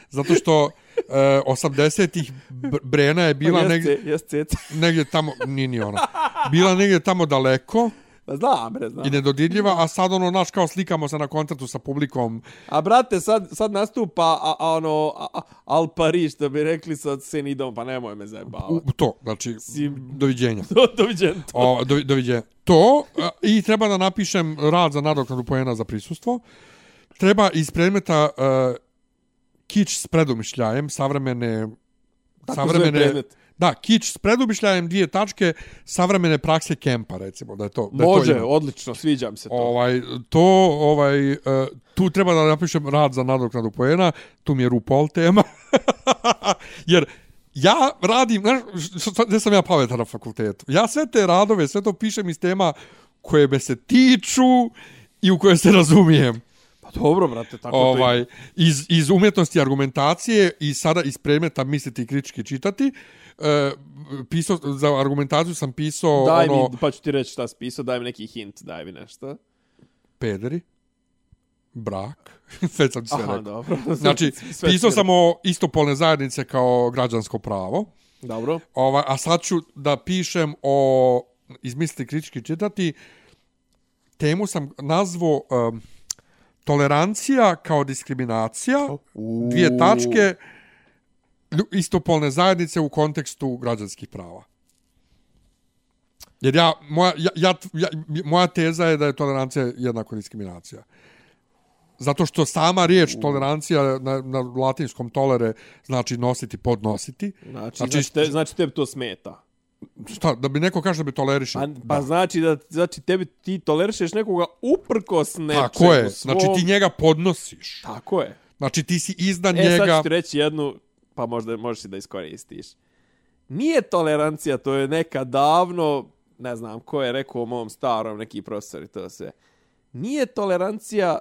Zato što e, 80-ih Br- Brena je bila Pa Jeste, negdje, Jeste, jeste. negdje tamo, nije ni ona, bila negdje tamo daleko Pa znam, bre, znam. i nedodirljiva, a sad ono, naš, kao slikamo se na koncertu sa publikom, A brate, sad, sad nastupa a, a ono, a, a, Al Paris, da bi rekli sa Senidom, pa nemoj me u, zajebavati. u to, znači, Sim. doviđenja. Do, doviđen to. O, do, doviđenja. To, a, i treba da napišem rad za nadoknadu pojena za prisustvo, treba iz predmeta uh, kič s predumišljajem, savremene, Tako zove savremene, predmet. Da, kič s predumišljajem, dvije tačke, savremene prakse kempa, recimo, da je to. Da je to Može, ime. odlično, sviđam se to. Ovaj, to, ovaj, eh, tu treba da napišem rad za nadoknadu poena, tu mi je RuPaul tema. Jer ja radim, znaš, š- š- gdje sam ja pametan na fakultetu? Ja sve te radove, sve to pišem iz tema koje me se tiču i u koje se razumijem. Pa dobro, brate, tako to ide. Ovaj, iz, iz umjetnosti argumentacije i sada iz predmeta misliti i kritički čitati, e, pisao, za argumentaciju sam pisao Daj ono, mi, pa ću ti reći šta si pisao, daj mi neki hint, daj mi nešto. pederi, brak, sve sam ti sve Aha, rekao. dobro. Znači, Sve pisao ti sam o istopolne zajednice kao građansko pravo, rekao. Dobro. ovaj, a sad ću da pišem o izmisliti kritički čitati, temu sam nazvao um, tolerancija kao diskriminacija, dvije tačke, lju- istopolne zajednice u kontekstu građanskih prava. Jer ja, moja, ja, ja, ja, moja teza je da je tolerancija jednako diskriminacija. Zato što sama riječ tolerancija na, na latinskom tolere znači nositi, podnositi. Znači, Znači, znači, znači, te, znači tebi to smeta. Šta, da bi neko kaže da bi toleriše. Pa, pa znači da znači tebi ti tolerišeš nekoga uprkos nečemu. Tako je. svom. Znači ti njega podnosiš. Tako je. Znači ti si iznad E, sad njega. ću ti reći jednu, pa možda možeš i da iskoristiš. Nije tolerancija, to je neka davno, ne znam ko je rekao mom starom, neki profesor i to sve. Nije tolerancija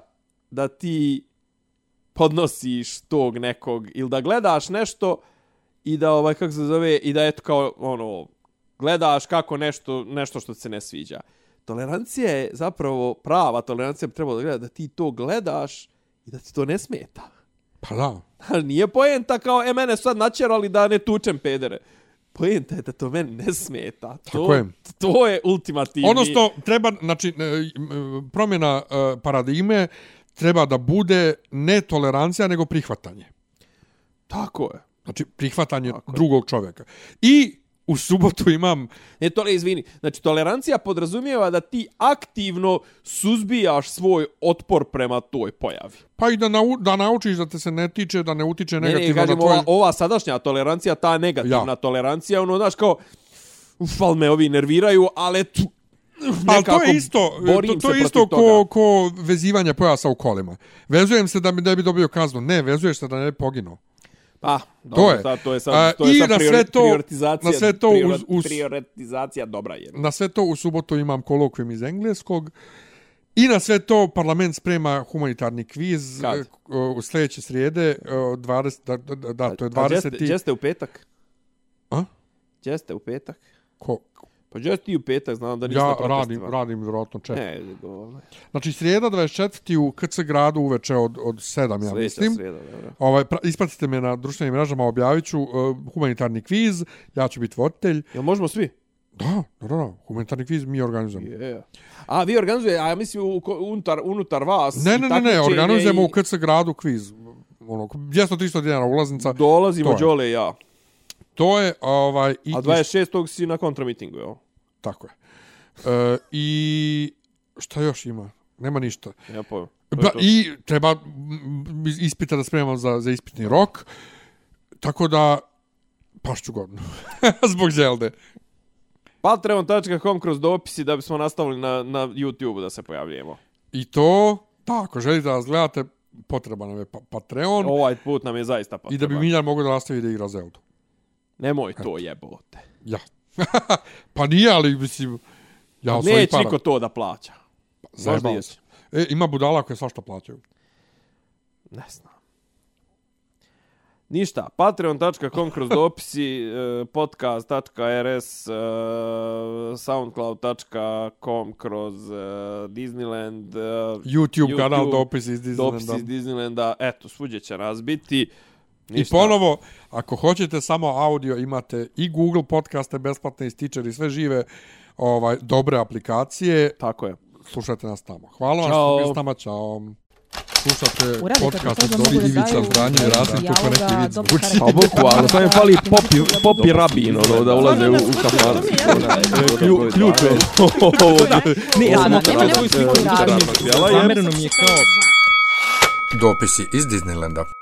da ti podnosiš tog nekog ili da gledaš nešto i da ovaj kako se zove i da eto kao ono gledaš kako nešto nešto što ti se ne sviđa. Tolerancija je zapravo prava tolerancija bi trebalo da gleda da ti to gledaš i da ti to ne smeta. Pa da. Ali nije poenta kao, e, mene su sad načerali da ne tučem pedere. Poenta je da to meni ne smeta. To, Tako je. To je ultimativni... Odnosno, Ono treba, znači, e, m, promjena e, paradigme treba da bude ne tolerancija, nego prihvatanje. Tako je. Znači, prihvatanje Tako je. drugog čovjeka. I u subotu imam, Ne, to ne, izvini. Znači, tolerancija podrazumijeva da ti aktivno suzbijaš svoj otpor prema toj pojavi. pa i da, nau, da naučiš da te se ne tiče, da ne utiče Ne, ne, negativno kažem, na tvoj... ova, ova sadašnja tolerancija, ta negativna Ja. tolerancija, ono, znaš, kao, uf, al me ovi nerviraju, ali tu, Ali nekako to je isto, e, borim to, to se je isto protiv ko, toga. ko vezivanje pojasa u kolima. Vezujem se da mi ne bi dobio kaznu. Ne, vezuješ se da ne bi poginuo. Pa, dobro, je. to je. To je sad, A, to je i sad na priori- sve to- prioritizacija, na sve to priori- uz- uz- prioritizacija dobra je. Na sve to u subotu imam kolokvim iz engleskog I na sve to parlament sprema humanitarni kviz Kad? e, k- u sljedeće srijede, e, 20, da, da, da, to je 20. Gdje ste u petak? A? Gdje ste u petak? Ko? Pa gdje ti u petak, znam da niste Ja na protestima. radim, radim vjerojatno čep. Ne, dovoljno. Znači, srijeda 24. u KC gradu uveče od, od 7, ja Sljedeća mislim. srijeda, dobro. Ovaj, pra, ispratite me na društvenim mrežama, objavit ću e, humanitarni kviz, ja ću biti voditelj. Jel možemo svi? Da, da, da, da, humanitarni kviz mi organizujemo. Yeah. A vi organizuje, a ja mislim u, ko- unutar, unutar vas. Ne, ne, ne, i ne, takmičenje organizujemo i- u KC gradu kviz. Ono, 200-300 dinara ulaznica. Dolazimo, To je. Đole i ja. To je, ovaj, i, A i- 26. si na kontramitingu, jel? tako je. E, I šta još ima? Nema ništa. Ja pojma. To je Ba, to. I treba m, m, ispita da spremam za, za ispitni rok. Tako da, pašću godinu. Zbog Zelde. Patreon.com kroz dopisi da bismo nastavili na, na YouTube da se pojavljujemo. I to, da, ako želite da nas gledate, potreba nam je pa- Patreon. Ovaj put nam je zaista potreban. I da bi Miljan mogao da nastavi da igra Zeldu. Nemoj to jebote. Ja. pa nije, ali mislim... Ja Pa, od svojih Pa Neće para. niko to da plaća. Zajebao Možda se. E, ima budala koje svašta plaćaju. Ne znam. Ništa, patreon.com kroz dopisi, eh, podcast.rs, eh, soundcloud.com kroz eh, Disneyland, eh, YouTube, YouTube, kanal dopis iz Disneylanda. dopisi iz Disneylanda, eto, svuđe će nas biti. I ponovo, ako hoćete samo audio, imate i Google podcaste besplatne i Stitcher i sve žive ovaj dobre aplikacije. Tako je. Slušajte nas tamo. Hvala vam Ćao. što ste bili s nama. Ćao. Slušate U radiju podcast kad od mogu Dobri pa da Ivica daju Zdranje i Rasim dijaloga, kako neki vic dobrih zvuči. karakteristika. popi rabin, ono, da ulaze u, ono, u kafan. Ključ je. Ne, ja sam Da, da, okrenula nema svoj nekog sliku drugog i razloga. zamereno mi je kao Dopisi iz Disneylanda.